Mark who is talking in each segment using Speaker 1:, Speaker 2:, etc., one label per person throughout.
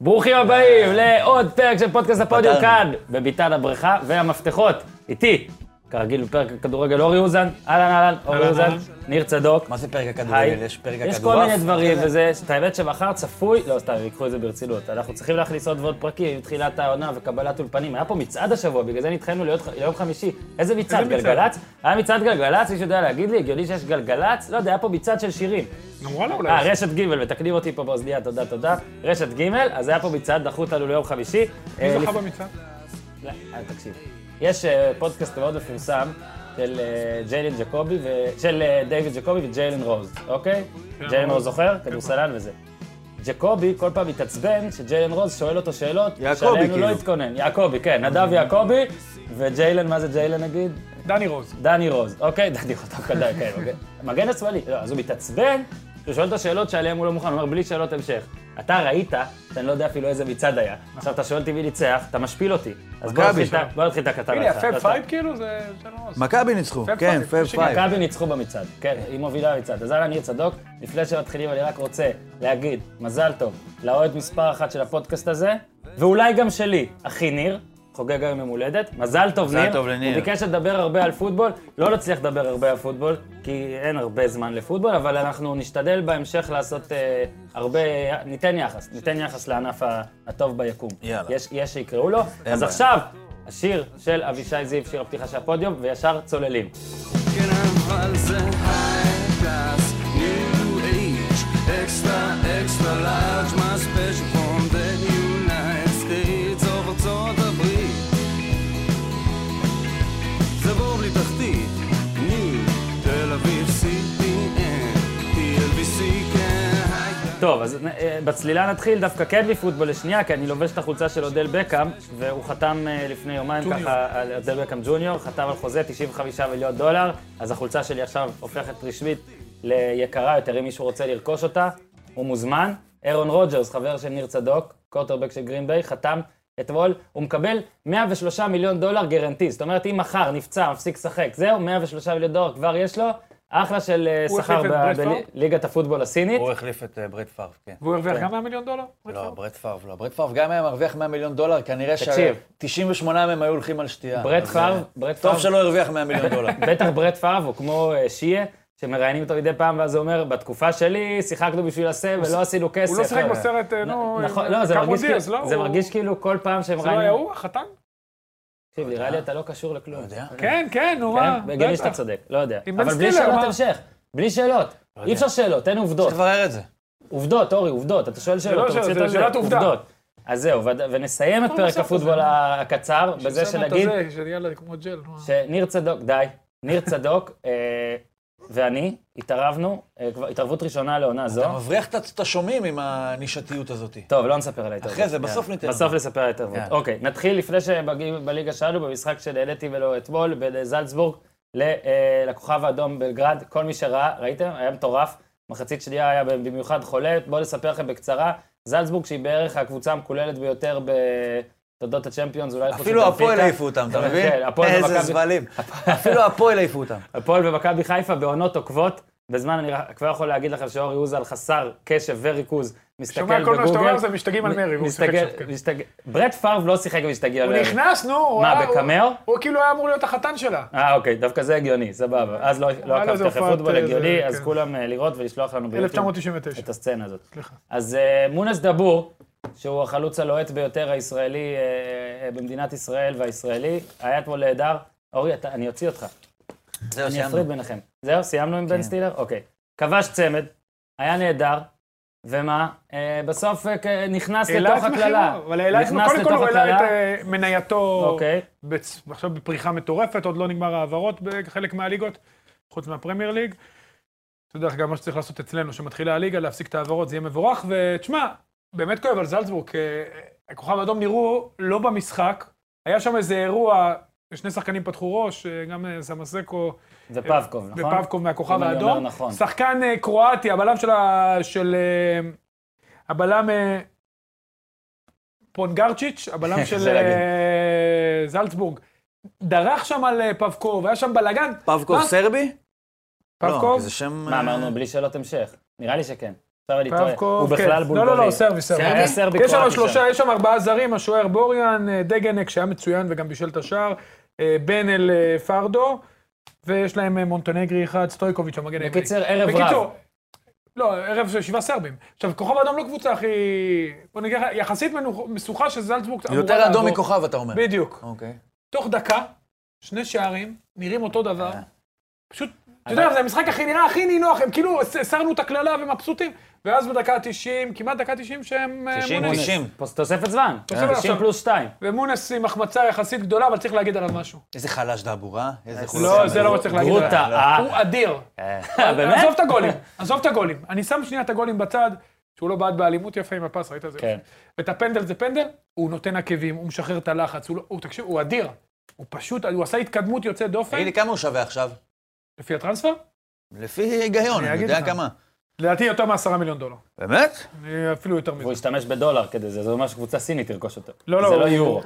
Speaker 1: ברוכים הבאים לעוד פרק של פודקאסט הפודיום
Speaker 2: פתרנו.
Speaker 1: כאן, בביתן הבריכה והמפתחות. איתי, כרגיל בפרק הכדורגל אורי אוזן, אהלן אהלן, אורי
Speaker 3: אהלן,
Speaker 1: אוזן,
Speaker 3: אהלן.
Speaker 1: ניר צדוק.
Speaker 2: מה זה פרק הכדורגל?
Speaker 1: היי.
Speaker 2: אה, יש פרק הכדורעף?
Speaker 1: יש כל מיני דברים, וזה, את האמת שמחר צפוי, לא סתם, הם ייקחו את זה ברצינות. אנחנו צריכים להכניס עוד ועוד פרקים עם תחילת העונה וקבלת אולפנים. היה פה מצעד השבוע, בגלל זה נדחינו להיות- ליום חמישי. איזה מצעד?
Speaker 3: איזה מצעד?
Speaker 1: גלגלצ? היה מצעד גלגלצ, מישהו יודע להגיד לי? הגיוני שיש גלגלצ? לא יודע, היה פה מצעד של שירים.
Speaker 3: נו, וואלה
Speaker 1: אה,
Speaker 3: אולי.
Speaker 1: רשת ג', מתקנים אותי פה באוזניה, תודה, תודה. רשת ג', אז היה פה מצעד, דחו אותנו ליום חמישי.
Speaker 3: מי
Speaker 1: אה,
Speaker 3: זכה
Speaker 1: לפ-
Speaker 3: במצעד?
Speaker 1: לא, אה, תקשיב. יש אה, פודקאסט מאוד מפורסם של אה, ג'יילן ג'קובי, ו- של אה, דיוויד ג'קובי וג'יילן רוז, אוקיי?
Speaker 3: כן,
Speaker 1: ג'יילן רוז
Speaker 3: רוז.
Speaker 1: זוכר? כדורסלן וזה. ג'קובי כל פעם מתעצבן שג'יילן רוז שואל אותו שאלות
Speaker 4: יעקובי,
Speaker 1: שעליהן הוא
Speaker 4: כאילו.
Speaker 1: לא התכונן. יעקובי, כן, נדב יעקובי, וג'יילן, מה זה ג'יילן נגיד?
Speaker 3: דני רוז.
Speaker 1: דני רוז, אוקיי, דני רוז, דווקא דני, כן, אוקיי. מגן השמאלי, לא, אז הוא מתעצבן, הוא שואל את השאלות שעליהן הוא לא מוכן, הוא אומר, בלי שאלות המשך. אתה ראית, שאני לא יודע אפילו איזה מצעד היה. עכשיו אתה שואל אותי מי ניצח, אתה משפיל אותי. אז בוא
Speaker 4: מכבי,
Speaker 1: נתחיל את ה- בוא נתחיל את הכתבה.
Speaker 3: הנה,
Speaker 1: שלך.
Speaker 3: הפאב
Speaker 1: לא
Speaker 3: פייב כאילו זה זה לא רוז.
Speaker 4: מכבי ניצחו,
Speaker 3: פאב
Speaker 4: כן,
Speaker 3: פייב.
Speaker 4: פאב
Speaker 3: יש
Speaker 4: פייב.
Speaker 1: מכבי ניצחו במצעד, כן, היא מובילה במצעד. אז אהלן ניר צדוק, לפני שמתחילים אני רק רוצה להגיד מזל טוב לאוהד מספר אחת של הפודקאסט הזה, ואולי גם שלי, אחי ניר, חוגג היום יום הולדת. מזל טוב
Speaker 4: מזל
Speaker 1: ניר.
Speaker 4: טוב לניר.
Speaker 1: הוא ביקש לדבר הרבה על פוטבול, לא נצליח לדבר הרבה על פוטבול, כי אין הרבה זמן לפוטבול, אבל אנחנו נשתדל בהמשך לעשות אה, הרבה, ניתן יחס, ניתן יחס לענף ה- הטוב ביקום.
Speaker 4: יאללה.
Speaker 1: יש, יש שיקראו לו. אז
Speaker 4: בעיה.
Speaker 1: עכשיו, השיר של אבישי זיו, שיר הפתיחה של הפודיום, וישר צוללים.
Speaker 5: כן, אבל זה הייטס, ניו אייג', אקסטרה, אקסטרה לארג', מה ספיישל פרום דה יונייט סטייטס, אוף ארצות הברית. זה בור בלי תחתית, ניו, תל אביב, CPN, TLBC, כן, הייטס.
Speaker 1: טוב, אז אה, בצלילה נתחיל דווקא כן מפוטבול לשנייה, כי אני לובש את החולצה של אודל בקאם, והוא חתם אה, לפני יומיים ככה, על אודל בקאם ג'וניור, חתם על חוזה 95 מיליון דולר, אז החולצה שלי עכשיו הופכת רשמית ליקרה יותר, אם מישהו רוצה לרכוש אותה, הוא מוזמן. אירון רוג'רס, חבר של ניר צדוק, קוטרבק של גרין ביי, חתם אתמול, הוא מקבל 103 מיליון דולר גרנטי, זאת אומרת, אם מחר נפצע, מפסיק לשחק, זהו, 103 מיליון דולר כבר יש לו, אחלה של אה,
Speaker 3: הוא
Speaker 1: שכר
Speaker 3: החליף את
Speaker 1: ב-
Speaker 3: ברט פאר?
Speaker 1: בליגת הפוטבול הסינית.
Speaker 2: הוא החליף את אה, ברד פארב, כן.
Speaker 3: והוא הרוויח גם 100 מיליון דולר?
Speaker 2: לא, ברד פארב לא. ברד פארב גם היה מרוויח 100 מיליון דולר, כנראה
Speaker 1: תקשיב.
Speaker 2: ש-98 מהם היו הולכים על שתייה.
Speaker 1: ברד
Speaker 2: אז,
Speaker 1: פארב,
Speaker 2: אה,
Speaker 1: ברד פארב,
Speaker 2: טוב שלא הרוויח 100 מיליון דולר.
Speaker 1: בטח ברד פארב הוא כמו אה, שיה, שמראיינים אותו מדי פעם, ואז הוא אומר, בתקופה שלי שיחקנו בשביל הסם ולא עשינו כסף.
Speaker 3: הוא לא שיחק בסרט, אה, נו,
Speaker 1: נכון, לא, זה מרגיש
Speaker 3: קמודיאס,
Speaker 1: כאילו-
Speaker 3: לא?
Speaker 1: זה
Speaker 3: הוא-
Speaker 1: מרגיש כאילו כל פעם שהם
Speaker 3: זה לא היה
Speaker 1: ראיינים...
Speaker 3: הוא, החתן?
Speaker 1: תקשיב, נראה לי אתה לא קשור לכלום.
Speaker 2: אתה יודע?
Speaker 3: כן, כן, נו, מה?
Speaker 1: כן, הגיוני שאתה
Speaker 3: בטח.
Speaker 1: צודק, לא יודע.
Speaker 3: עם בן
Speaker 1: אבל בלי
Speaker 3: סטילר,
Speaker 1: שאלות
Speaker 3: מה? לא
Speaker 1: המשך, בלי שאלות. אי אפשר שאלות, אין עובדות.
Speaker 2: צריך לברר את
Speaker 1: לא?
Speaker 2: זה.
Speaker 1: עובדות, אורי, עובדות. אתה שואל
Speaker 3: לא
Speaker 1: שאלות, אתה
Speaker 3: שאלות,
Speaker 1: רוצה
Speaker 3: זה
Speaker 1: יותר
Speaker 3: שאלת
Speaker 1: זה,
Speaker 3: עובדה.
Speaker 1: עובדות. אז זהו, וד- ונסיים את
Speaker 3: כל
Speaker 1: פרק
Speaker 3: נוסף הזה.
Speaker 1: הפוטבול הקצר בזה
Speaker 3: שם את
Speaker 1: שנגיד
Speaker 3: הזה, שיאללה, כמו ג'ל, נו.
Speaker 1: שניר צדוק, די, ניר צדוק אה, ואני התערבנו, אה, כבר התערבות ראשונה לעונה זו.
Speaker 2: אתה מבריח את- את השומעים עם הנישתיות הזאת.
Speaker 1: טוב, לא נספר על ההתערבות.
Speaker 2: אחרי זה, בסוף ניתן.
Speaker 1: בסוף נספר על ההתערבות.
Speaker 2: כן.
Speaker 1: אוקיי, נתחיל לפני שמגיעים בליגה שלנו, במשחק שנהניתי ולא אתמול, בין זלצבורג ל- אה, לכוכב האדום בלגרד. כל מי שראה, ראיתם? היה מטורף. מחצית שנייה היה במיוחד חולה. בואו נספר לכם בקצרה. זלצבורג, שהיא בערך הקבוצה המקוללת ביותר בתולדות הצ'מפיונס, אולי חוץ
Speaker 2: אפילו
Speaker 1: מבנפיקה.
Speaker 2: הפועל העיפו אותם, אתה
Speaker 1: כן,
Speaker 2: מבין?
Speaker 1: כן, הפועל
Speaker 2: איזה
Speaker 1: ומכבי-
Speaker 2: זבלים. אפילו הפועל העיפו אותם.
Speaker 1: הפועל ומכבי חיפה בעונות עוקבות. בזמן אני רק- כבר יכול להגיד לכם שאורי אוזל חסר קשב וריכוז, מסתכל
Speaker 3: שומע
Speaker 1: בגוגל.
Speaker 3: כל מה שאתה אומר, זה משתגעים על מרי, הוא שיחק
Speaker 1: מסתגל-
Speaker 3: שם, כן.
Speaker 1: מסתגל- ברד פארב לא שיחק ומשתגע על
Speaker 3: הוא
Speaker 1: מרי.
Speaker 3: נכנס, נו. הוא
Speaker 1: מה,
Speaker 3: היה- הוא-
Speaker 1: בקמר?
Speaker 3: הוא כאילו היה אמור להיות החתן שלה.
Speaker 1: אה, אוקיי, דווקא זה הגיוני, סבבה. אז לא- לא
Speaker 3: לו
Speaker 1: עקבתי
Speaker 3: איזה
Speaker 1: אחרי
Speaker 3: הופעת,
Speaker 1: פוטבול
Speaker 3: אה,
Speaker 1: הגיוני,
Speaker 3: זה-
Speaker 1: אז
Speaker 3: כן.
Speaker 1: כולם אה, לראות ולשלוח לנו ביוטיוב
Speaker 3: 1999.
Speaker 1: את הסצנה הזאת.
Speaker 3: סליחה.
Speaker 1: אז אה, מונס דבור, שהוא החלוץ הלוהט ביותר הישראלי אה, אה, במדינת ישראל והישראלי, היה אתמול נהדר. אורי, אתה- אני אוציא אותך.
Speaker 2: זהו,
Speaker 1: אני
Speaker 2: סיימנו.
Speaker 1: אפריד ביניכם. זהו, סיימנו עם בן סטילר? אוקיי. כבש צמד, היה נהדר, ומה? אה, בסוף אה, כ- נכנס
Speaker 3: העלה
Speaker 1: לתוך
Speaker 3: את
Speaker 1: הקללה.
Speaker 3: מחירו, אבל העלה את,
Speaker 1: נכנס
Speaker 3: קודם כל הוא
Speaker 1: לתוך
Speaker 3: העלה את
Speaker 1: הקללה.
Speaker 3: אה, מנייתו,
Speaker 1: אוקיי.
Speaker 3: בצ- עכשיו בפריחה מטורפת, עוד לא נגמר ההעברות בחלק מהליגות, חוץ מהפרמייר ליג. אתה יודע, גם מה שצריך לעשות אצלנו, שמתחילה הליגה, להפסיק את ההעברות, זה יהיה מבורך. ותשמע, באמת כואב על זלצבורג, אה, הכוכב האדום נראו לא במשחק, היה שם איזה אירוע, שני שחקנים פתחו ראש, אה, גם אה, סמסקו, אה,
Speaker 1: ופבקוב, נכון?
Speaker 3: ופבקוב מהכוכב
Speaker 1: אם אני אומר
Speaker 3: האדום.
Speaker 1: נכון.
Speaker 3: שחקן אה, קרואטי, הבלם של ה... של... אה, הבלם... אה, פונגרצ'יץ', הבלם של
Speaker 2: קשה להגיד.
Speaker 3: אה, זלצבורג. דרך שם על אה, פבקוב, היה שם בלאגן.
Speaker 2: פבקוב
Speaker 3: מה?
Speaker 2: סרבי? לא,
Speaker 3: פבקוב?
Speaker 2: כי זה שם...
Speaker 1: מה
Speaker 2: אה,
Speaker 1: אמרנו? בלי שאלות המשך. נראה לי שכן. עכשיו אני טועה.
Speaker 3: פבקוב,
Speaker 1: הוא
Speaker 3: כן.
Speaker 1: בכלל בולגרי.
Speaker 3: לא, לא, לא, סרבי, סרבי.
Speaker 1: סרבי? היה סרבי
Speaker 3: יש שם
Speaker 1: קרואטי כן.
Speaker 3: שלושה,
Speaker 1: שם.
Speaker 3: יש שם ארבעה זרים, השוער בוריאן, אה, דגנק, שהיה מצוין וגם בישל את השער, אה, בן אל אה, פרדו, ויש להם אה, מונטנגרי אחד, סטויקוביץ', המגן הימני.
Speaker 1: בקיצר, ערב רב.
Speaker 3: בקיצור, לא, ערב של שבעה סרבים. עכשיו, כוכב האדום לא קבוצה הכי... בוא נגיד לך, יחסית מנוח- משוכה שזלצבורג אמורה לעבור.
Speaker 2: יותר אדום מכוכב, אתה אומר.
Speaker 3: בדיוק.
Speaker 2: אוקיי.
Speaker 3: תוך דקה, שני שערים, נראים אותו דבר. פשוט, אתה יודע, זה המשחק הכי נראה, הכי נינוח, הם כאילו הס- הסרנו את הקללה ומבסוטים, ואז בדקה ה-90, כמעט דקה ה-90 שהם... אה,
Speaker 2: 90,
Speaker 3: מונס.
Speaker 2: 90.
Speaker 1: פוס- תוספת זמן.
Speaker 3: תוספת זמן.
Speaker 1: 90 פלוס 2.
Speaker 3: ומונס עם החמצה יחסית גדולה, אבל צריך להגיד עליו משהו.
Speaker 2: איזה חלש דאבור, אה? איזה חולצה.
Speaker 3: לא, זה לא מה שצריך להגיד עליו.
Speaker 1: גרוטה, אה.
Speaker 3: הוא אדיר.
Speaker 1: באמת?
Speaker 3: עזוב את הגולים, עזוב את הגולים. אני שם שנייה את הגולים בצד, שהוא לא בעט באלימות יפה עם הפס, ראית את זה?
Speaker 1: כן.
Speaker 3: ואת הפנדל זה פנדל, הוא נותן עקבים, הוא משחרר את הלחץ, הוא, לא- הוא תקשיב, הוא אדיר. הוא פשוט, הוא עשה התקדמות יוצאת דופן,
Speaker 2: תגיד לי, כמה הוא שווה עכשיו?
Speaker 3: לפי הטרנספר,
Speaker 2: לפי היגיון,
Speaker 3: אני
Speaker 2: אני
Speaker 3: אגיד
Speaker 2: יודע
Speaker 3: לך.
Speaker 2: כמה.
Speaker 3: לדעתי יותר מעשרה מיליון דולר.
Speaker 2: באמת?
Speaker 3: אה, אפילו יותר מזה.
Speaker 1: והוא השתמש בדולר כדי זה, זה אומר שקבוצה סינית תרכוש אותו.
Speaker 3: לא, לא,
Speaker 1: זה לא
Speaker 3: הוא-
Speaker 1: יורו.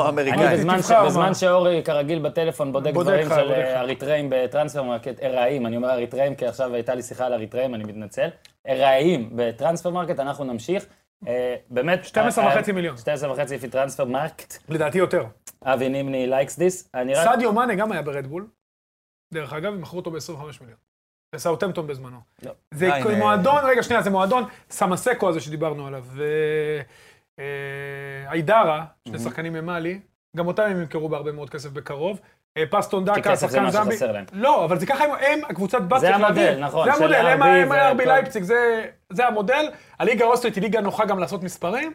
Speaker 2: או
Speaker 1: אני
Speaker 2: אמריקאי.
Speaker 1: בזמן, ש...
Speaker 3: תבחר, מה?
Speaker 1: בזמן שאורי כרגיל בטלפון בודק
Speaker 3: בודק
Speaker 1: דברים
Speaker 3: לך,
Speaker 1: של
Speaker 3: בודק
Speaker 1: אה,
Speaker 3: לך.
Speaker 1: אריתראים בטרנספר מרקט, ארעיים, אני אומר אריתראים כי עכשיו הייתה לי שיחה על אריתראים, אני מתנצל. ארעיים בטרנספר מרקט, אנחנו נמשיך. אה, באמת...
Speaker 3: 12
Speaker 1: אה,
Speaker 3: וחצי מיליון.
Speaker 1: 12 וחצי לפי טרנספר מרקט.
Speaker 3: לדעתי יותר.
Speaker 1: אבי נימני לייקס דיס. אני רק...
Speaker 3: סעדיו מאנה גם היה ברדבול, דרך אגב, ומכרו אותו ב-25 מיליון. לסאוטמפטון בזמנו.
Speaker 1: לא.
Speaker 3: זה
Speaker 2: די, נה.
Speaker 3: מועדון, רגע, שנייה, זה מועדון, סמסקו הזה שדיברנו עליו, ואיידרה, שני שחקנים ממאלי, גם אותם הם ימכרו בהרבה מאוד כסף בקרוב. אה, פסטון
Speaker 1: כי
Speaker 3: דקה,
Speaker 1: כסף זה
Speaker 3: שחקן
Speaker 1: מה
Speaker 3: זמבי.
Speaker 1: שחסר להם.
Speaker 3: לא, אבל זה ככה, הם- הם, הקבוצת בת
Speaker 1: זה
Speaker 3: צריך
Speaker 1: המודל,
Speaker 3: להבין.
Speaker 1: נכון,
Speaker 3: זה
Speaker 1: של
Speaker 3: המודל, הם
Speaker 1: RB
Speaker 3: הם ה-RB
Speaker 1: והכל.
Speaker 3: לייפציג, זה- זה המודל. הליגה האוסטרית היא ליגה נוחה גם לעשות מספרים.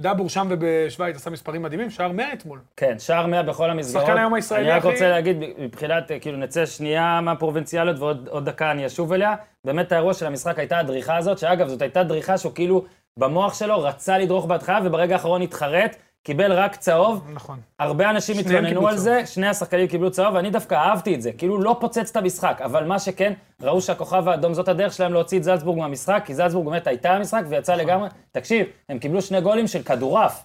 Speaker 3: דאבור שם ובשוויץ עשה מספרים מדהימים, שער 100 אתמול.
Speaker 1: כן, שער 100 בכל המסגרות.
Speaker 3: שחקן היום הישראלי
Speaker 1: אני רק
Speaker 3: הכי-
Speaker 1: רוצה להגיד, מבחינת, אה, כאילו, נצא שנייה מהפרובינציאליות ועוד עוד דקה אני אשוב אליה. באמת האירוע של המשחק הייתה הדריכה הזאת, שאגב, זאת הייתה דריכה שהוא כאילו במוח שלו רצה לדרוך בהתחלה, וברגע האחרון התחרט, קיבל רק צהוב.
Speaker 3: נכון.
Speaker 1: הרבה אנשים
Speaker 3: שניהם
Speaker 1: התלוננו
Speaker 3: קיבלו
Speaker 1: על זה, שני השחקנים קיבלו צהוב, ואני דווקא אהבתי את זה. כאילו, לא פוצץ את המשחק, אבל מה שכן, ראו שהכוכב האדום זאת הדרך שלהם להוציא את זלצבורג מהמשחק, כי זלצבורג באמת הייתה המשחק
Speaker 3: נכון.
Speaker 1: ויצאה לגמרי. תקשיב, הם קיבלו שני גולים של כדורעף.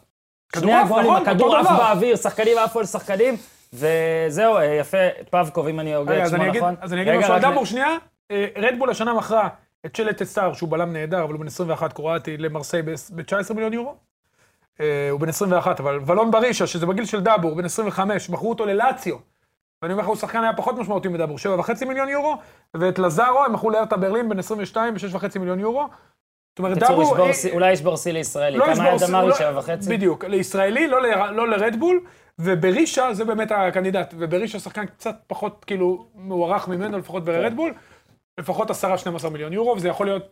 Speaker 1: שני
Speaker 3: כדורעף,
Speaker 1: הגולים,
Speaker 3: נכון,
Speaker 1: הכדור
Speaker 3: אותו
Speaker 1: עף
Speaker 3: דבר.
Speaker 1: באוויר, שחקנים עפו על שחקנים, וזהו, אה, יפה, פבקוב, אם אני הוגה
Speaker 3: רגע,
Speaker 1: את
Speaker 3: אז
Speaker 1: שמו
Speaker 3: אני אגיד,
Speaker 1: נכון.
Speaker 3: אז אני אגיד
Speaker 1: רגע,
Speaker 3: משהו על
Speaker 1: רק
Speaker 3: דאבור
Speaker 1: ל-
Speaker 3: שנייה. אה, רדבול השנה מכרה את שלט אסטאר, שהוא בלם נהדר, אבל הוא בן 21 קרואטי, למרסיי ב-19 מיליון יורו. אה, הוא בן 21, אבל ולון ברישה, שזה בגיל של דאבור, הוא בן 25, מכרו אותו ללאציו. ואני אומר לך, הוא שחקן היה פחות משמעותי מדאבור, 7.5 מיליון יורו, ואת לזארו הם מכרו לארטה ברלין בן 22 ב-6.5 מיליון יורו. זאת אומרת,
Speaker 1: בקיצור,
Speaker 3: דאבור...
Speaker 1: ישבור
Speaker 3: אה,
Speaker 1: שיא- אולי ישבור שיא לישראלי.
Speaker 3: לא
Speaker 1: כמה היה
Speaker 3: לשבור...
Speaker 1: דמרי?
Speaker 3: לא-
Speaker 1: שבע וחצי?
Speaker 3: בדיוק, לישראלי, לא, ל... לא לרדבול, וברישה זה באמת הקנדידט, וברישה שחקן קצת פחות כאילו מוערך ממנו, לפחות
Speaker 1: כן.
Speaker 3: ברדבול, לפחות 10-12 מיליון יורו, וזה יכול להיות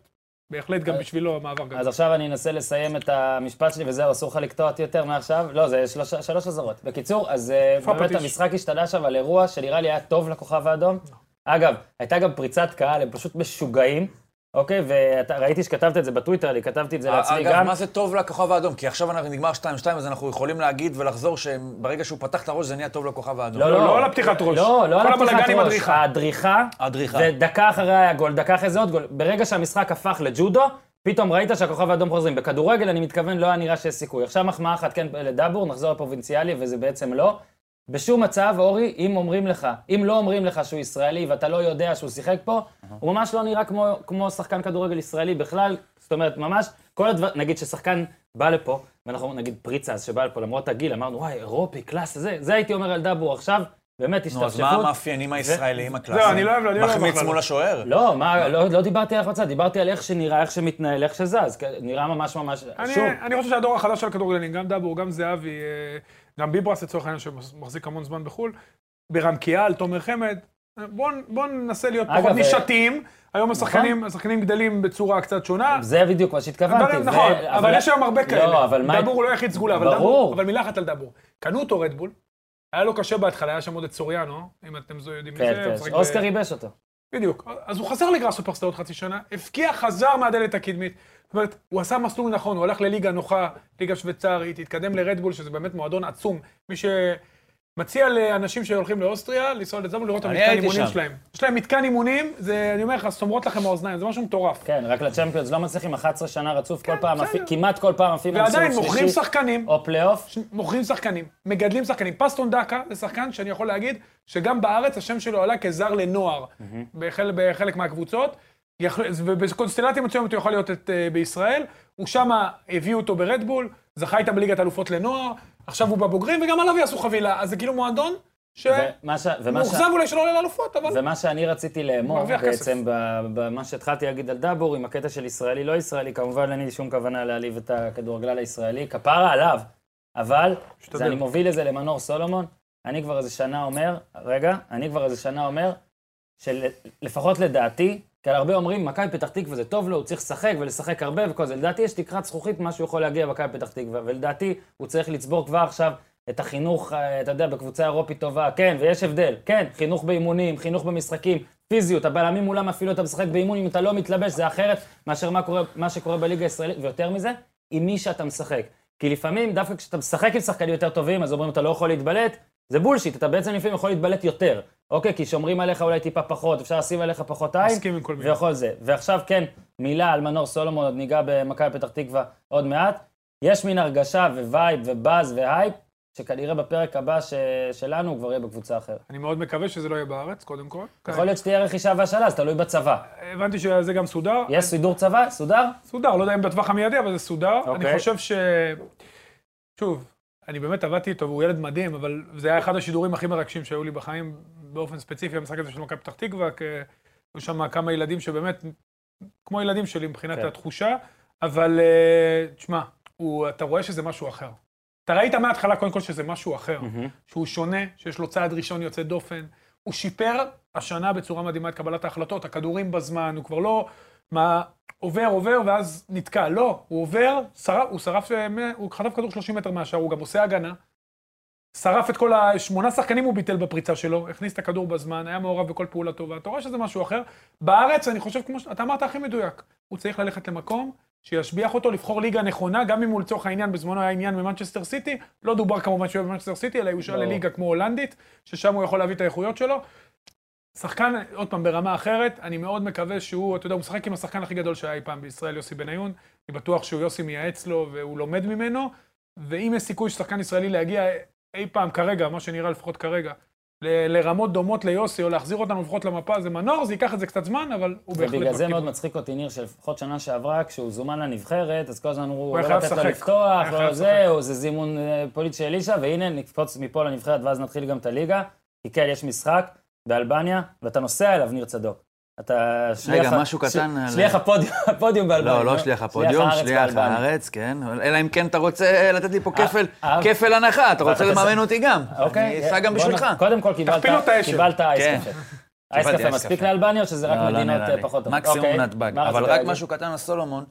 Speaker 3: בהחלט גם בשבילו מעבר גדול.
Speaker 1: אז עכשיו אני אנסה לסיים את המשפט שלי, וזהו, אסור לך לקטוע אותי יותר מעכשיו. לא, זה שלוש, שלוש אזהרות. בקיצור, אז אה,
Speaker 3: איפה
Speaker 1: באמת
Speaker 3: הפטיש?
Speaker 1: המשחק השתנה שם על אירוע שנראה לי היה טוב לכוכב האדום. אגב, הייתה גם פריצת קהל, הם פשוט משוגעים, אוקיי? וראיתי שכתבת את זה בטוויטר, אני כתבתי
Speaker 3: אה,
Speaker 1: את זה לעצמי
Speaker 2: אגב,
Speaker 1: גם.
Speaker 2: מה זה טוב לכוכב האדום? כי עכשיו אנחנו נגמר 2-2, אז אנחנו יכולים להגיד ולחזור שברגע שהוא פתח את הראש זה נהיה טוב לכוכב האדום.
Speaker 1: לא, לא,
Speaker 3: לא על הפתיחת ראש.
Speaker 1: לא, לא על
Speaker 3: כל
Speaker 1: הפתיחת
Speaker 3: הבלגן עם
Speaker 1: ראש.
Speaker 3: הדריכה.
Speaker 1: הדריכה.
Speaker 2: הדריכה.
Speaker 1: ודקה אחרי היה גול, דקה אחרי זה עוד גול. ברגע שהמשחק הפך לג'ודו, פתאום ראית שהכוכב האדום חוזרים. בכדורגל, אני מתכוון, לא היה נראה שיש סיכוי. עכשיו מחמאה אחת כן לדאבור, נחזור לפרובינציאלי, וזה בעצם לא. בשום מצב, אורי, אם אומרים לך, אם לא אומרים לך שהוא ישראלי ואתה לא יודע שהוא שיחק פה, הוא ממש לא נראה כמו, כמו שחקן כדורגל ישראלי בכלל. זאת אומרת, ממש, כל הדבר, נגיד ששחקן בא לפה, ואנחנו אומרים, נגיד פריצה אז שבא לפה, למרות הגיל, אמרנו, וואי, אירופי, קלאס, זה, זה הייתי אומר על דאבור עכשיו, באמת השתפשפות.
Speaker 2: נו, אז מה המאפיינים הישראליים הקלאסיים?
Speaker 3: לא, אני לא אוהב, אני לא אוהב
Speaker 2: מחמיץ
Speaker 3: בכלל.
Speaker 2: מול השוער?
Speaker 1: לא, מה, לא, לא דיברתי על החמצה, דיברתי על איך שנראה, איך שמתנהל, איך שזז. כי נראה ממש ממש...
Speaker 3: אני,
Speaker 1: שוב,
Speaker 3: אני חושב שהדור החדש של הכדורגלנים, גם דאבור, גם זהבי, אה, גם ביברס לצורך העניין, שמחזיק המון זמן בחו"ל, ברם קיאל, תומר חמד, אה, בואו בוא ננסה להיות
Speaker 1: אגב,
Speaker 3: פחות
Speaker 1: אה, נכון.
Speaker 3: נישתיים. היום השחקנים, השחקנים גדלים בצורה קצת שונה.
Speaker 1: זה בדיוק מה שהתכוונתי.
Speaker 3: דברים, נכון,
Speaker 1: ו-
Speaker 3: אבל יש היום הרבה כאלה.
Speaker 1: לא, אבל מה...
Speaker 3: דבור הוא לא יחיד סגולה, אבל
Speaker 1: ברור.
Speaker 3: דבור... אבל מילה אחת על דבור. קנו אותו רדבול, היה לו קשה בהתחלה, היה שם עוד את סוריאנו, אם אתם זו יודעים מי זה.
Speaker 1: כן,
Speaker 3: הוא
Speaker 1: כן,
Speaker 3: משחק ב-
Speaker 1: אוסקר ייבש אותו.
Speaker 3: בדיוק. אז הוא חזר לגראס סופרסטאר עוד חצי שנה, הבקיע, חזר מהדלת הקדמית. זאת אומרת, הוא עשה מסלול נכון, הוא הלך לליגה נוחה, ליגה שוויצרית, התקדם לרדבול, שזה באמת מועדון עצום. מי שמציע לאנשים שהולכים לאוסטריה, לנסוע לזמבו לראות את
Speaker 2: אני
Speaker 3: המתקן
Speaker 2: הייתי
Speaker 3: אימונים
Speaker 2: שם.
Speaker 3: שלהם. יש להם מתקן אימונים, זה, אני אומר לך, סומרות לכם האוזניים, זה משהו מטורף.
Speaker 1: כן, רק לצ'מפיונס לא מצליחים 11 שנה רצוף, כל פעם,
Speaker 3: כן, בסדר.
Speaker 1: עפי- כמעט כל פעם עפים על
Speaker 3: ועדיין
Speaker 1: סיבוב
Speaker 3: מוכרים
Speaker 1: שלישי,
Speaker 3: שחקנים.
Speaker 1: או פלייאוף.
Speaker 3: ש- מוכרים שחקנים, מגדלים שחקנים. פסטון דקה זה שחקן שאני יכול להגיד שגם בארץ השם שלו עלה כזר לנוער בחל, בחלק מהקבוצות. יכול- ובקונסטלציה מסוימת הוא יכול להיות את, אה, בישראל, הוא שמה, הביאו אותו ברדבול, זכה איתם בליגת אלופות לנוער, עכשיו הוא בבוגרים, וגם עליו יעשו חבילה. אז זה כאילו מועדון שמאוכזב
Speaker 1: ומה ש- ומה ש-
Speaker 3: אולי שלא עולה לאלופות, אבל...
Speaker 1: זה מה שאני רציתי לאמור
Speaker 3: מרוויח כסף.
Speaker 1: בעצם, ב- במה שהתחלתי להגיד על דאבור, עם הקטע של ישראלי, לא ישראלי, כמובן אין לי שום כוונה להעליב את הכדורגלל הישראלי, כפרה עליו, אבל
Speaker 3: משתדל.
Speaker 1: זה אני מוביל את זה למנור סולומון, אני כבר איזה שנה אומר, רגע, אני כבר איזה שנה אומר, שלפחות לדעתי, כי הרבה אומרים, מכבי פתח תקווה זה טוב לו, הוא צריך לשחק ולשחק הרבה וכל זה. לדעתי יש תקרת זכוכית, מה שהוא יכול להגיע במכבי פתח תקווה, ולדעתי הוא צריך לצבור כבר עכשיו את החינוך, אה, אתה יודע, בקבוצה אירופית טובה, כן, ויש הבדל, כן, חינוך באימונים, חינוך במשחקים, פיזיות, הבלמים מולם אפילו אתה משחק באימון, אם אתה לא מתלבש זה אחרת מאשר מה, קורה, מה שקורה בליגה הישראלית, ויותר מזה, עם מי שאתה משחק. כי לפעמים, דווקא כשאתה משחק עם שחקנים יותר טובים, אז אומרים, אתה לא יכול להתבלט, זה בולשיט, אתה בעצם לפעמים יכול להתבלט יותר. אוקיי, כי שומרים עליך אולי טיפה פחות, אפשר לשים עליך פחות עין.
Speaker 3: מסכים עם כל מילה.
Speaker 1: ויכול זה. ועכשיו כן, מילה על מנור סולומון, עוד ניגע במכבי פתח תקווה עוד מעט. יש מין הרגשה ווייב ובאז והייפ, שכנראה בפרק הבא ש... שלנו הוא כבר יהיה בקבוצה אחרת.
Speaker 3: אני מאוד מקווה שזה לא יהיה בארץ, קודם כל.
Speaker 1: יכול להיות שתהיה רכישה והשאלה, זה תלוי בצבא.
Speaker 3: הבנתי שזה גם סודר.
Speaker 1: יש סידור צבא? סודר?
Speaker 3: סודר, לא יודע אם בטווח המיידי, אבל זה סודר. אני
Speaker 1: אוקיי.
Speaker 3: חושב ש... שוב, אני באמת עבדתי איתו, והוא ילד מדהים, אבל זה היה אחד השידורים הכי מרגשים שהיו לי בחיים, באופן ספציפי, המשחק הזה של מכבי פתח תקווה, כי היו שם כמה ילדים שבאמת, כמו ילדים שלי מבחינת
Speaker 1: כן.
Speaker 3: התחושה, אבל אה, תשמע, הוא- אתה רואה שזה משהו אחר. אתה ראית מההתחלה קודם כל שזה משהו
Speaker 1: Mm.
Speaker 3: אחר, שהוא שונה, שיש לו צעד ראשון יוצא דופן. הוא שיפר השנה בצורה מדהימה את קבלת ההחלטות, הכדורים בזמן, הוא כבר לא מה, עובר, עובר, ואז נתקע. לא, הוא עובר, שרף, הוא שרף, אה, מאה- הוא חטף כדור 30 מטר מהשאר, הוא גם עושה הגנה. שרף את כל השמונה שחקנים הוא ביטל בפריצה שלו, הכניס את הכדור בזמן, היה מעורב בכל פעולה טובה. אתה רואה שזה משהו אחר. בארץ, אני חושב, כמו שאתה אמרת, הכי מדויק. הוא צריך ללכת למקום שישביח אותו, לבחור ליגה נכונה, גם אם הוא לצורך העניין, בזמנו היה עניין ממנצ'סטר סיטי, לא דובר כמובן שהוא יהיה במנצ'סטר סיטי, אלא יושל
Speaker 1: ברור.
Speaker 3: לליגה כמו הולנדית, ששם הוא יכול להביא את האיכויות שלו. שחקן, עוד פעם, ברמה אחרת, אני מאוד מקווה שהוא, אתה יודע, הוא משחק עם השחקן הכי גדול שהיה אי פעם בישראל, יוסי בניון. אני בטוח שהוא יוסי מייעץ לו והוא לומד ממנו, ואם יש סיכוי ששחקן ישראלי להגיע אי פעם כרגע, מה שנראה לפחות כרגע, ל- לרמות דומות ליוסי, או להחזיר אותנו לפחות למפה, זה מנור, זה ייקח את זה קצת זמן, אבל הוא בהחלט...
Speaker 1: ובגלל זה
Speaker 3: בכיוון.
Speaker 1: מאוד מצחיק אותי ניר, שלפחות שנה שעברה, כשהוא זומן לנבחרת, אז כל הזמן אמרו,
Speaker 3: היה
Speaker 1: לא
Speaker 3: חייב
Speaker 1: לתת לו
Speaker 3: לשחק.
Speaker 1: לפתוח,
Speaker 3: היה חייב
Speaker 1: לא זה, או זה זימון אה, פוליט של אלישע, והנה, נקפוץ מפה לנבחרת ואז נתחיל גם את הליגה, כי כן, יש משחק באלבניה, ואתה נוסע אליו, ניר צדוק. אתה שליח... ה-
Speaker 4: משהו קטן על-
Speaker 1: שליח הפודיום- הפודיום באלבניה.
Speaker 4: לא, לא שליח הפודיום, שליח
Speaker 1: באלבניה.
Speaker 4: הארץ, כן. אלא אם כן אתה רוצה לתת לי פה כפל,
Speaker 1: אה,
Speaker 4: כפל הנחה, אתה רוצה
Speaker 1: אתה תעשה-
Speaker 4: לממן אותי גם.
Speaker 1: אוקיי.
Speaker 4: אני אסע
Speaker 1: בוא
Speaker 4: גם
Speaker 1: נ-
Speaker 4: בשבילך.
Speaker 1: קודם כל קיבלת
Speaker 3: תכפיל לו את האשל.
Speaker 1: קיבלת אייס
Speaker 4: כן.
Speaker 1: קפה. אייס
Speaker 4: קיבלתי
Speaker 1: קפה
Speaker 4: אייס
Speaker 1: מספיק
Speaker 4: קפה.
Speaker 1: לאלבניה, או שזה רק
Speaker 4: לא, לא
Speaker 1: מדינות
Speaker 4: נראה
Speaker 1: אה,
Speaker 4: לי.
Speaker 1: פחות טובות?
Speaker 4: מקסימום
Speaker 1: אוקיי.
Speaker 4: נתב"ג.
Speaker 1: מה
Speaker 4: אבל
Speaker 1: רצית
Speaker 4: רק
Speaker 1: להגיד?
Speaker 4: משהו קטן על סולומון,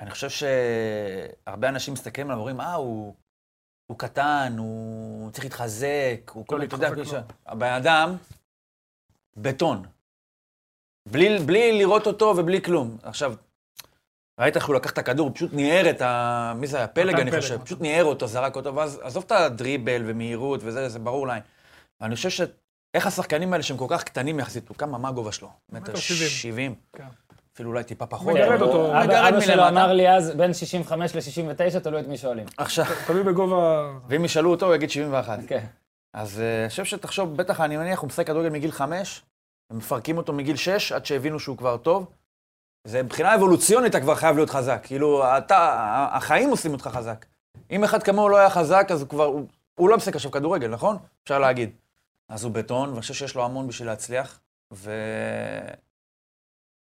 Speaker 4: אני חושב שהרבה אנשים מסתכלים עליו ואומרים, אה, הוא... הוא קטן, הוא צריך להתחזק,
Speaker 1: לא
Speaker 4: הוא כל מיני, אתה יודע,
Speaker 3: להתחזק
Speaker 4: כאילו ש- הבן אדם, בטון. בלי, בלי לראות אותו ובלי כלום. עכשיו, ראית איך הוא לקח את הכדור, הוא פשוט ניער את ה... מי זה היה? פלג,
Speaker 3: מתן
Speaker 4: אני
Speaker 3: פלג,
Speaker 4: חושב.
Speaker 1: נכון.
Speaker 3: מתן.
Speaker 4: פשוט ניער אותו, זרק אותו, ואז עזוב את הדריבל ומהירות וזה, זה ברור להם. אני חושב ש... איך השחקנים האלה שהם כל כך קטנים יחסית, הוא כמה, מה הגובה שלו? מטר
Speaker 3: שבעים.
Speaker 4: שבעים.
Speaker 3: כן.
Speaker 4: אפילו אולי טיפה פחות.
Speaker 1: כן,
Speaker 3: מגרד
Speaker 1: הוא-
Speaker 3: אותו.
Speaker 1: אבא-
Speaker 4: מגרד
Speaker 1: אבא שלו
Speaker 4: מלמטה.
Speaker 1: אמר לי אז, בין 65 ל-69, תלוי את מי שואלים.
Speaker 4: עכשיו,
Speaker 3: תלוי בגובה...
Speaker 4: ואם ישאלו אותו, הוא יגיד 71.
Speaker 1: כן.
Speaker 4: אז אה, אני חושב שתחשוב, בטח, אני מניח, הוא משחק כדורגל מגיל חמש, הם מפרקים אותו מגיל שש, עד שהבינו שהוא כבר טוב. זה מבחינה אבולוציונית, אתה כבר חייב להיות חזק. כאילו, אתה, ה- החיים עושים אותך חזק. אם אחד כמוהו לא היה חזק, אז הוא כבר, הוא, הוא לא משחק עכשיו כדורגל, נכון? אפשר להגיד. אז הוא בטון, ואני חושב שיש לו המון בשביל להצליח, ואתה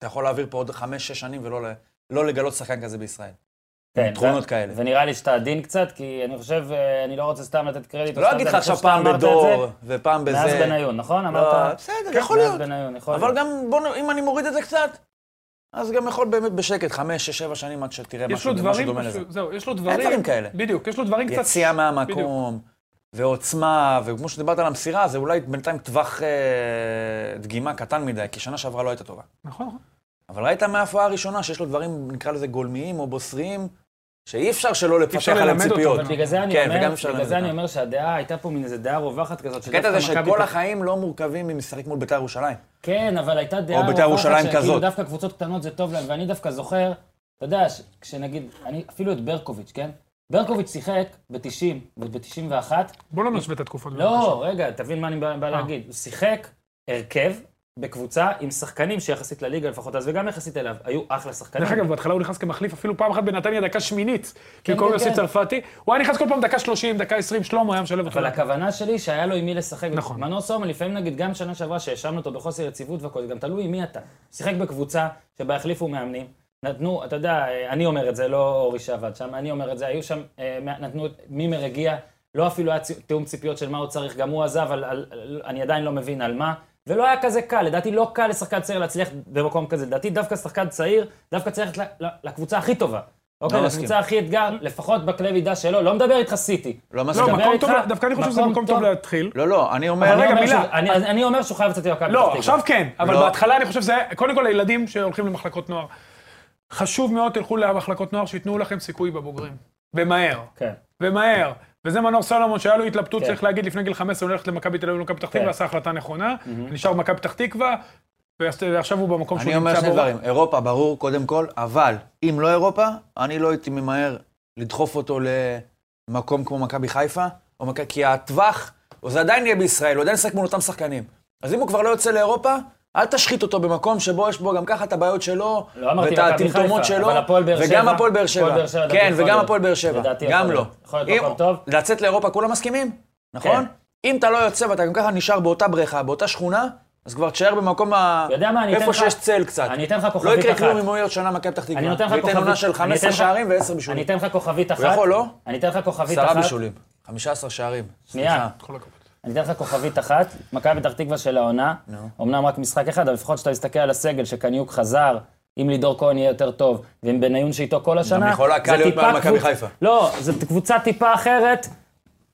Speaker 4: יכול להעביר פה עוד חמש-שש שנים ולא ל- לא לגלות שחקן כזה בישראל.
Speaker 1: כן,
Speaker 4: תכונות
Speaker 1: ו-
Speaker 4: כאלה.
Speaker 1: ונראה לי שאתה עדין קצת, כי אני חושב, אה, אני לא רוצה סתם לתת קרדיט. או
Speaker 4: לא
Speaker 1: סתם
Speaker 4: אגיד לך
Speaker 1: זה,
Speaker 4: עכשיו
Speaker 1: אני חושב
Speaker 4: פעם
Speaker 1: שאתה אמרת את
Speaker 4: בדור, ופעם
Speaker 1: זה
Speaker 4: בזה.
Speaker 1: מאז בניון, נכון?
Speaker 4: לא,
Speaker 1: אמרת?
Speaker 4: בסדר, יכול להיות.
Speaker 1: מאז בניון, יכול להיות.
Speaker 4: אבל גם, בוא, נ- אם אני מוריד את זה קצת, אז גם יכול באמת בשקט, חמש, שש, שבע שנים עד שתראה
Speaker 3: יש
Speaker 4: משהו,
Speaker 3: לו
Speaker 4: משהו
Speaker 3: דברים,
Speaker 4: דומה
Speaker 3: פשוט-
Speaker 4: לזה.
Speaker 3: זהו, יש לו דברים...
Speaker 4: אין דברים כאלה.
Speaker 3: בדיוק, יש לו דברים קצת...
Speaker 4: יציאה מהמקום, ועוצמה, וכמו שדיברת על המסירה, זה אולי בינתיים טווח אה, דגימה קטן מדי, כי שנה שעברה לא הייתה טובה.
Speaker 3: נכון, נכון.
Speaker 4: אבל ראית מההפרעה הראשונה שיש לו דברים, נקרא לזה גולמיים או בוסריים, שאי אפשר שלא לפתח
Speaker 3: אפשר
Speaker 4: עליהם
Speaker 3: ללמד אותו,
Speaker 4: ציפיות.
Speaker 1: אבל בגלל זה אני
Speaker 4: כן,
Speaker 1: אומר,
Speaker 4: וגם אפשר
Speaker 1: בגלל
Speaker 4: ללמד
Speaker 1: זה
Speaker 4: אותה.
Speaker 1: אני אומר שהדעה, הייתה פה מין איזה דעה רווחת כזאת.
Speaker 4: הקטע זה
Speaker 1: שדווקא מכבי
Speaker 4: שכל
Speaker 1: פתח-
Speaker 4: החיים לא מורכבים ממשחק מול בית"ר ירושלים.
Speaker 1: כן, אבל הייתה דעה
Speaker 4: או בית"ר ירושלים
Speaker 1: שכאילו
Speaker 4: כזאת.
Speaker 1: דווקא קבוצות קטנות זה טוב להם, ואני דווקא זוכר, אתה יודע, ש- כשנגיד, אני אפילו את ברקוביץ', כן? ברקוביץ' שיחק ב-90 וב-91,
Speaker 3: בוא לא נשווה את התקופות. בבקשה.
Speaker 1: לא, רגע, תבין מה אני בא בא להגיד. הוא שיחק הרכב בקבוצה עם שחקנים שיחסית לליגה לפחות אז, וגם יחסית אליו, היו אחלה שחקנים.
Speaker 3: דרך אגב, בהתחלה הוא נכנס כמחליף, אפילו פעם אחת בנתניה, דקה שמינית, כי
Speaker 1: כן,
Speaker 3: קוראים יוסי
Speaker 1: כן.
Speaker 3: צרפתי, הוא היה נכנס כל פעם דקה 30, דקה 20, שלמה היה משלב אותו.
Speaker 1: אבל הכוונה שלי שהיה לו עם מי לשחק.
Speaker 3: נכון.
Speaker 1: מנור סומן, לפעמים נגיד, גם שנה שעברה שהאשמנו אותו בחוסר יציבות והכל, זה גם תלוי עם מי אתה. שיחק בקבוצה שבה החליפו מאמנים, נתנו, אתה יודע, אה, אני אומר את זה, לא אורי שעבד שם, אני אומר את זה, היו שם, אה, מה- נתנו, את- מימר הגיע, לא אפילו היה צי- תיאום ציפיות של מה הוא צריך, גם הוא עזב, על- על- על- אני עדיין לא מבין על מה. ולא היה כזה קל, לדעתי לא קל לשחקן צעיר להצליח במקום כזה, לדעתי דווקא שחקן צעיר, דווקא צריך ללכת ל- ל- לקבוצה הכי טובה. אוקיי,
Speaker 4: מסכים.
Speaker 1: לקבוצה הכי אתגר, לפחות בקנה מידה שלו, לא מדבר איתך סיטי.
Speaker 4: לא מסכים.
Speaker 3: לא,
Speaker 1: מדבר
Speaker 3: מקום
Speaker 1: איתך,
Speaker 3: טוב, דווקא אני חושב שזה מקום טוב להתחיל.
Speaker 4: לא, לא, אני אומר...
Speaker 1: אני
Speaker 3: רגע,
Speaker 1: אומר
Speaker 3: מילה.
Speaker 1: שהוא- אני- אני אומר שהוא חייב לצאת עם מכבי
Speaker 3: לא,
Speaker 1: פתח תקווה.
Speaker 3: עכשיו כן, אבל
Speaker 4: לא.
Speaker 3: בהתחלה אני חושב שזה, היה- קודם כל הילדים שהולכים למחלקות נוער. חשוב מאוד, תלכו למחלקות נוער, שייתנו לכם סיכוי בבוגרים. ומהר,
Speaker 1: כן.
Speaker 3: ומהר. וזה מנור סולומון, שהיה לו התלבטות,
Speaker 1: כן.
Speaker 3: צריך להגיד, לפני גיל 15 הוא הולך למכבי תל אביב, למכבי פתח
Speaker 1: כן.
Speaker 3: תקווה, עשה החלטה נכונה, נשאר במכבי פתח תקווה, ועש- ועכשיו הוא במקום שהוא
Speaker 4: אני
Speaker 3: נמצא בו.
Speaker 4: אומר שני דברים, אירופה ברור קודם כל, אבל אם לא אירופה, אני לא הייתי ממהר לדחוף אותו למקום כמו מכבי חיפה, או מכ... כי הטווח, או זה עדיין יהיה בישראל, הוא עדיין ישחק מול אותם שחקנים. אז אם הוא כבר לא יוצא לאירופה, אל תשחית אותו במקום שבו יש בו גם ככה את הבעיות שלו,
Speaker 1: לא אמרתי
Speaker 4: ואת
Speaker 1: מכבי
Speaker 4: הטמטומות
Speaker 1: חיפה,
Speaker 4: שלו,
Speaker 1: אבל הפועל באר שבע-
Speaker 4: וגם הפועל באר שבע.
Speaker 1: הפועל באר שבע, לדעתי
Speaker 4: כן,
Speaker 1: יכול
Speaker 4: וגם
Speaker 1: להיות-
Speaker 4: הפועל באר שבע.
Speaker 1: לדעתי
Speaker 4: גם
Speaker 1: יכול
Speaker 4: לא.
Speaker 1: להיות- יכול להיות
Speaker 4: אם-
Speaker 1: מקום טוב. כן.
Speaker 4: לצאת לאירופה, כולם מסכימים, נכון? אם אתה לא יוצא ואתה גם ככה נשאר באותה בריכה, באותה שכונה, אז כבר תשאר במקום ה...
Speaker 1: יודע מה, אני אתן
Speaker 4: איפה
Speaker 1: לך-
Speaker 4: שיש צל קצת.
Speaker 1: אני אתן לך
Speaker 4: לא
Speaker 1: כוכבית
Speaker 4: יקרה
Speaker 1: אחת.
Speaker 4: כלום אם הוא יהיה עוד שנה מכבי פתח תקווה.
Speaker 1: אני נותן לך
Speaker 4: הוא
Speaker 1: כוכבית.
Speaker 4: ייתן עונה של
Speaker 1: אני
Speaker 4: 15
Speaker 1: אתן לך-
Speaker 4: שערים ו-10
Speaker 1: אני
Speaker 4: בישולים.
Speaker 1: אתן לך כוכבית אחת.
Speaker 4: יכול, לא?
Speaker 1: אני אתן לך כוכבית אחת.
Speaker 4: 10 בישולים. 15 שערים.
Speaker 1: שנייה.
Speaker 4: סליחה.
Speaker 1: אני אתן לך כוכבית אחת. מכבי פתח תקווה של העונה, אמנם רק משחק אחד, אבל לפחות כשאתה מסתכל על הסגל, שקניוק חזר, אם לידור כהן יהיה יותר טוב, ועם בניון שאיתו כל השנה,
Speaker 4: יכולה
Speaker 1: זה
Speaker 4: קל להיות
Speaker 1: טיפה
Speaker 4: מעל מכבי
Speaker 1: קבוצ-
Speaker 4: חיפה.
Speaker 1: לא, זו קבוצה טיפה אחרת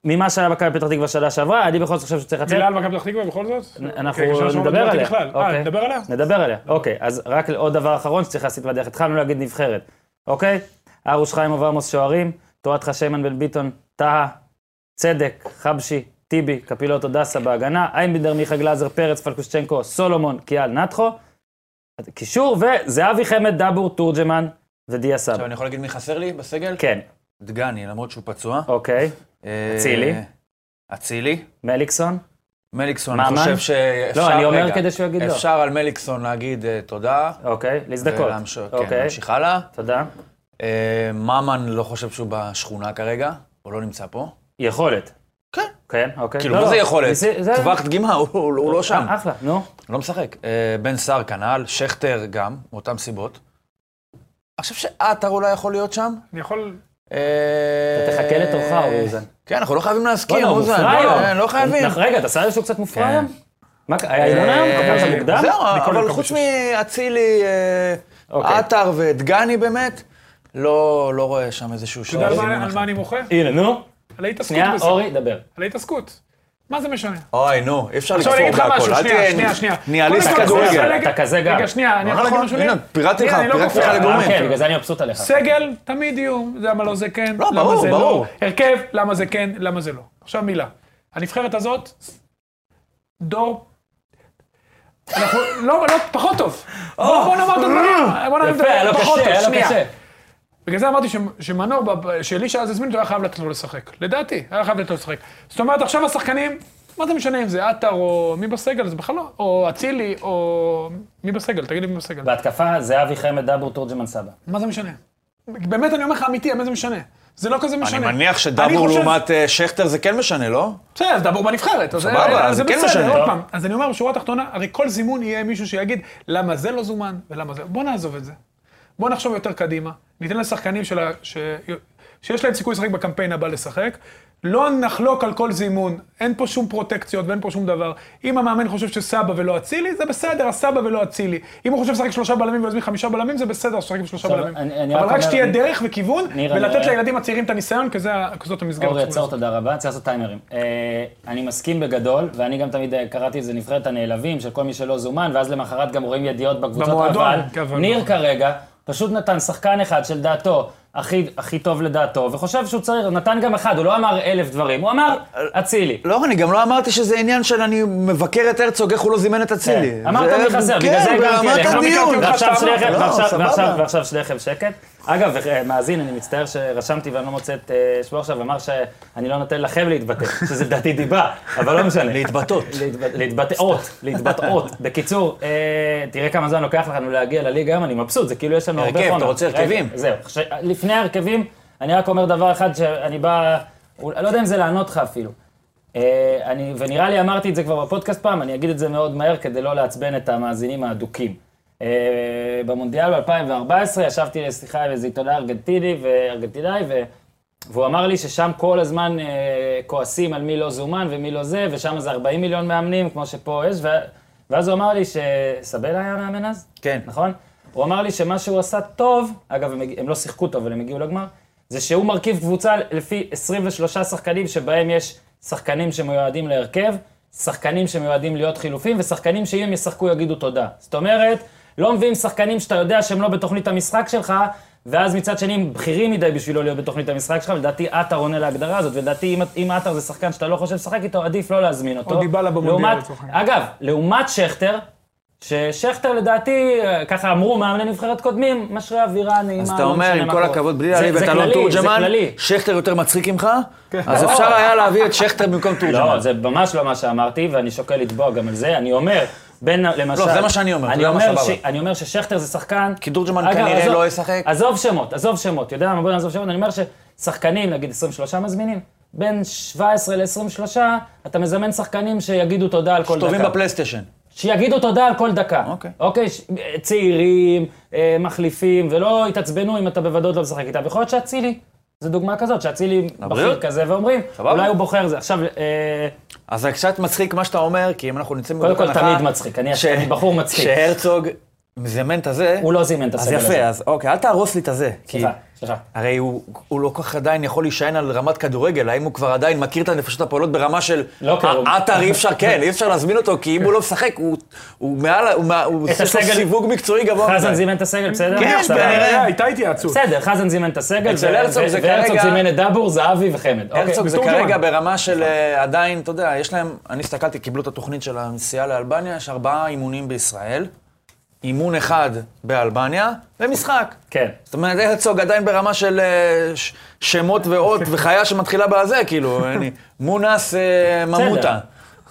Speaker 1: ממה שהיה מכבי פתח תקווה שנה שעברה, אני בכל זאת חושב שצריך לצאת.
Speaker 3: מילה על מכבי פתח תקווה בכל זאת?
Speaker 1: אנחנו
Speaker 3: אוקיי, עכשיו לא
Speaker 1: נדבר
Speaker 3: דיברתי
Speaker 1: עליה.
Speaker 3: בכלל. אה,
Speaker 1: אוקיי.
Speaker 3: נדבר עליה?
Speaker 1: נדבר עליה, אוקיי. אז רק עוד דבר אחרון שצריך להסיט בדרך. התחלנו להגיד נבחרת, אוקיי? ארוש חיימוב ועמוס שוערים, תורתך שיימן בן ביטון, טהה, צדק, חבשי, טיבי, קפילוטו דסה בהגנה, איימבינדר, מיכה גלאזר, פרץ, פלקושצ'נקו, סולומון, קיאל, נטחו, קישור, וזהבי חמד, דבור, תורג'מן ודיה סבא.
Speaker 4: עכשיו אני יכול להגיד מי חסר לי בסגל?
Speaker 1: כן,
Speaker 4: דגני, למרות שהוא פצוע.
Speaker 1: אוקיי.
Speaker 4: אה,
Speaker 1: אצילי.
Speaker 4: אצילי.
Speaker 1: מליקסון?
Speaker 4: מליקסון,
Speaker 1: ממן?
Speaker 4: אני חושב שאפשר...
Speaker 1: לא, אני אומר
Speaker 4: רגע,
Speaker 1: כדי שהוא יגיד לא.
Speaker 4: אפשר על מליקסון להגיד אה, תודה.
Speaker 1: אוקיי, להזדכות.
Speaker 4: ולהמש- כן,
Speaker 1: אוקיי,
Speaker 4: להמשיך הלאה.
Speaker 1: תודה.
Speaker 4: אה, ממן לא חושב שהוא בשכונה כרגע, הוא לא נמצא פה.
Speaker 1: יכולת.
Speaker 4: כן.
Speaker 1: כן, אוקיי.
Speaker 4: כאילו,
Speaker 1: לא,
Speaker 4: מה זה
Speaker 1: לא.
Speaker 4: יכולת?
Speaker 1: ניסי- זה-
Speaker 4: טווח דגימה, הוא- הוא הוא לא שם.
Speaker 1: אה, אחלה, נו.
Speaker 4: לא משחק. אה, בן סער כנ"ל, שכטר גם, מאותן סיבות. אני חושב שעטר אולי יכול להיות שם.
Speaker 3: אני יכול...
Speaker 4: אה,
Speaker 1: אתה תחכה לתורך, אורי אוזן.
Speaker 4: כן, אנחנו לא חייבים
Speaker 1: בואנה,
Speaker 4: להסכים,
Speaker 1: הוא
Speaker 4: אוזן.
Speaker 1: מופרע
Speaker 4: לא,
Speaker 1: היום.
Speaker 4: לא חייבים.
Speaker 1: אנחנו- רגע, אתה שם לב שהוא קצת מופרע
Speaker 4: כן.
Speaker 1: היום? מה, היה אימון היום?
Speaker 4: אה,
Speaker 1: קפלת מוקדם?
Speaker 4: זהו,
Speaker 3: מכל
Speaker 4: אבל
Speaker 3: מקום
Speaker 4: חוץ
Speaker 3: שש.
Speaker 4: מאצילי, אה,
Speaker 1: אוקיי.
Speaker 4: עטר ודגני באמת, לא לא רואה שם איזשהו
Speaker 3: אתה יודע על
Speaker 4: שינוי.
Speaker 3: מה- על מה אני מוחה?
Speaker 1: הנה, נו.
Speaker 3: על ההתעסקות
Speaker 1: אה, שנייה,
Speaker 3: בזה.
Speaker 1: אורי, דבר.
Speaker 3: על ההתעסקות. מה זה משנה?
Speaker 4: אוי, נו, אי אפשר
Speaker 3: עכשיו
Speaker 4: לקפור
Speaker 3: אני אגיד לך
Speaker 4: בהכל.
Speaker 3: משהו,
Speaker 4: אל
Speaker 3: שנייה,
Speaker 4: תהיה
Speaker 3: שנייה, שנייה.
Speaker 4: ניהליסט
Speaker 3: קודם כל,
Speaker 1: כדורגל.
Speaker 4: כדורגל.
Speaker 3: רגע,
Speaker 1: אתה כזה גם.
Speaker 3: רגע, שנייה, אני יכול להגיד
Speaker 4: נכון,
Speaker 3: משהו לי?
Speaker 4: הנה, פירטתי לך,
Speaker 3: שנייה, אני לא
Speaker 4: פירטתי
Speaker 3: כופה.
Speaker 4: לך לגורמים.
Speaker 1: כן, בגלל זה אני מבסוט עליך.
Speaker 3: סגל, תמיד יהיו, למה לא זה כן,
Speaker 4: לא,
Speaker 3: למה
Speaker 4: ברור,
Speaker 3: זה
Speaker 4: ברור.
Speaker 3: לא. הרכב, למה זה כן, למה זה לא. עכשיו מילה. הנבחרת הזאת, דור... אנחנו, לא, לא, פחות טוב. בוא בוא נאמר את הדברים, בוא נאמר את
Speaker 1: יפה, היה לו
Speaker 3: הדברים, פחות
Speaker 1: קשה,
Speaker 3: טוב,
Speaker 1: היה לו
Speaker 3: שנייה.
Speaker 1: קשה.
Speaker 3: בגלל זה אמרתי ש- שמנור, ב- שאלישע אז הזמין אותו, היה חייב לתת לו לשחק. לדעתי, היה חייב לתת לו לשחק. זאת אומרת, עכשיו השחקנים, מה זה משנה אם זה עטר או מי בסגל, זה בכלל לא, או אצילי, או מי בסגל, תגיד לי מי בסגל.
Speaker 1: בהתקפה, זהבי חמד, דאבור, תורג'מן סבא.
Speaker 3: מה זה משנה? באמת, אני אומר לך אמיתי, מה זה משנה? זה לא כזה
Speaker 4: אני
Speaker 3: משנה.
Speaker 4: מניח
Speaker 3: אני
Speaker 4: שדבור
Speaker 3: חושב-
Speaker 4: לעומת אה, שכטר זה כן משנה, לא?
Speaker 3: בסדר, דבור בנבחרת. אז
Speaker 4: סבבה,
Speaker 3: אז
Speaker 4: זה כן
Speaker 3: בסדר,
Speaker 4: משנה.
Speaker 3: עוד פעם, אז אני אומר בשורה התחתונה, הרי כל זימון יהיה מישהו שיגיד, למה זה לא זומן ולמה זה... בוא נעזוב את זה. בוא נחשוב יותר קדימה, ניתן לשחקנים של ה... ש... שיש להם סיכוי לשחק בקמפיין הבא לשחק. לא נחלוק על כל זימון, אין פה שום פרוטקציות ואין פה שום דבר. אם המאמן חושב שסבא ולא אצילי, זה בסדר, הסבא ולא אצילי. אם הוא חושב לשחק שלושה בלמים ויוזמין חמישה בלמים, זה בסדר ששחק עם שלושה
Speaker 1: עכשיו,
Speaker 3: בלמים.
Speaker 1: אני- אני
Speaker 3: אבל
Speaker 1: רק
Speaker 3: רק
Speaker 1: אומר-
Speaker 3: שתהיה דרך וכיוון,
Speaker 1: ניר, אני אוקיי,
Speaker 3: ולתת
Speaker 1: רואה-
Speaker 3: לילדים הצעירים את הניסיון, כי זה ה- זאת המסגרת.
Speaker 1: אורי,
Speaker 3: שאנחנו
Speaker 1: עצור, תודה רבה, צריך לעשות טיימרים. אה, אני מסכים בגדול, ואני גם תמיד אה, קראתי את זה נבחרת הנעלבים של כל מי שלא זומן, ואז למחרת גם רואים ידיעות בקבוצות,
Speaker 3: במועדון,
Speaker 1: אבל
Speaker 3: כמובן.
Speaker 1: ניר כרגע פשוט נתן שחקן אחד של דעתו. הכי, הכי טוב לדעתו, וחושב שהוא צריך, הוא נתן גם אחד, הוא לא אמר אלף דברים, הוא אמר, אצילי.
Speaker 4: לא, אני גם לא אמרתי שזה עניין של אני מבקר את הרצוג, איך הוא לא זימן את אצילי.
Speaker 1: כן. אמרת
Speaker 4: זה-
Speaker 1: לי חסר, בגלל
Speaker 4: כן,
Speaker 1: זה הגעתי
Speaker 4: ברמת
Speaker 1: אליך.
Speaker 4: הדיון.
Speaker 1: ועכשיו
Speaker 4: לא,
Speaker 1: שניכם- ועכשיו-
Speaker 4: סבבה.
Speaker 1: ועכשיו- ועכשיו שניכם שקט. אגב, אה, מאזין, אני מצטער שרשמתי ואני לא מוצא את אה, שמו עכשיו, אמר שאני לא נותן לכם להתבטא, שזה דעתי דיבה, אבל לא משנה.
Speaker 4: להתבטאות.
Speaker 1: להתבט- להתבטאות, להתבטאות. בקיצור, אה, תראה כמה זמן לוקח לנו להגיע לליגה היום, אני מבסוט, זה כאילו יש לנו הרבה
Speaker 4: הרכב,
Speaker 1: חומר.
Speaker 4: אתה רוצה
Speaker 1: רגע,
Speaker 4: הרכבים?
Speaker 1: זהו. ש- לפני ההרכבים, אני רק אומר דבר אחד שאני בא, אני לא יודע אם זה לענות לך אפילו. אה, אני, ונראה לי אמרתי את זה כבר בפודקאסט פעם, אני אגיד את זה מאוד מהר כדי לא לעצבן את המאזינים האדוקים. אה, במונדיאל ב-2014 ישבתי לשיחה עם איזה עיתונאי ארגנטיני וארגנטינאי, ו... והוא אמר לי ששם כל הזמן אה, כועסים על מי לא זומן ומי לא זה, ושם זה 40 מיליון מאמנים, כמו שפה יש, ו... ואז הוא אמר לי שסבלה היה מאמן אז?
Speaker 4: כן.
Speaker 1: נכון? הוא אמר לי שמה שהוא עשה טוב, אגב, הם, הג- הם לא שיחקו טוב, אבל הם הגיעו לגמר, זה שהוא מרכיב קבוצה לפי 23 שחקנים, שבהם יש שחקנים שמיועדים להרכב, שחקנים שמיועדים להיות חילופים, ושחקנים שאם הם ישחקו יגידו תודה. זאת אומרת, לא מביאים שחקנים שאתה יודע שהם לא בתוכנית המשחק שלך, ואז מצד שני הם בכירים מדי בשביל לא להיות בתוכנית המשחק שלך, ולדעתי עטר עונה להגדרה הזאת, ולדעתי אם- אם עטר זה שחקן שאתה לא חושב לשחק איתו, עדיף לא להזמין אותו.
Speaker 3: או דיבלה במונדיאל,
Speaker 1: לעומת-
Speaker 3: לצורך העניין.
Speaker 1: אגב, לעומת שכטר, ששכטר לדעתי, אה, ככה אמרו מאמני נבחרת קודמים, משרה אווירה נעימה.
Speaker 4: אז אתה
Speaker 1: לא
Speaker 4: אומר,
Speaker 1: משנה
Speaker 4: עם
Speaker 1: מה
Speaker 4: כל
Speaker 1: קורה.
Speaker 4: הכבוד, בלי
Speaker 1: זה-
Speaker 4: להעליב את
Speaker 1: זה
Speaker 4: אלון
Speaker 1: כללי, זה
Speaker 4: תורג'מן,
Speaker 1: כללי. כן.
Speaker 4: שכטר יותר מצחיק ממך, אז אפשר היה להביא את שכטר במקום תורג'מן.
Speaker 1: לא, זה ממש לא מה שאמרתי, ואני שוקל לתבוע גם על זה. אני אומר, בין, למשל...
Speaker 4: לא, זה מה שאני אומר, אתה
Speaker 1: אני
Speaker 4: יודע מה
Speaker 1: אומר,
Speaker 4: סבבה.
Speaker 1: ש, אני אומר ששכטר זה שחקן...
Speaker 4: כי תורג'מן
Speaker 1: אגב,
Speaker 4: כנראה
Speaker 1: עזוב-
Speaker 4: לא ישחק.
Speaker 1: עזוב שמות, עזוב שמות. יודע מה, בוא נעזוב שמות. אני אומר ששחקנים, נגיד 23 מזמינים, בין 17 ל-23, אתה מזמן שחקנים שיגידו תודה על כל דקה.
Speaker 4: טובים בפלייסטיישן.
Speaker 1: שיגידו תודה על כל דקה.
Speaker 4: אוקיי.
Speaker 1: אוקיי, ש... צעירים, אה, מחליפים, ולא יתעצבנו אם אתה בוודאות לא משחק איתם. ויכול להיות שאצילי, זו דוגמה כזאת, שאצילי בכיר
Speaker 4: לבריאות.
Speaker 1: כזה, ואומרים,
Speaker 4: סבבה.
Speaker 1: אולי הוא בוחר זה. עכשיו, אה,
Speaker 4: אז זה קצת מצחיק מה שאתה אומר, כי אם אנחנו נמצאים
Speaker 1: קודם
Speaker 4: מנקודת
Speaker 1: כל,
Speaker 4: הנחה
Speaker 1: תמיד מצחיק. אני-
Speaker 4: ש-
Speaker 1: אני בחור מצחיק.
Speaker 4: שהרצוג מזמן את הזה,
Speaker 1: הוא לא זימן את
Speaker 4: אז
Speaker 1: הסגל הזה.
Speaker 4: יפה, אז אוקיי, אל תהרוס לי את הזה. כי
Speaker 1: סליחה, סליחה.
Speaker 4: הרי הוא הוא לא כל כך עדיין יכול להישען על רמת כדורגל, האם הוא כבר עדיין מכיר את הנפשות הפועלות ברמה של...
Speaker 1: לא קרוב.
Speaker 4: "אה, עטר אי אפשר, כן, אי אפשר להזמין אותו, כי אם הוא לא משחק, הוא- הוא מעל, הוא מה- הוא-
Speaker 1: את
Speaker 4: יש לו
Speaker 1: הסגל-
Speaker 4: סיווג מקצועי גבוה.
Speaker 1: חזן
Speaker 4: מדי.
Speaker 1: זימן את הסגל, בסדר?
Speaker 4: כן,
Speaker 1: סבבה.
Speaker 4: כנראה.
Speaker 3: היה, אה, הייתה התייעצות.
Speaker 1: בסדר, חזן זימן את הסגל,
Speaker 4: אצל
Speaker 1: ו-
Speaker 4: הרצוג
Speaker 1: ו-
Speaker 4: זה
Speaker 1: והרצוג
Speaker 4: כרגע-
Speaker 1: זימן את דבור, זהבי וחמד. אוקיי.
Speaker 4: הרצוג זה
Speaker 3: בתורג'מן.
Speaker 4: כרגע ברמה של אה, עדיין, אתה יודע, יש להם, אני הסתכלתי, קיבלו את התוכנית של הנסיעה לאלבניה, יש ארבעה אימונים בישראל, אימון אחד באלבניה, ומשחק.
Speaker 1: כן.
Speaker 4: זאת אומרת, הרצוג עדיין ברמה של אה, ש- שמות ואות וחיה שמתחילה בזה, כאילו, אני- מונס אה, ממוטה.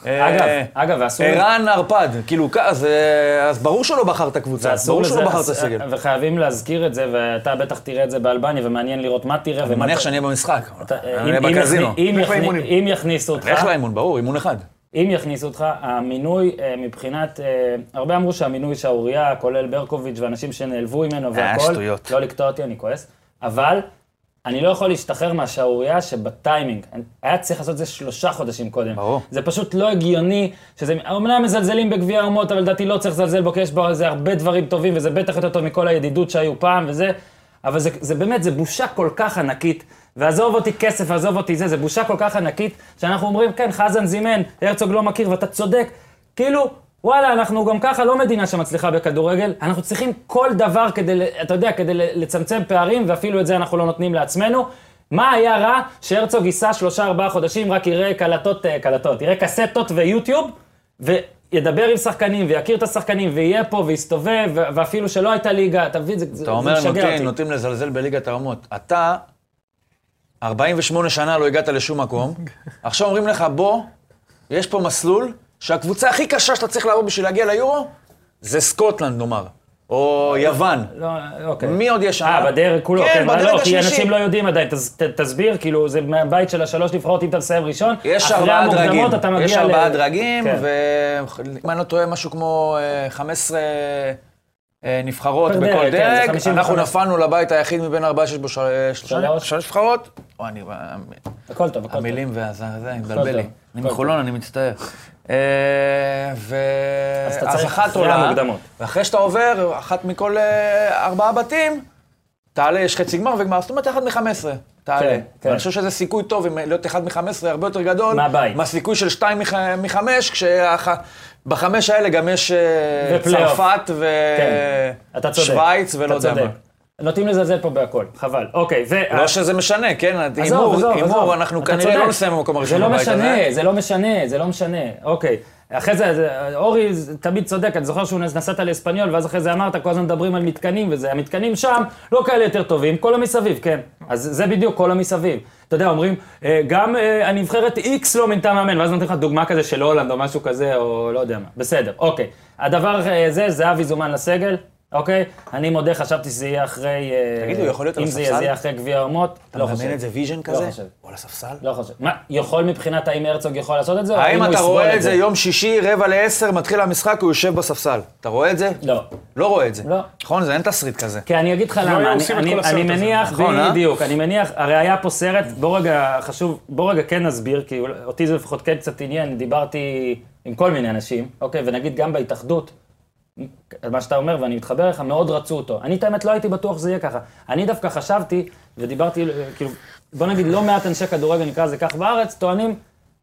Speaker 4: אה,
Speaker 1: אגב, אגב, ואסור-
Speaker 4: ערן ערפד, כאילו, כ- אז, אה, אז ברור שלא בחר את הקבוצה,
Speaker 1: אסור
Speaker 4: ברור שלא
Speaker 1: לזה- אה,
Speaker 4: בחר את
Speaker 1: אס-
Speaker 4: הסגל. אני
Speaker 1: וחייבים להזכיר את זה, ואתה בטח תראה את זה באלבניה, ומעניין לראות מה תראה. ומה
Speaker 4: מניח
Speaker 1: ת-
Speaker 4: שאני אהיה במשחק,
Speaker 1: אתה-
Speaker 4: אני אהיה
Speaker 1: אם- אם
Speaker 4: בקזינו. לא
Speaker 1: יכני- אם
Speaker 3: לך
Speaker 1: יכני-
Speaker 3: לאימונים.
Speaker 1: אם יכניסו אותך,
Speaker 4: איך לאימון, ברור, אימון אחד.
Speaker 1: אם יכניסו אותך, המינוי אה, מבחינת, אה, הרבה אמרו שהמינוי שערורייה, כולל ברקוביץ' ואנשים שנעלבו ממנו
Speaker 4: אה,
Speaker 1: והכול,
Speaker 4: שטויות.
Speaker 1: לא לקטוע אותי, אני כועס, אבל אני לא יכול להשתחרר מהשערורייה שבטיימינג, אני- היה צריך לעשות את זה שלושה חודשים קודם.
Speaker 4: ברור.
Speaker 1: זה פשוט לא הגיוני, שזה, אמנם מזלזלים בגביע האומות, אבל לדעתי לא צריך לזלזל בו, כי יש בו איזה הרבה דברים טובים, וזה בטח יותר טוב מכל הידידות שהיו פעם וזה, אבל זה, זה באמת, זה בושה כל כך ענקית. ועזוב אותי כסף, עזוב אותי זה, זה בושה כל כך ענקית, שאנחנו אומרים, כן, חזן זימן, הרצוג לא מכיר, ואתה צודק. כאילו, וואלה, אנחנו גם ככה לא מדינה שמצליחה בכדורגל, אנחנו צריכים כל דבר כדי, ל- אתה יודע, כדי ל- לצמצם פערים, ואפילו את זה אנחנו לא נותנים לעצמנו. מה היה רע שהרצוג ייסע שלושה-ארבעה חודשים, רק יראה קלטות, אה, קלטות, יראה קסטות ויוטיוב, וידבר עם שחקנים, ויכיר את השחקנים, ויהיה פה, ויסתובב, ו- ואפילו שלא הייתה ליגה, אתה מבין, זה, זה,
Speaker 4: אתה
Speaker 1: זה
Speaker 4: אומר,
Speaker 1: משגע אותי.
Speaker 4: נוטים, נוטים לזלזל בליגת האומות. אתה, 48 שנה לא הגעת לשום מקום, עכשיו אומרים לך, בוא, יש פה מסלול שהקבוצה הכי קשה שאתה צריך לעבור בשביל להגיע ליורו, זה סקוטלנד, נאמר, או יוון.
Speaker 1: לא, אוקיי.
Speaker 4: מי עוד יש שם?
Speaker 1: אה, בדרג כולו,
Speaker 4: כן,
Speaker 1: כן, מה
Speaker 4: בדרג
Speaker 1: לא, כי
Speaker 4: השלישי.
Speaker 1: אנשים לא יודעים עדיין, תס- ת- תסביר, כאילו, זה מהבית של השלוש נבחרות, אם אתה מסיים ראשון,
Speaker 4: יש
Speaker 1: נכון? אחרי
Speaker 4: ארבעה דרגים,
Speaker 1: המוקדמות אתה מגיע
Speaker 4: יש
Speaker 1: ל-
Speaker 4: ארבעה דרגים,
Speaker 1: כן.
Speaker 4: ואם אני לא טועה, משהו כמו אה, 15 אה, נבחרות
Speaker 1: פר
Speaker 4: בכל
Speaker 1: דרג, כן, זה
Speaker 4: דרג.
Speaker 1: 55.
Speaker 4: אנחנו נפלנו לבית היחיד מבין ארבעה שיש בו של- שלושה
Speaker 1: שלוש.
Speaker 4: שלוש נבחרות. או, אני...
Speaker 1: הכל טוב, הכל טוב.
Speaker 4: המילים והזה, זה, אני מבלבל לי.
Speaker 1: טוב,
Speaker 4: אני
Speaker 1: הכל
Speaker 4: מחולון, אני מצטער. אה, ו...
Speaker 1: אז אתה צריך
Speaker 4: אחת
Speaker 1: אחרי
Speaker 4: עולה,
Speaker 1: המוקדמות.
Speaker 4: ואחרי שאתה עובר, אחת מכל אה, ארבעה בתים, תעלה, יש חצי גמר וגמר, זאת אומרת, אחד מ-15 תעלה.
Speaker 1: כן, כן.
Speaker 4: ואני חושב שזה סיכוי טוב אם להיות אחד מ-15 הרבה יותר גדול,
Speaker 1: מהבית.
Speaker 4: מהסיכוי של שתיים מ-5, כשבחמש האלה גם יש אה,
Speaker 1: ופלייאוף.
Speaker 4: צרפת ו...
Speaker 1: כן, אתה צודק.
Speaker 4: שווייץ ולא
Speaker 1: אתה
Speaker 4: יודע מה.
Speaker 1: צודק. נוטים לזלזל פה בהכל, חבל. אוקיי, ו...
Speaker 4: לא שזה משנה, כן? הימור, הימור, אנחנו
Speaker 1: אתה
Speaker 4: כנראה
Speaker 1: צודק.
Speaker 4: לא נסיים במקום הראשון
Speaker 1: זה לא
Speaker 4: בבית הזה.
Speaker 1: משנה, זה לא משנה, זה לא משנה. אוקיי. אחרי זה, זה, אורי זה- תמיד צודק, אני זוכר שהוא נס- נסעת לאספניול, ואז אחרי זה אמרת, כל הזמן מדברים על מתקנים וזה, המתקנים שם לא כאלה יותר טובים, כל המסביב, כן. אז זה בדיוק כל המסביב. אתה יודע, אומרים, אה, גם אה, הנבחרת X לא מינתה מאמן, ואז נותנים לך דוגמה כזה של הולנד או משהו כזה, או לא יודע מה. בסדר, אוקיי. הדבר אה, זה, זהבי זומן לסגל, אוקיי? אני מודה, חשבתי שזה יהיה אחרי... אה,
Speaker 4: תגיד, הוא יכול להיות על
Speaker 1: אם זה יהיה,
Speaker 4: הספסל?
Speaker 1: זה יהיה אחרי גביע האומות, לא חושב.
Speaker 4: מאמן את זה ויז'ן כזה?
Speaker 1: חושב.
Speaker 4: או על הספסל?
Speaker 1: לא חושב. מה, יכול מבחינת האם הרצוג יכול לעשות את זה, או האם
Speaker 4: האם
Speaker 1: הוא
Speaker 4: לא, אתה
Speaker 1: יסבול
Speaker 4: רואה את זה יום שישי, רבע לעשר, מתחיל המשחק, הוא יושב בספסל? אתה רואה את זה?
Speaker 1: לא.
Speaker 4: לא רואה את זה.
Speaker 1: לא.
Speaker 4: נכון? זה אין תסריט כזה.
Speaker 1: כי אני אגיד לך
Speaker 3: היו
Speaker 1: למה, אני,
Speaker 3: עושים את
Speaker 1: אני,
Speaker 3: כל הסרט
Speaker 1: אני
Speaker 3: הזה.
Speaker 1: מניח,
Speaker 4: נכון, אה?
Speaker 1: בדיוק, אני מניח, הרי היה פה סרט, בוא רגע, חשוב, בוא רגע כן נסביר, כי אולי- אותי זה לפחות כן קצת עניין, דיברתי עם כל מיני אנשים, אוקיי, ונגיד גם בהתאחדות, מה שאתה אומר, ואני מתחבר אליך, מאוד רצו אותו. אני, את האמת, לא הייתי בטוח שזה יהיה ככה. אני דווקא חשבתי, ודיברתי, אה, כאילו, בוא נגיד, לא מעט אנשי כדורגל, נקרא לזה כך בארץ, טוענים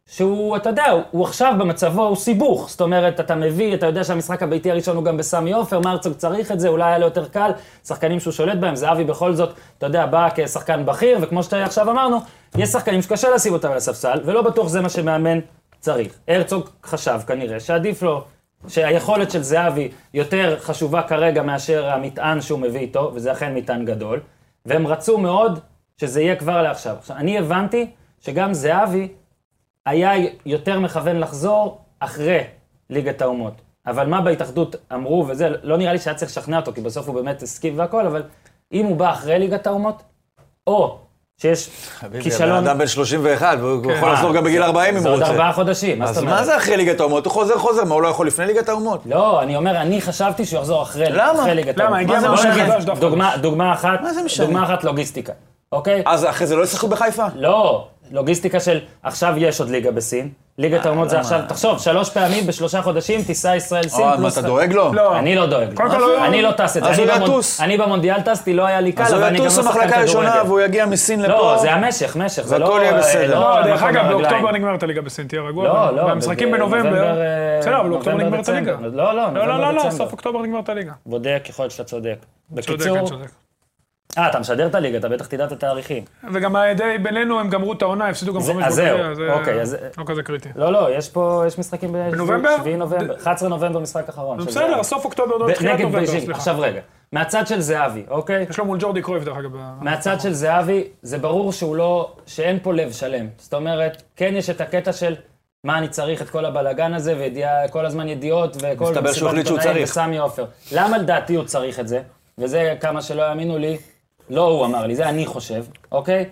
Speaker 1: שהוא, אתה יודע, הוא- הוא עכשיו במצבו, הוא סיבוך. זאת אומרת, אתה מביא, אתה יודע שהמשחק הביתי הראשון הוא גם בסמי עופר, מה הרצוג צריך את זה, אולי היה לו יותר קל, שחקנים שהוא שולט בהם, זהבי בכל זאת, אתה יודע, בא כשחקן בכיר, וכמו שעכשיו אמרנו, יש שחקנים שקשה לשים אותם על הספסל, ולא בטוח זה מה שמאמן צריך. הרצוג חשב כנראה שעדיף לו שהיכולת של זהבי יותר חשובה כרגע מאשר המטען שהוא מביא איתו, וזה אכן מטען גדול, והם רצו מאוד שזה יהיה כבר לעכשיו. עכשיו, אני הבנתי שגם זהבי היה יותר מכוון לחזור אחרי ליגת האומות. אבל מה בהתאחדות אמרו וזה, לא נראה לי שהיה צריך לשכנע אותו, כי בסוף הוא באמת הסכים והכל, אבל אם הוא בא אחרי ליגת האומות, או שיש כישלון... אה,
Speaker 4: בן אדם בן 31, והוא יכול לחזור גם בגיל 40 אם
Speaker 1: זה
Speaker 4: הוא
Speaker 1: עוד
Speaker 4: רוצה.
Speaker 1: ארבעה חודשים, מה זאת
Speaker 4: אז
Speaker 1: אומרת?
Speaker 4: מה זה אחרי ליגת האומות? הוא חוזר חוזר, מה הוא לא יכול לפני ליגת האומות?
Speaker 1: לא, אני אומר, אני חשבתי שהוא יחזור אחרי
Speaker 4: למה?
Speaker 1: אחרי ליגת
Speaker 3: למה?
Speaker 1: האומות.
Speaker 3: הגיע
Speaker 1: מה זה
Speaker 3: משה
Speaker 1: משנה?
Speaker 3: חדש דווקא.
Speaker 1: דוגמה- דוגמה אחת,
Speaker 4: מה זה משנה?
Speaker 1: דוגמה אחת לוגיסטיקה, אוקיי?
Speaker 4: אז אחרי זה לא ישחקו בחיפה?
Speaker 1: לא, לוגיסטיקה של עכשיו יש עוד ליגה בסין,
Speaker 4: אה,
Speaker 1: ליגת האומות זה עכשיו, תחשוב, שלוש פעמים בשלושה חודשים תיסע ישראל סין.
Speaker 4: אה, מה,
Speaker 1: פלוס-
Speaker 4: אתה דואג לו?
Speaker 3: לא.
Speaker 1: אני לא דואג.
Speaker 3: קודם כל לא-
Speaker 1: אני לא טס את זה.
Speaker 4: אז
Speaker 1: אני
Speaker 4: הוא
Speaker 1: לא מונ-
Speaker 4: יטוס.
Speaker 1: אני במונדיאל טסתי, לא היה לי קל,
Speaker 4: אז הוא
Speaker 1: אבל אני גם לא
Speaker 4: יטוס
Speaker 1: שחקן
Speaker 4: למחלקה הראשונה
Speaker 1: כדורגל.
Speaker 4: והוא יגיע מסין לפה.
Speaker 1: לא, זה המשך, משך, זה לא...
Speaker 4: והכל יהיה
Speaker 1: אה,
Speaker 4: בסדר.
Speaker 1: לא,
Speaker 3: לא, דרך
Speaker 1: מקום
Speaker 3: אגב,
Speaker 1: ברגליים.
Speaker 3: באוקטובר נגמרת הליגה בסין, תהיה רגוע.
Speaker 1: לא, לא.
Speaker 3: והמשחקים
Speaker 1: בג-
Speaker 3: בנובמבר.
Speaker 1: אה,
Speaker 3: בסדר, אבל באוקטובר
Speaker 1: נובמבר,
Speaker 3: נגמרת הליגה.
Speaker 1: דצמבר. לא, לא,
Speaker 3: לא, לא, לא,
Speaker 1: נובמבר,
Speaker 3: לא,
Speaker 1: דצמבר.
Speaker 3: סוף אוקטובר נגמרת הליגה.
Speaker 1: בודק, יכול להיות שאתה צודק.
Speaker 3: צודק,
Speaker 1: בקיצור,
Speaker 3: אני צודק.
Speaker 1: אה, אתה משדר את הליגה, אתה בטח תדע את התאריכים.
Speaker 3: וגם די בינינו הם גמרו את העונה, הפסידו גם
Speaker 1: זה-
Speaker 3: חמש
Speaker 1: אז
Speaker 3: בגביע,
Speaker 1: זהו,
Speaker 3: זה
Speaker 1: אוקיי, אז-
Speaker 3: לא כזה קריטי.
Speaker 1: לא, לא, יש פה, יש משחקים ב-
Speaker 3: בנובמבר?
Speaker 1: 7 נובמבר, 11 נובמבר, משחק אחרון. של
Speaker 3: בסדר,
Speaker 1: זהבי.
Speaker 3: סוף אוקטובר,
Speaker 1: ב-
Speaker 3: לא תחילת
Speaker 1: נגד
Speaker 3: נובמבר,
Speaker 1: בייג'ינג.
Speaker 3: סליחה.
Speaker 1: עכשיו רגע, מהצד של זהבי, אוקיי?
Speaker 3: יש לו מול ג'ורדי קרויף, דרך אגב.
Speaker 1: מהצד של זהבי, זה ברור שהוא לא, שאין פה לב שלם. זאת אומרת, כן יש את הקטע של מה אני צריך את כל הבלגן הזה, וכל הזמן ידיעות, וכל
Speaker 4: מסתבר שהוא
Speaker 1: מסיבת
Speaker 4: החליט שהוא
Speaker 1: עיתונאים,
Speaker 4: צריך.
Speaker 1: וסמי עופר. למה לדעתי הוא צריך את זה? וזה, כמה שלא יאמינו לי, לא הוא אמר לי, זה אני חושב, אוקיי?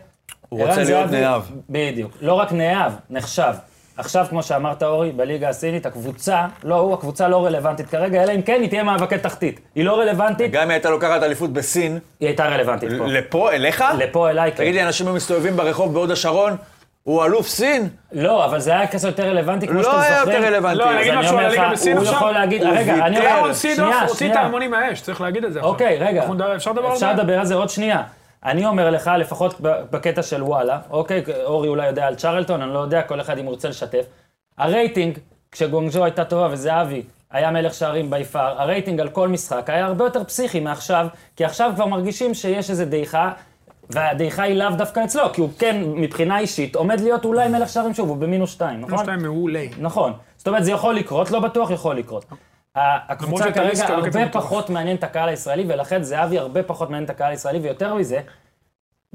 Speaker 1: הוא
Speaker 4: רוצה להיות נאהב.
Speaker 1: בדיוק. לא רק נאהב, נחשב. עכשיו, כמו שאמרת, אורי, בליגה הסינית, הקבוצה, לא הוא, הקבוצה לא רלוונטית כרגע, אלא אם כן היא תהיה מאבקי תחתית. היא לא רלוונטית,
Speaker 4: גם אם הייתה לוקחת אליפות בסין,
Speaker 1: היא הייתה רלוונטית פה.
Speaker 4: לפה, אליך?
Speaker 1: לפה אליי, כן.
Speaker 4: תגיד לי, אנשים היו מסתובבים ברחוב בהוד השרון, הוא אלוף סין?
Speaker 1: לא, אבל זה היה כסף יותר רלוונטי, כמו שאתם
Speaker 4: לא
Speaker 1: זוכרים.
Speaker 4: היה יותר רלוונטי.
Speaker 3: לא, אני אגיד
Speaker 1: אז אני
Speaker 3: משהו על
Speaker 1: אומר
Speaker 3: הליגה
Speaker 1: לך,
Speaker 3: בסין
Speaker 1: הוא
Speaker 3: עכשיו?
Speaker 1: יכול להגיד,
Speaker 4: הוא
Speaker 1: רגע, אני
Speaker 4: ויתר.
Speaker 1: אומר,
Speaker 3: אהרון סידוף
Speaker 1: שנייה,
Speaker 3: הוציא את
Speaker 1: שנייה.
Speaker 3: ההמונים מהאש, צריך להגיד את זה עכשיו.
Speaker 1: אוקיי, רגע.
Speaker 3: אנחנו נדבר- אפשר לדבר על זה?
Speaker 1: אפשר לדבר על זה עוד שנייה. אני אומר לך, לפחות ב- בקטע של וואלה, אוקיי, אורי אולי יודע על צ'רלטון, אני לא יודע, כל אחד אם הוא רוצה לשתף. הרייטינג, כשגונג'ו הייתה טובה וזהבי היה מלך שערים ביפר, הרייטינג על כל משחק היה הרבה יותר פסיכי מעכשיו, כי עכשיו כבר מרגישים שיש איזו דעיכה, והדעיכה היא לאו דווקא אצלו, כי הוא כן, מבחינה אישית, עומד להיות אולי מלך שערים שוב, הוא במינוס שתיים, נכון?
Speaker 3: יש להם מעולה.
Speaker 1: נכון. זאת אומרת, זה יכול לקרות, לא בטוח יכול לקרות. ה- הקבוצה
Speaker 3: שטליסקה
Speaker 1: כרגע
Speaker 3: אוקיי. לא כזה
Speaker 1: הרבה
Speaker 3: בטוח.
Speaker 1: פחות מעניין את הקהל הישראלי, ולכן זהבי הרבה פחות מעניין את הקהל הישראלי, ויותר מזה,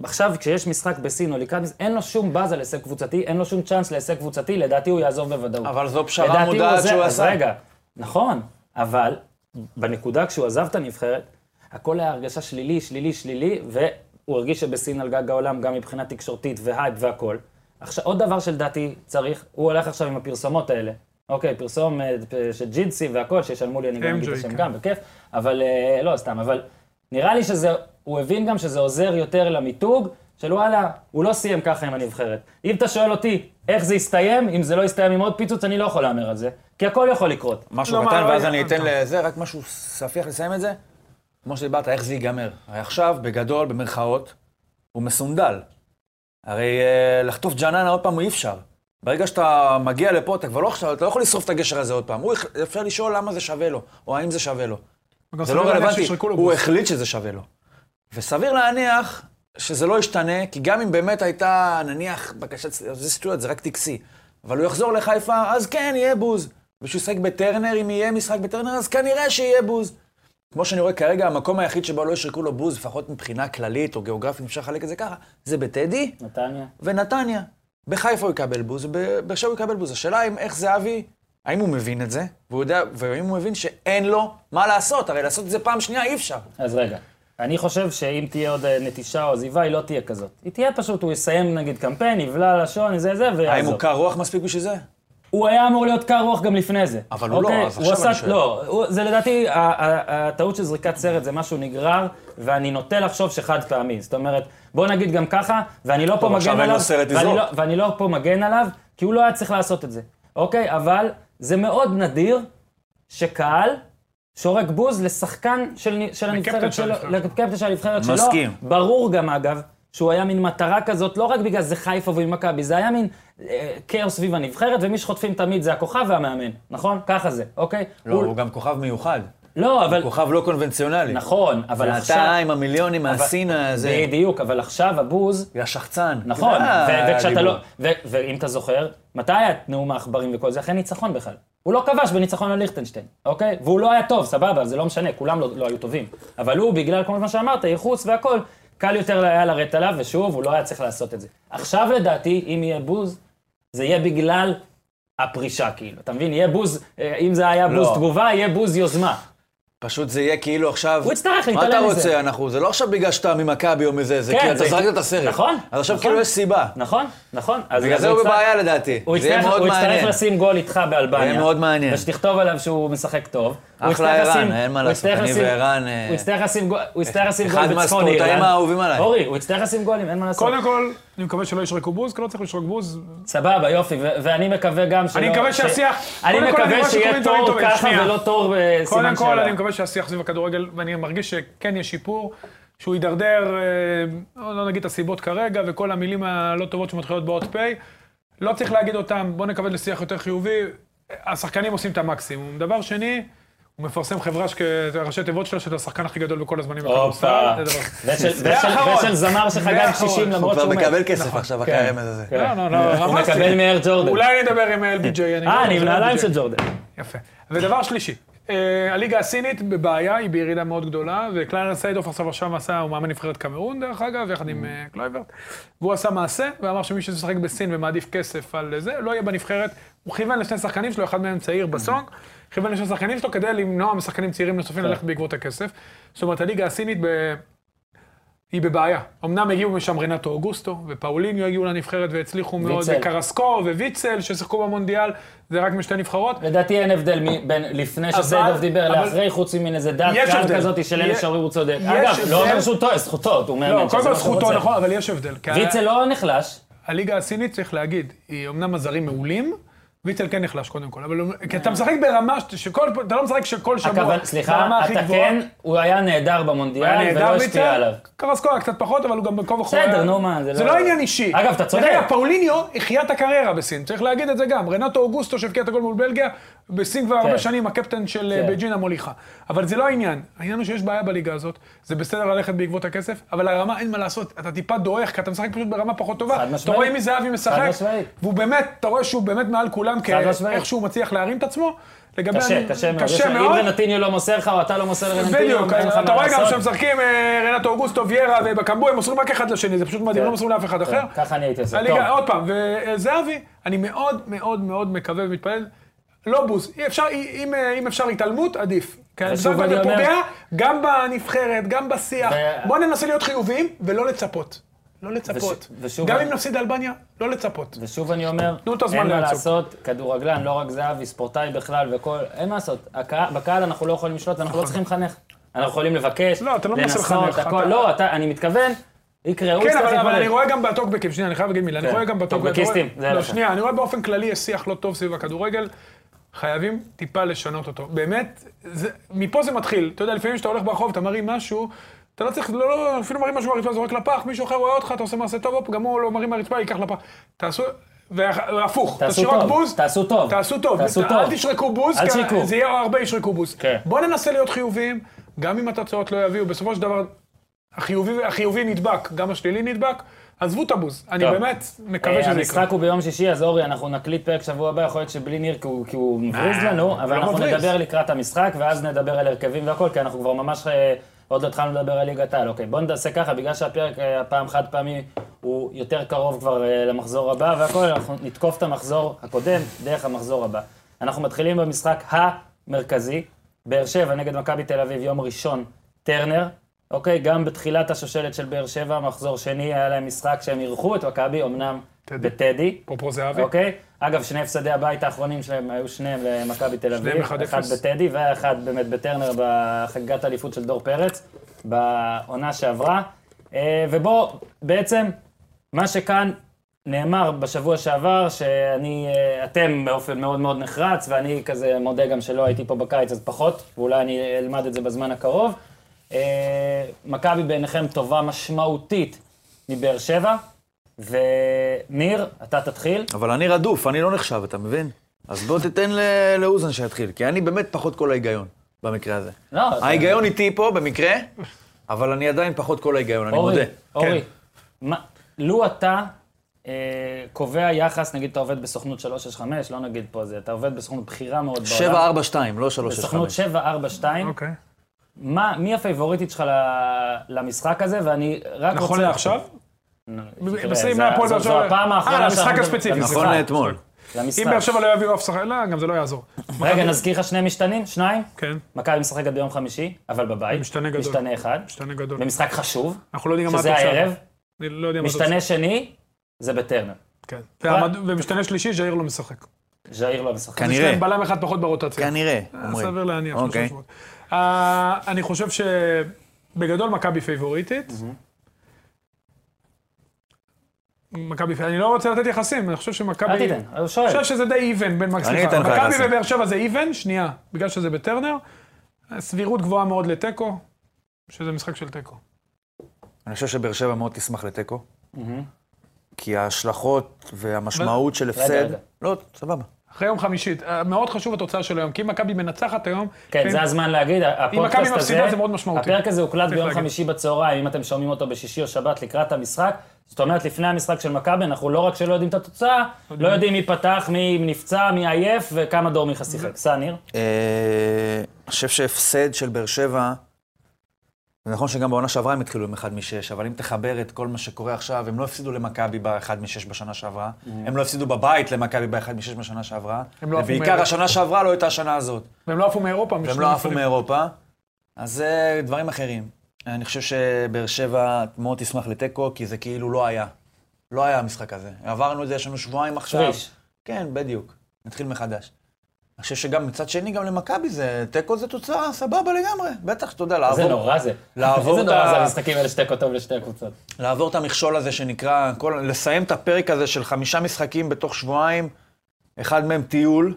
Speaker 1: עכשיו כשיש משחק בסין או לקראת, אין לו שום באזה להישג קבוצתי, אין לו שום צ'אנס להישג קבוצתי, לדעתי הוא יעזוב בוודאות.
Speaker 4: אבל זו פשרה
Speaker 1: לדעתי הוא
Speaker 4: מודעת
Speaker 1: עוזב-
Speaker 4: שהוא
Speaker 1: אז
Speaker 4: עשה.
Speaker 1: רגע, נכון, אבל בנקודה כשהוא עזב את הנבחרת, הכל היה הרגשה שלילי, שלילי, שלילי, והוא הרגיש שבסין על גג העולם, גם מבחינה תקשורתית והייפ והכל. עכשיו, עוד דבר שלדעתי צריך, הוא הולך עכשיו עם הפרסומות האלה. אוקיי, פרסום אה, פ- של ג'ינסי והכל, שישלמו לי, אני גם אגיד את
Speaker 3: MJ,
Speaker 1: השם
Speaker 3: כן.
Speaker 1: גם, בכיף, אבל אה, לא, סתם, אבל נראה לי שזה, הוא הבין גם שזה עוזר יותר למיתוג, של וואלה, הוא לא סיים ככה עם הנבחרת. אם אתה שואל אותי איך זה יסתיים, אם זה לא יסתיים עם עוד פיצוץ, אני לא יכול להמר על זה, כי הכל יכול לקרות.
Speaker 4: משהו
Speaker 3: לא, מה,
Speaker 4: קטן,
Speaker 3: לא,
Speaker 4: ואז
Speaker 3: לא,
Speaker 4: אני
Speaker 3: לא,
Speaker 4: אתן
Speaker 3: טוב.
Speaker 4: לזה, רק משהו ספיח לסיים את זה. כמו שדיברת, איך זה ייגמר. הרי עכשיו, בגדול, במרכאות, הוא מסונדל. הרי אה, לחטוף ג'ננה עוד פעם אי אפשר. ברגע שאתה מגיע לפה, אתה כבר לא עכשיו, אתה לא יכול לשרוף את הגשר הזה עוד פעם. הוא, הח- אפשר לשאול למה זה שווה לו, או האם זה שווה לו.
Speaker 3: וגם
Speaker 4: זה
Speaker 3: סביר
Speaker 4: לא
Speaker 3: להניח
Speaker 4: רלוונטי,
Speaker 3: שישרקו לו
Speaker 4: הוא
Speaker 3: בוס.
Speaker 4: החליט שזה שווה לו. וסביר להניח שזה לא ישתנה, כי גם אם באמת הייתה, נניח, בקשת, זה שטויות, זה רק טקסי, אבל הוא יחזור לחיפה, אז כן, יהיה בוז. ושהוא ישחק בטרנר, אם יהיה משחק בטרנר, אז כנראה שיהיה בוז. כמו שאני רואה כרגע, המקום היחיד שבו לא ישרקו לו בוז, לפחות מבחינה כללית או גיאוגרפית, אם אפשר לחלק את זה ככה, זה בטדי
Speaker 1: נתניה.
Speaker 4: ונתניה. בחיפה הוא יקבל בוז, בבאר שבע הוא יקבל בוז. השאלה אם איך זהבי, האם הוא מבין את זה, והוא יודע, והאם הוא מבין שאין לו מה לעשות, הרי לעשות את זה פעם שנייה אי אפשר.
Speaker 1: אז רגע. אני חושב שאם תהיה עוד אה, נטישה או עזיבה, היא לא תהיה כזאת. היא תהיה פשוט, הוא יסיים נגיד קמפיין, יבלע לשון, זה זה,
Speaker 4: האם
Speaker 1: ויעזוב.
Speaker 4: הוא קר רוח מספיק בשביל זה?
Speaker 1: הוא היה אמור להיות קר רוח גם לפני זה.
Speaker 4: אבל הוא לא,
Speaker 1: אוקיי?
Speaker 4: אז
Speaker 1: הוא
Speaker 4: עכשיו
Speaker 1: עשה-
Speaker 4: אני שואל.
Speaker 1: לא, הוא- זה לדעתי, ה- ה- הטעות של זריקת סרט זה משהו נגרר, ואני נוטה לחשוב שחד פעמי. זאת אומרת, בוא נגיד גם ככה, ואני לא פה מגן
Speaker 4: עכשיו
Speaker 1: עליו,
Speaker 4: אין לו סרט
Speaker 1: ואני
Speaker 4: לזרוק.
Speaker 1: לא- ואני לא פה מגן עליו, כי הוא לא היה צריך לעשות את זה, אוקיי? אבל זה מאוד נדיר שקהל שורק בוז לשחקן של נ- של הנבחרת
Speaker 3: של
Speaker 1: שלו,
Speaker 3: הנבחרת שלו.
Speaker 1: לקפטן של הנבחרת שלו.
Speaker 4: מסכים.
Speaker 1: ברור גם, אגב, שהוא היה מין מטרה כזאת, לא רק בגלל זה חיפה ועם מכבי, זה היה מין אה, כאוס סביב הנבחרת, ומי שחוטפים תמיד זה הכוכב והמאמן, נכון? ככה זה, אוקיי?
Speaker 4: לא, הוא גם כוכב מיוחד.
Speaker 1: לא, אבל...
Speaker 4: כוכב לא קונבנציונלי.
Speaker 1: נכון, אבל
Speaker 4: זה
Speaker 1: עכשיו...
Speaker 4: אתה עם המיליונים, הסינה הזה,
Speaker 1: בדיוק, אבל עכשיו הבוז...
Speaker 4: השחצן.
Speaker 1: נכון,
Speaker 4: זה
Speaker 1: ו- וכשאתה
Speaker 4: הדיבור.
Speaker 1: לא... ו- ואם אתה זוכר, מתי היה את נאום העכברים וכל זה? אחרי ניצחון בכלל. הוא לא כבש בניצחון על ליכטנשטיין, אוקיי? והוא לא היה טוב, סבבה, זה לא משנה, כולם לא, לא היו טובים. אבל הוא, בגלל כל מה שאמרת, ייחוס והכול, קל יותר היה לרדת עליו, ושוב, הוא לא היה צריך לעשות את זה. עכשיו לדעתי, אם יהיה בוז, זה יהיה בגלל הפרישה, כאילו. אתה מבין? יהיה בוז, אה, אם זה היה בוז
Speaker 4: לא.
Speaker 1: תגובה, יהיה בוז יוזמה.
Speaker 4: פשוט זה יהיה כאילו עכשיו...
Speaker 1: הוא יצטרך
Speaker 4: מה אתה
Speaker 1: להתעלם מזה.
Speaker 4: רוצה, אנחנו? זה לא עכשיו בגלל שאתה ממכבי או מזה, זה
Speaker 1: כן,
Speaker 4: כי אתה
Speaker 1: זה-
Speaker 4: זרקת את הסרט.
Speaker 1: נכון,
Speaker 4: אז עכשיו
Speaker 1: נכון.
Speaker 4: כאילו יש סיבה.
Speaker 1: נכון, נכון. אז-
Speaker 4: בגלל
Speaker 1: אז
Speaker 4: זה הוא
Speaker 1: יצטרך-
Speaker 4: בבעיה לדעתי.
Speaker 1: הוא
Speaker 4: זה יהיה
Speaker 1: יצטרך,
Speaker 4: מאוד
Speaker 1: הוא יצטרך
Speaker 4: מעניין.
Speaker 1: לשים גול איתך באלבניה.
Speaker 4: יהיה מאוד מעניין.
Speaker 1: ושתכתוב עליו שהוא משחק טוב. הוא
Speaker 4: אחלה
Speaker 1: יצטרך
Speaker 4: ערן,
Speaker 1: לשים-
Speaker 4: אין מה
Speaker 1: הוא
Speaker 4: לעשות,
Speaker 1: יצטרך
Speaker 4: אני
Speaker 1: לשים-
Speaker 4: וערן, אה,
Speaker 1: הוא יצטרך לשים גול- הוא יצטרך לשים גול
Speaker 4: אחד
Speaker 1: בצפון
Speaker 4: מהספורטאים
Speaker 1: אירלנד.
Speaker 4: האהובים עליי.
Speaker 1: אורי, הוא יצטרך לשים גולים, אין מה לעשות.
Speaker 3: קודם כל, אני מקווה שלא ישרקו בוז, כי לא צריך לשרוק בוז.
Speaker 1: סבבה, יופי, ו- ואני מקווה גם שלא...
Speaker 3: אני מקווה
Speaker 1: ש-
Speaker 3: שהשיח-
Speaker 1: אני
Speaker 3: קודם כל, אני
Speaker 1: מקווה
Speaker 3: רואה
Speaker 1: שיהיה
Speaker 3: שקוראים דברים
Speaker 1: תור
Speaker 3: טובים,
Speaker 1: ככה
Speaker 3: שנייה.
Speaker 1: ולא תור אה,
Speaker 3: קודם
Speaker 1: סימן
Speaker 3: כל,
Speaker 1: שאלה.
Speaker 3: אני מקווה שהשיח סביב הכדורגל, ואני מרגיש שכן יש שיפור, שהוא יידרדר, אה, לא לא נגיד את הסיבות כרגע, וכל המילים הלא טובות שמתחילות באות פ', לא צריך להגיד אותם, בוא נקווה לשיח יותר חיובי. השחקנים עושים את המקסימום. דבר שני, הוא מפרסם חברה, שכ- ראשי תיבות שלו, שזה השחקן הכי גדול בכל הזמנים
Speaker 1: הופה.
Speaker 3: זה דבר-
Speaker 1: ושל- ושל-
Speaker 3: ואחרון.
Speaker 1: ושל זמר שחגג
Speaker 3: ואחרון.
Speaker 1: 60
Speaker 4: הוא
Speaker 1: למרות
Speaker 4: כבר
Speaker 1: שהוא מת.
Speaker 4: מקבל כסף עכשיו, אחרי
Speaker 1: כן.
Speaker 4: הרמז הזה.
Speaker 1: כן.
Speaker 3: לא, לא, לא,
Speaker 1: הוא
Speaker 3: רמזתי.
Speaker 1: מקבל מאיר ג'ורדן.
Speaker 3: אולי נדבר עם LBJ. אני
Speaker 1: אה,
Speaker 3: לא
Speaker 1: אני עם
Speaker 3: רוצה
Speaker 1: נעליים
Speaker 3: LBJ.
Speaker 1: של ג'ורדן.
Speaker 3: יפה. ודבר שלישי, אה, הליגה הסינית בבעיה, היא בירידה מאוד גדולה, וקליינר סיידוף עכשיו עכשיו עשה, הוא מאמן נבחרת קמרון דרך אגב, יחד עם אה, קלויברט, והוא עשה מעשה, ואמר שמי שמשחק בסין ומעדיף כסף על זה, לא יהיה בנבחרת. הוא כיוון לשני שחקנים שלו, אחד מהם צעיר בסונג, כיוון לשני שחקנים שלו כדי למנוע משחקנים צעירים נוספים ללכת בעקבות הכסף. זאת אומרת, הליגה הסינית ב... היא בבעיה. אמנם הגיעו משם רנטו אוגוסטו, ופאוליניו הגיעו לנבחרת והצליחו מאוד,
Speaker 1: ויצל.
Speaker 3: וקרסקו וויצל ששיחקו במונדיאל, זה רק משתי נבחרות.
Speaker 1: לדעתי אין הבדל מ- בין לפני שסיידוף דיבר
Speaker 3: אבל-
Speaker 1: לאחרי, חוץ ממין איזה דעת
Speaker 3: יש
Speaker 1: קהל
Speaker 3: הבדל.
Speaker 1: כזאת של אלה
Speaker 3: יש-
Speaker 1: שאומרים הוא צודק.
Speaker 3: יש
Speaker 1: אגב, לא
Speaker 3: הבדל.
Speaker 1: אומר שהוא טועה, זכותו, הוא מאמן.
Speaker 3: לא, קודם
Speaker 1: שזה
Speaker 3: כל
Speaker 1: מה שהוא
Speaker 3: זכותו,
Speaker 1: רוצה.
Speaker 3: נכון, אבל יש הבדל. כי
Speaker 1: ויצל לא נחלש,
Speaker 3: הליגה הסינית, צריך להגיד, היא אמנם הזרים מעולים, ויצל כן נחלש קודם כל, אבל הוא- כי אתה משחק ברמה ש- שכל, אתה לא משחק שכל שבוע,
Speaker 1: הכוון- סליחה, אתה כן, הוא היה נהדר במונדיאל ולא
Speaker 3: נהדר ויצל,
Speaker 1: השפיע עליו.
Speaker 3: קרסקו היה קצת פחות, אבל הוא גם בכל וכל...
Speaker 1: בסדר, נו, מה, זה
Speaker 3: זה
Speaker 1: לא-
Speaker 3: לא עניין אישי.
Speaker 1: אגב, אתה צודק.
Speaker 3: רגע, פאוליניו החיה את הקריירה בסין, צריך להגיד את זה גם. רנטו אוגוסטו שהבקיע את הגול מול בלגיה, בסין כבר
Speaker 1: כן.
Speaker 3: הרבה שנים הקפטן של
Speaker 1: כן.
Speaker 3: אה, בייג'ין המוליכה. אבל זה לא העניין. העניין הוא שיש בעיה בליגה הזאת, זה בסדר ללכת בעקבות הכסף, אבל הרמה אין מה לעשות, אתה טיפה דועך, כי אתה משחק פשוט ברמה פחות טובה.
Speaker 1: חד משמעית.
Speaker 3: אתה רואה מי זהבי
Speaker 1: חד
Speaker 3: משחק,
Speaker 1: משמעית.
Speaker 3: והוא באמת, אתה רואה שהוא באמת מעל כולם, כ-
Speaker 1: משמעית.
Speaker 3: איך שהוא מצליח להרים את עצמו. לגבי
Speaker 1: קשה,
Speaker 3: אני-
Speaker 1: קשה מאוד. יש-
Speaker 3: קשה
Speaker 1: אם
Speaker 3: מאוד.
Speaker 1: רנטיניו לא מוסר לך, או אתה לא מוסר לרנטיניו,
Speaker 3: בדיוק,
Speaker 1: אין לך
Speaker 3: אתה
Speaker 1: מה
Speaker 3: רואה גם
Speaker 1: לעשות.
Speaker 3: שמשחקים אה, רנטו אוגוסטו, ויירה ובקמבו, הם מוסרים רק אחד לשני, זה פשוט מדהים,
Speaker 1: כן.
Speaker 3: לא מוסרים לאף אחד אחר.
Speaker 1: כן, ככה אני הייתי עושה.
Speaker 3: הליגה,
Speaker 1: טוב.
Speaker 3: עוד פעם, וזהבי, אני מאוד מאוד מאוד מקווה ומתפלל, לא בוז, אי אפשר, אי- אם, אה, אם אפשר התעלמות, עדיף. כי
Speaker 1: ושוב
Speaker 3: בסוף
Speaker 1: אני
Speaker 3: זה
Speaker 1: אומר-
Speaker 3: פוגע גם בנבחרת, גם בשיח.
Speaker 1: ו-
Speaker 3: בואו ננסה להיות חיוביים ולא לצפות. לא לצפות.
Speaker 1: ושוב-
Speaker 3: גם
Speaker 1: אני-
Speaker 3: אם נפסיד לאלבניה, לא לצפות.
Speaker 1: ושוב אני אומר,
Speaker 3: תנו את הזמן
Speaker 1: אין מה
Speaker 3: לעצור.
Speaker 1: לעשות, כדורגלן, לא רק זהבי, ספורטאי בכלל וכל, אין מה לעשות. הקה- בקהל אנחנו לא יכולים לשלוט, אנחנו לא צריכים לחנך. אנחנו יכולים לבקש,
Speaker 3: נכון. לא, אתה לא מנסה
Speaker 1: לנסות,
Speaker 3: לחנך,
Speaker 1: הכל,
Speaker 3: אתה-
Speaker 1: לא, אתה- אני מתכוון, יקרה, הוא
Speaker 3: כן,
Speaker 1: יצטרך
Speaker 3: אבל- אבל
Speaker 1: להתמודד.
Speaker 3: אני רואה גם בטוקבקים, שנייה, אני חייב להגיד מילה, אני
Speaker 1: כן,
Speaker 3: רואה גם בטוקבקים.
Speaker 1: טוקבקיסטים, זה
Speaker 3: לא,
Speaker 1: עליך.
Speaker 3: שנייה, אני רואה באופן כללי יש שיח לא טוב סביב הכדורגל, חייבים טיפה לשנות אותו. באמת, זה- מפה זה מתחיל. אתה יודע, לפעמים כשאתה הולך ברחוב, אתה מרים משהו, אתה לא צריך, לא, לא, אפילו מרים משהו מהרצפה, זורק לפח, מישהו אחר רואה אותך, אתה עושה מעשה טוב, הופ, גם הוא לא מרים מהרצפה, ייקח לפח. תעשו... והפוך, והפוך,
Speaker 1: תעשו
Speaker 3: תשאירו רק
Speaker 1: טוב,
Speaker 3: בוז,
Speaker 1: תעשו טוב,
Speaker 3: תעשו טוב,
Speaker 1: תעשו
Speaker 3: אל
Speaker 1: טוב.
Speaker 3: תשרקו בוז,
Speaker 1: אל
Speaker 3: כי
Speaker 1: תשרקו.
Speaker 3: זה יהיה הרבה ישרקו בוז.
Speaker 1: כן.
Speaker 3: בואו ננסה להיות חיוביים, גם אם התוצאות לא יביאו, בסופו של דבר החיובי, החיובי נדבק, גם השלילי נדבק, עזבו תמוז, אני
Speaker 1: טוב.
Speaker 3: באמת מקווה
Speaker 1: אה,
Speaker 3: שזה יקרה.
Speaker 1: המשחק הוא ביום שישי, אז אורי, אנחנו נקליט פרק שבוע הבא, יכול להיות שבלי ניר, כי הוא- כי הוא מבריז לנו, אבל
Speaker 3: לא
Speaker 1: אנחנו
Speaker 3: מבריז.
Speaker 1: נדבר לקראת המשחק, ואז נדבר על הרכבים והכל, כי אנחנו כבר ממש אה, עוד לא התחלנו לדבר על ליגת העל. אוקיי, בואו נעשה ככה, בגלל שהפרק אה, הפעם חד פעמי הוא יותר קרוב כבר אה, למחזור הבא והכל, אנחנו נתקוף את המחזור הקודם דרך המחזור הבא. אנחנו מתחילים במשחק המרכזי, באר שבע נגד מכבי תל אביב, יום ראשון, טרנר. אוקיי, גם בתחילת השושלת של באר שבע, מחזור שני, היה להם משחק שהם אירחו את מכבי, אמנם
Speaker 3: טדי.
Speaker 1: בטדי,
Speaker 3: אפרופו זהבי,
Speaker 1: אוקיי? אגב, שני הפסדי הבית האחרונים שלהם היו שניהם למכבי תל אביב.
Speaker 3: שניהם 1-0.
Speaker 1: אחד בטדי ואחד באמת בטרנר בחגיגת האליפות של דור פרץ, בעונה שעברה. אה, ובו, בעצם, מה שכאן נאמר בשבוע שעבר, שאני, אה, אתם באופן מאוד מאוד נחרץ, ואני כזה מודה גם שלא הייתי פה בקיץ, אז פחות, ואולי אני אלמד את זה בזמן הקרוב. אה, מכבי בעיניכם טובה משמעותית מבאר שבע, וניר, אתה תתחיל.
Speaker 4: אבל אני רדוף, אני לא נחשב, אתה מבין? אז בוא תיתן ל- לאוזן שיתחיל, כי אני באמת פחות כל ההיגיון במקרה הזה.
Speaker 1: לא, אתה-
Speaker 4: ההיגיון איתי פה במקרה, אבל אני עדיין פחות כל ההיגיון, אני
Speaker 1: אורי,
Speaker 4: מודה.
Speaker 1: אורי,
Speaker 3: כן.
Speaker 1: מה- לו אתה אה, קובע יחס, נגיד אתה עובד בסוכנות 365, לא נגיד פה זה, אתה עובד בסוכנות בכירה מאוד בעולם.
Speaker 4: 742, לא
Speaker 1: בסוכנות
Speaker 4: 365.
Speaker 1: 742,
Speaker 3: אוקיי.
Speaker 1: מה, מי הפייבוריטית שלך ל- למשחק הזה? ואני רק רוצה...
Speaker 3: נכון לעכשיו?
Speaker 1: תראה,
Speaker 3: מסיים
Speaker 1: זה-
Speaker 3: מהפועל באר
Speaker 1: זו-
Speaker 3: שבע.
Speaker 1: זו הפעם האחרונה
Speaker 3: אה, למשחק
Speaker 1: שאנחנו-
Speaker 3: הספציפי,
Speaker 1: למשחק,
Speaker 4: נכון לאתמול.
Speaker 1: למשחק.
Speaker 3: אם באר שבע לא יביאו אף שחקן, לא, גם זה לא יעזור.
Speaker 1: רגע, נזכיר לך שני משתנים? שניים?
Speaker 3: כן,
Speaker 1: מכבי משחקת ביום חמישי, אבל בבית.
Speaker 3: משתנה גדול.
Speaker 1: משתנה אחד.
Speaker 3: משתנה גדול.
Speaker 1: במשחק חשוב,
Speaker 3: אנחנו לא יודעים גם מה
Speaker 1: שזה
Speaker 3: התוצאה.
Speaker 1: הערב.
Speaker 3: אני לא יודע מה התוצאה.
Speaker 1: משתנה שני, זה בטרנר.
Speaker 3: כן. והמד- ומשתנה שלישי, ז'איר לא משחק.
Speaker 1: ז'איר לא משחק.
Speaker 3: יש
Speaker 4: כנראה,
Speaker 3: להם בלם אחד פחות ברוטציה.
Speaker 4: כנראה, אומרים.
Speaker 3: אה, סביר להניח, שלושה
Speaker 4: אוקיי.
Speaker 3: שבועות. אה, אני חושב שבגדול מכבי פייבוריטית. מכבי, פי- אני לא רוצה לתת יחסים, אני חושב שמכבי...
Speaker 1: אל תיתן, הוא שואל.
Speaker 3: אני חושב שזה די איבן בין
Speaker 4: אני
Speaker 3: סליחה,
Speaker 4: אתן לך
Speaker 3: מכבי
Speaker 4: יחסים.
Speaker 3: ובאר שבע זה איבן, שנייה, בגלל שזה בטרנר. סבירות גבוהה מאוד לתיקו, שזה משחק של תיקו.
Speaker 4: אני חושב שבאר שבע מאוד תשמח לתיקו, כי ההשלכות והמשמעות של הפסד...
Speaker 1: רגע.
Speaker 4: לא, סבבה.
Speaker 3: אחרי יום חמישית, אה, מאוד חשוב התוצאה של היום, כי אם מכבי מנצחת היום...
Speaker 1: כן, זה הזמן להגיד, הפודקאסט
Speaker 3: מכבי מפסידה,
Speaker 1: הזה,
Speaker 3: זה מאוד משמעותי.
Speaker 1: הפרק הזה הוקלט ביום
Speaker 3: להגיד.
Speaker 1: חמישי בצהריים, אם אתם שומעים אותו בשישי או שבת לקראת המשחק, זאת אומרת, לפני המשחק של מכבי, אנחנו לא רק שלא יודעים את התוצאה, לא יודעים מי פתח, מי נפצע, מי עייף וכמה דור מיכה שיחק. סע, ניר?
Speaker 4: אה, אני חושב שהפסד של באר שבע, זה נכון שגם בעונה שעברה הם התחילו עם 1 מ-6, אבל אם תחבר את כל מה שקורה עכשיו, הם לא הפסידו למכבי ב-1 מ-6 בשנה שעברה, הם לא הפסידו בבית למכבי ב-1 מ-6 בשנה שעברה,
Speaker 3: Mm. הם לא עפו
Speaker 4: ובעיקר
Speaker 3: מאירופה.
Speaker 4: השנה שעברה לא הייתה השנה הזאת.
Speaker 3: והם לא עפו מאירופה,
Speaker 4: והם
Speaker 3: משני
Speaker 4: לא עפו
Speaker 3: מפעלים.
Speaker 4: מאירופה, אז זה דברים אחרים. אני חושב שבאר שבע מאוד תשמח לתיקו, כי זה כאילו לא היה. לא היה המשחק הזה. עברנו את זה, יש לנו שבועיים עכשיו.
Speaker 1: שליש.
Speaker 4: כן, בדיוק. נתחיל מחדש. אני חושב שגם מצד שני, גם למכבי זה, תיקו זה תוצאה סבבה לגמרי. בטח, אתה יודע,
Speaker 1: זה
Speaker 4: לעבור,
Speaker 1: נורא זה.
Speaker 4: לעבור
Speaker 1: איזה
Speaker 4: את
Speaker 1: נורא
Speaker 4: ה-
Speaker 1: זה המשחקים האלה שתיקו טוב לשתי הקבוצות.
Speaker 4: לעבור את המכשול הזה שנקרא, כל, לסיים את הפרק הזה של חמישה משחקים בתוך שבועיים, אחד מהם טיול,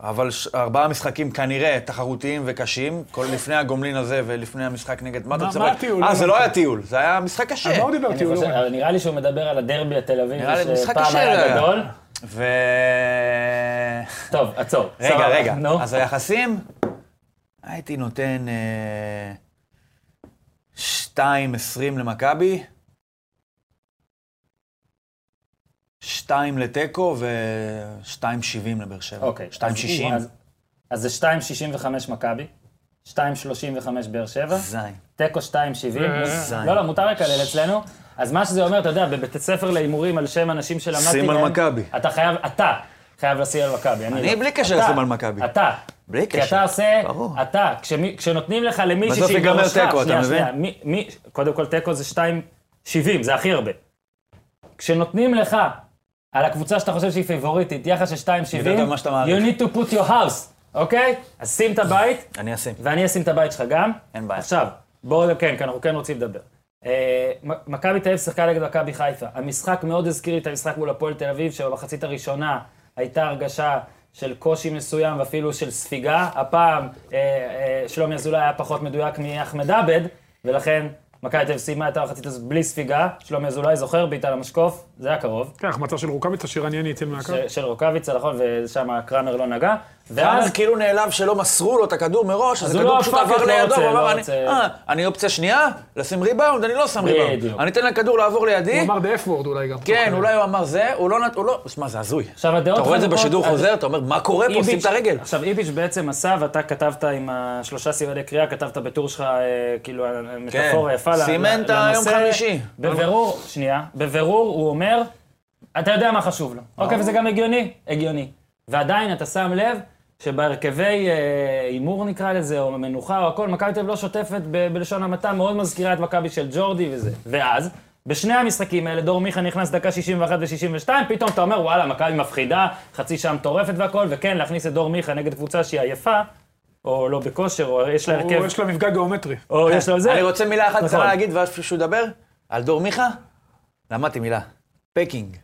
Speaker 4: אבל ש, ארבעה משחקים כנראה תחרותיים וקשים, כל לפני הגומלין הזה ולפני המשחק נגד, מה אתה
Speaker 3: מה-
Speaker 4: רוצה?
Speaker 3: מה
Speaker 4: לראות?
Speaker 3: הטיול?
Speaker 4: אה, זה לא היה טיול, זה היה משחק קשה.
Speaker 3: על אה, מה הוא דיבר, לא-
Speaker 1: אני
Speaker 3: טיול?
Speaker 1: חושב-
Speaker 3: אורן?
Speaker 1: אבל נראה לי שהוא מדבר על הדרבי התל אביבי,
Speaker 4: נראה לי משחק
Speaker 1: שפעם
Speaker 4: קשה
Speaker 1: היה
Speaker 4: היה.
Speaker 1: גדול.
Speaker 4: ו...
Speaker 1: טוב, עצור.
Speaker 4: רגע,
Speaker 1: סבבה,
Speaker 4: רגע,
Speaker 1: נו.
Speaker 4: אז היחסים? הייתי נותן אה, 2.20 למכבי, 2 לתיקו ו-2.70 לבאר שבע.
Speaker 1: אוקיי. אז-
Speaker 4: 2.60.
Speaker 1: אז- אז זה 2.65 מכבי, 2.35 באר שבע.
Speaker 4: זין.
Speaker 1: תיקו 270.
Speaker 4: זין.
Speaker 1: לא, לא, מותר לקלל אצלנו. אז מה שזה אומר, אתה יודע, בבית הספר להימורים על שם אנשים שלמדתי מהם...
Speaker 4: שים על מכבי.
Speaker 1: אתה חייב, אתה חייב לשים על מכבי.
Speaker 4: אני
Speaker 1: לא.
Speaker 4: בלי קשר
Speaker 1: אתה,
Speaker 4: לשים על מכבי.
Speaker 1: אתה.
Speaker 4: בלי
Speaker 1: כי
Speaker 4: קשר.
Speaker 1: אתה עושה,
Speaker 4: ברור.
Speaker 1: אתה, כשמי- כשנותנים לך למישהי
Speaker 4: בסוף
Speaker 1: שהיא
Speaker 4: ייגמר
Speaker 1: בראשך,
Speaker 4: תיקו, אתה
Speaker 1: שנייה,
Speaker 4: מבין?
Speaker 1: שנייה, מי- מי- קודם כל תיקו זה 270, זה הכי הרבה. כשנותנים לך על הקבוצה שאתה חושב שהיא פייבוריטית, יחס של 270,
Speaker 4: אני יודע גם מה שאתה מעריך.
Speaker 1: you need to put your house, אוקיי? אז שים את הבית,
Speaker 4: אני אשים.
Speaker 1: ואני אשים את הבית שלך גם.
Speaker 4: אין בעיה.
Speaker 1: עכשיו, בואו, כן, כי אנחנו כן רוצים לדבר. אה, מ- מכבי תל אביב שיחקה נגד מכבי חיפה. המשחק מאוד הזכיר לי את המשחק מול הפועל תל אביב, שבמחצית הראשונה הייתה הרגשה של קושי מסוים ואפילו של ספיגה. הפעם אה, אה, שלומי אזולאי היה פחות מדויק מאחמד עבד, ולכן מכבי תל אביב סיימה את המחצית הזאת בלי ספיגה, שלומי אזולאי זוכר, בעיטה למשקוף, זה היה קרוב,
Speaker 3: כן, החמצה של רוקאביץ, השיר ענייני אצל מהקו.
Speaker 1: ש- של רוקאביצה, נכון, ושם קרמר לא נגע,
Speaker 4: ואז
Speaker 1: ואז
Speaker 4: כאילו נעלב שלא מסרו לו את הכדור מראש, אז
Speaker 1: הוא
Speaker 4: הכדור
Speaker 1: לא
Speaker 4: פשוט
Speaker 1: הפך
Speaker 4: עבר
Speaker 1: את לא
Speaker 4: לידו,
Speaker 1: רוצה,
Speaker 4: הוא
Speaker 1: לא
Speaker 4: אמר, "אני-
Speaker 1: רוצה."
Speaker 4: אה, אני אופציה שנייה, לשים ריבאונד, אני לא שם ריבאונד.
Speaker 1: בדיוק.
Speaker 4: אני אתן לכדור לעבור
Speaker 3: הוא
Speaker 4: לידי,
Speaker 3: אמר the f word אולי גם.
Speaker 4: כן, אולי הוא אמר זה, הוא לא נת... הוא לא... שמע, זה הזוי.
Speaker 1: עכשיו הדעות
Speaker 4: אתה רואה את זה
Speaker 1: חלוקות,
Speaker 4: בשידור
Speaker 1: אז-
Speaker 4: חוזר, אתה אומר, מה קורה פה? שים את הרגל.
Speaker 1: עכשיו, איביץ' בעצם עשה, ואתה כתבת עם השלושה סימני קריאה, כתבת בטור שלך, אה, כאילו, מטאפורה יפה ל-
Speaker 4: כן. סימן
Speaker 1: ל-
Speaker 4: את היום
Speaker 1: לנושא.
Speaker 4: חמישי.
Speaker 1: בבירור, שנייה, בבירור הוא אומר, אתה יודע מה חשוב לו. אוקיי, וזה גם הגיוני? הגיוני. ועדיין אתה שם לב שבהרכבי אה, הימור נקרא לזה, או מנוחה או הכל, מכבי תל אביב לא שוטפת ב- בלשון המעטה, מאוד מזכירה את מכבי של ג'ורדי וזה. ואז, בשני המשחקים האלה, דור מיכה נכנס דקה 61 ו-62, פתאום אתה אומר, וואלה, מכבי מפחידה, חצי שעה מטורפת והכל, וכן, להכניס את דור מיכה נגד קבוצה שהיא עייפה, או לא בכושר, או יש לה
Speaker 3: הוא-
Speaker 1: הרכב,
Speaker 3: יש לו מפגע גיאומטרי.
Speaker 1: או יש לו זה.
Speaker 4: אה, אני רוצה מילה אחת
Speaker 1: נכון.
Speaker 4: קצרה להגיד, ואז שהוא ידבר, על דור מיכה, למדתי מילה. פקינג.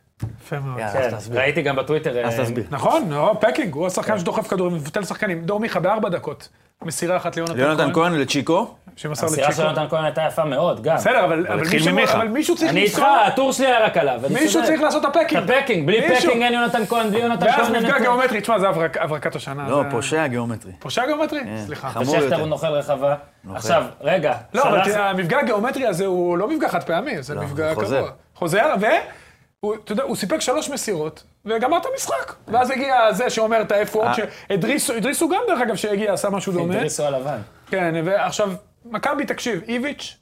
Speaker 3: יפה מאוד.
Speaker 4: יאללה, אז
Speaker 1: כן,
Speaker 4: תסביר.
Speaker 1: ראיתי גם בטוויטר.
Speaker 4: אז
Speaker 1: אה,
Speaker 4: תסביר.
Speaker 3: נכון, נו, פקינג, הוא
Speaker 4: כן.
Speaker 3: השחקן שדוחף כדורים ומבטל שחקנים. דור מיכה בארבע דקות. מסירה אחת ליונתן
Speaker 1: נכון.
Speaker 4: יונתן
Speaker 3: כהן,
Speaker 4: כהן לצ'יקו.
Speaker 3: שמסר
Speaker 1: המסירה של
Speaker 3: לצ'יקו.
Speaker 1: יונתן כהן הייתה יפה מאוד, גם.
Speaker 3: בסדר, אבל- אבל
Speaker 2: התחיל
Speaker 3: מישהו-
Speaker 2: ממיכה.
Speaker 3: אבל מישהו צריך
Speaker 1: אני איתך,
Speaker 3: למסור.
Speaker 1: הטור שלי היה רק עליו. אני
Speaker 3: מישהו
Speaker 1: צודק.
Speaker 3: צריך לעשות את הפקינג.
Speaker 1: את הפקינג, בלי
Speaker 3: מישהו.
Speaker 1: פקינג אין יונתן כהן, בלי יונתן
Speaker 3: ואז
Speaker 1: כהן אין...
Speaker 3: מפגע גיאומטרי, תשמע, זה הברק- הברקת השנה.
Speaker 4: לא,
Speaker 1: אה.
Speaker 4: כן.
Speaker 3: זה-
Speaker 4: פושע גיאומטרי.
Speaker 3: פושע גיאומטרי? סליחה.
Speaker 4: חמור.
Speaker 1: שכטר
Speaker 4: יותר.
Speaker 1: הוא נוכל רחבה. עכשיו, רגע,
Speaker 3: לא, אבל
Speaker 1: שלח-
Speaker 3: תראה, המפגע הגיאומטרי הזה הוא לא מפגע חד פעמי, זה מפגע
Speaker 4: חוזר.
Speaker 3: קבוע. חוזר, והוא, אתה יודע, הוא סיפק שלוש מסירות, וגמר את המשחק. ואז הגיע זה שאומר את ה-F-word, שהדריסו הדריסו גם, דרך אגב, שהגיע, עשה משהו דומה.
Speaker 1: אינטריסו הלבן.
Speaker 3: כן, ועכשיו, מכבי, תקשיב, איביץ',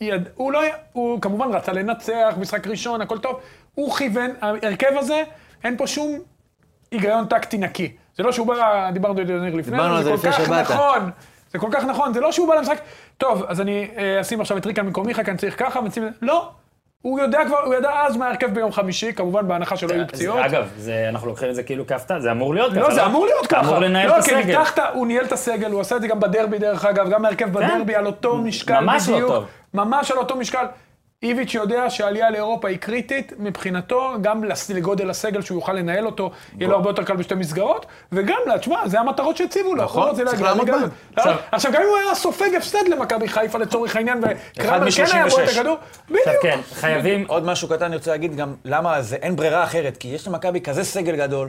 Speaker 3: יד- הוא לא, היה- הוא כמובן רצה לנצח, משחק ראשון, הכל טוב, הוא כיוון, ההרכב הזה, אין פה שום היגיון טקטי נקי. זה לא שהוא בא, דיברנו על זה ניר לפני,
Speaker 4: דיברנו על זה
Speaker 3: כל
Speaker 4: לפני
Speaker 3: כך
Speaker 4: שבאת.
Speaker 3: נכון, זה כל כך נכון, זה לא שהוא בא למשחק, טוב, אז אני אה, אשים עכשיו את ריקה במקום מיכה, כי אני צריך ככה, ואשים... לא. הוא יודע כבר, הוא ידע אז מה ההרכב ביום חמישי, כמובן בהנחה שלא יהיו פציעות.
Speaker 1: זה- אגב, זה- אנחנו לוקחים את זה כאילו כהפתעה, זה אמור להיות ככה.
Speaker 3: לא, זה אמור להיות ככה.
Speaker 1: אמור לנהל
Speaker 3: לא,
Speaker 1: את
Speaker 3: כי
Speaker 1: הסגל.
Speaker 3: ניתחת, הוא ניהל את הסגל, הוא עשה את זה גם בדרבי דרך אגב, גם ההרכב בדרבי על אותו משקל בדיוק.
Speaker 1: כן. ממש לא טוב.
Speaker 3: ממש על אותו משקל. איביץ' יודע שהעלייה לאירופה היא קריטית מבחינתו, גם לס- לגודל הסגל שהוא יוכל לנהל אותו, יהיה לו הרבה יותר קל בשתי מסגרות, וגם, לה, תשמע, זה המטרות שהציבו לו.
Speaker 4: נכון,
Speaker 3: הוא לא רוצה
Speaker 4: צריך
Speaker 3: להגיע
Speaker 4: לעמוד
Speaker 3: לליגה
Speaker 4: בהן.
Speaker 3: הזאת. לא, עכשיו, גם אם הוא היה סופג הפסד למכבי חיפה לצורך העניין, וקרמר כן היה בועט את
Speaker 4: מ-36.
Speaker 3: הכדור,
Speaker 1: עכשיו
Speaker 3: בדיוק.
Speaker 1: כן, חייבים...
Speaker 4: עוד משהו קטן, אני רוצה להגיד גם למה זה אין ברירה אחרת, כי יש למכבי כזה סגל גדול,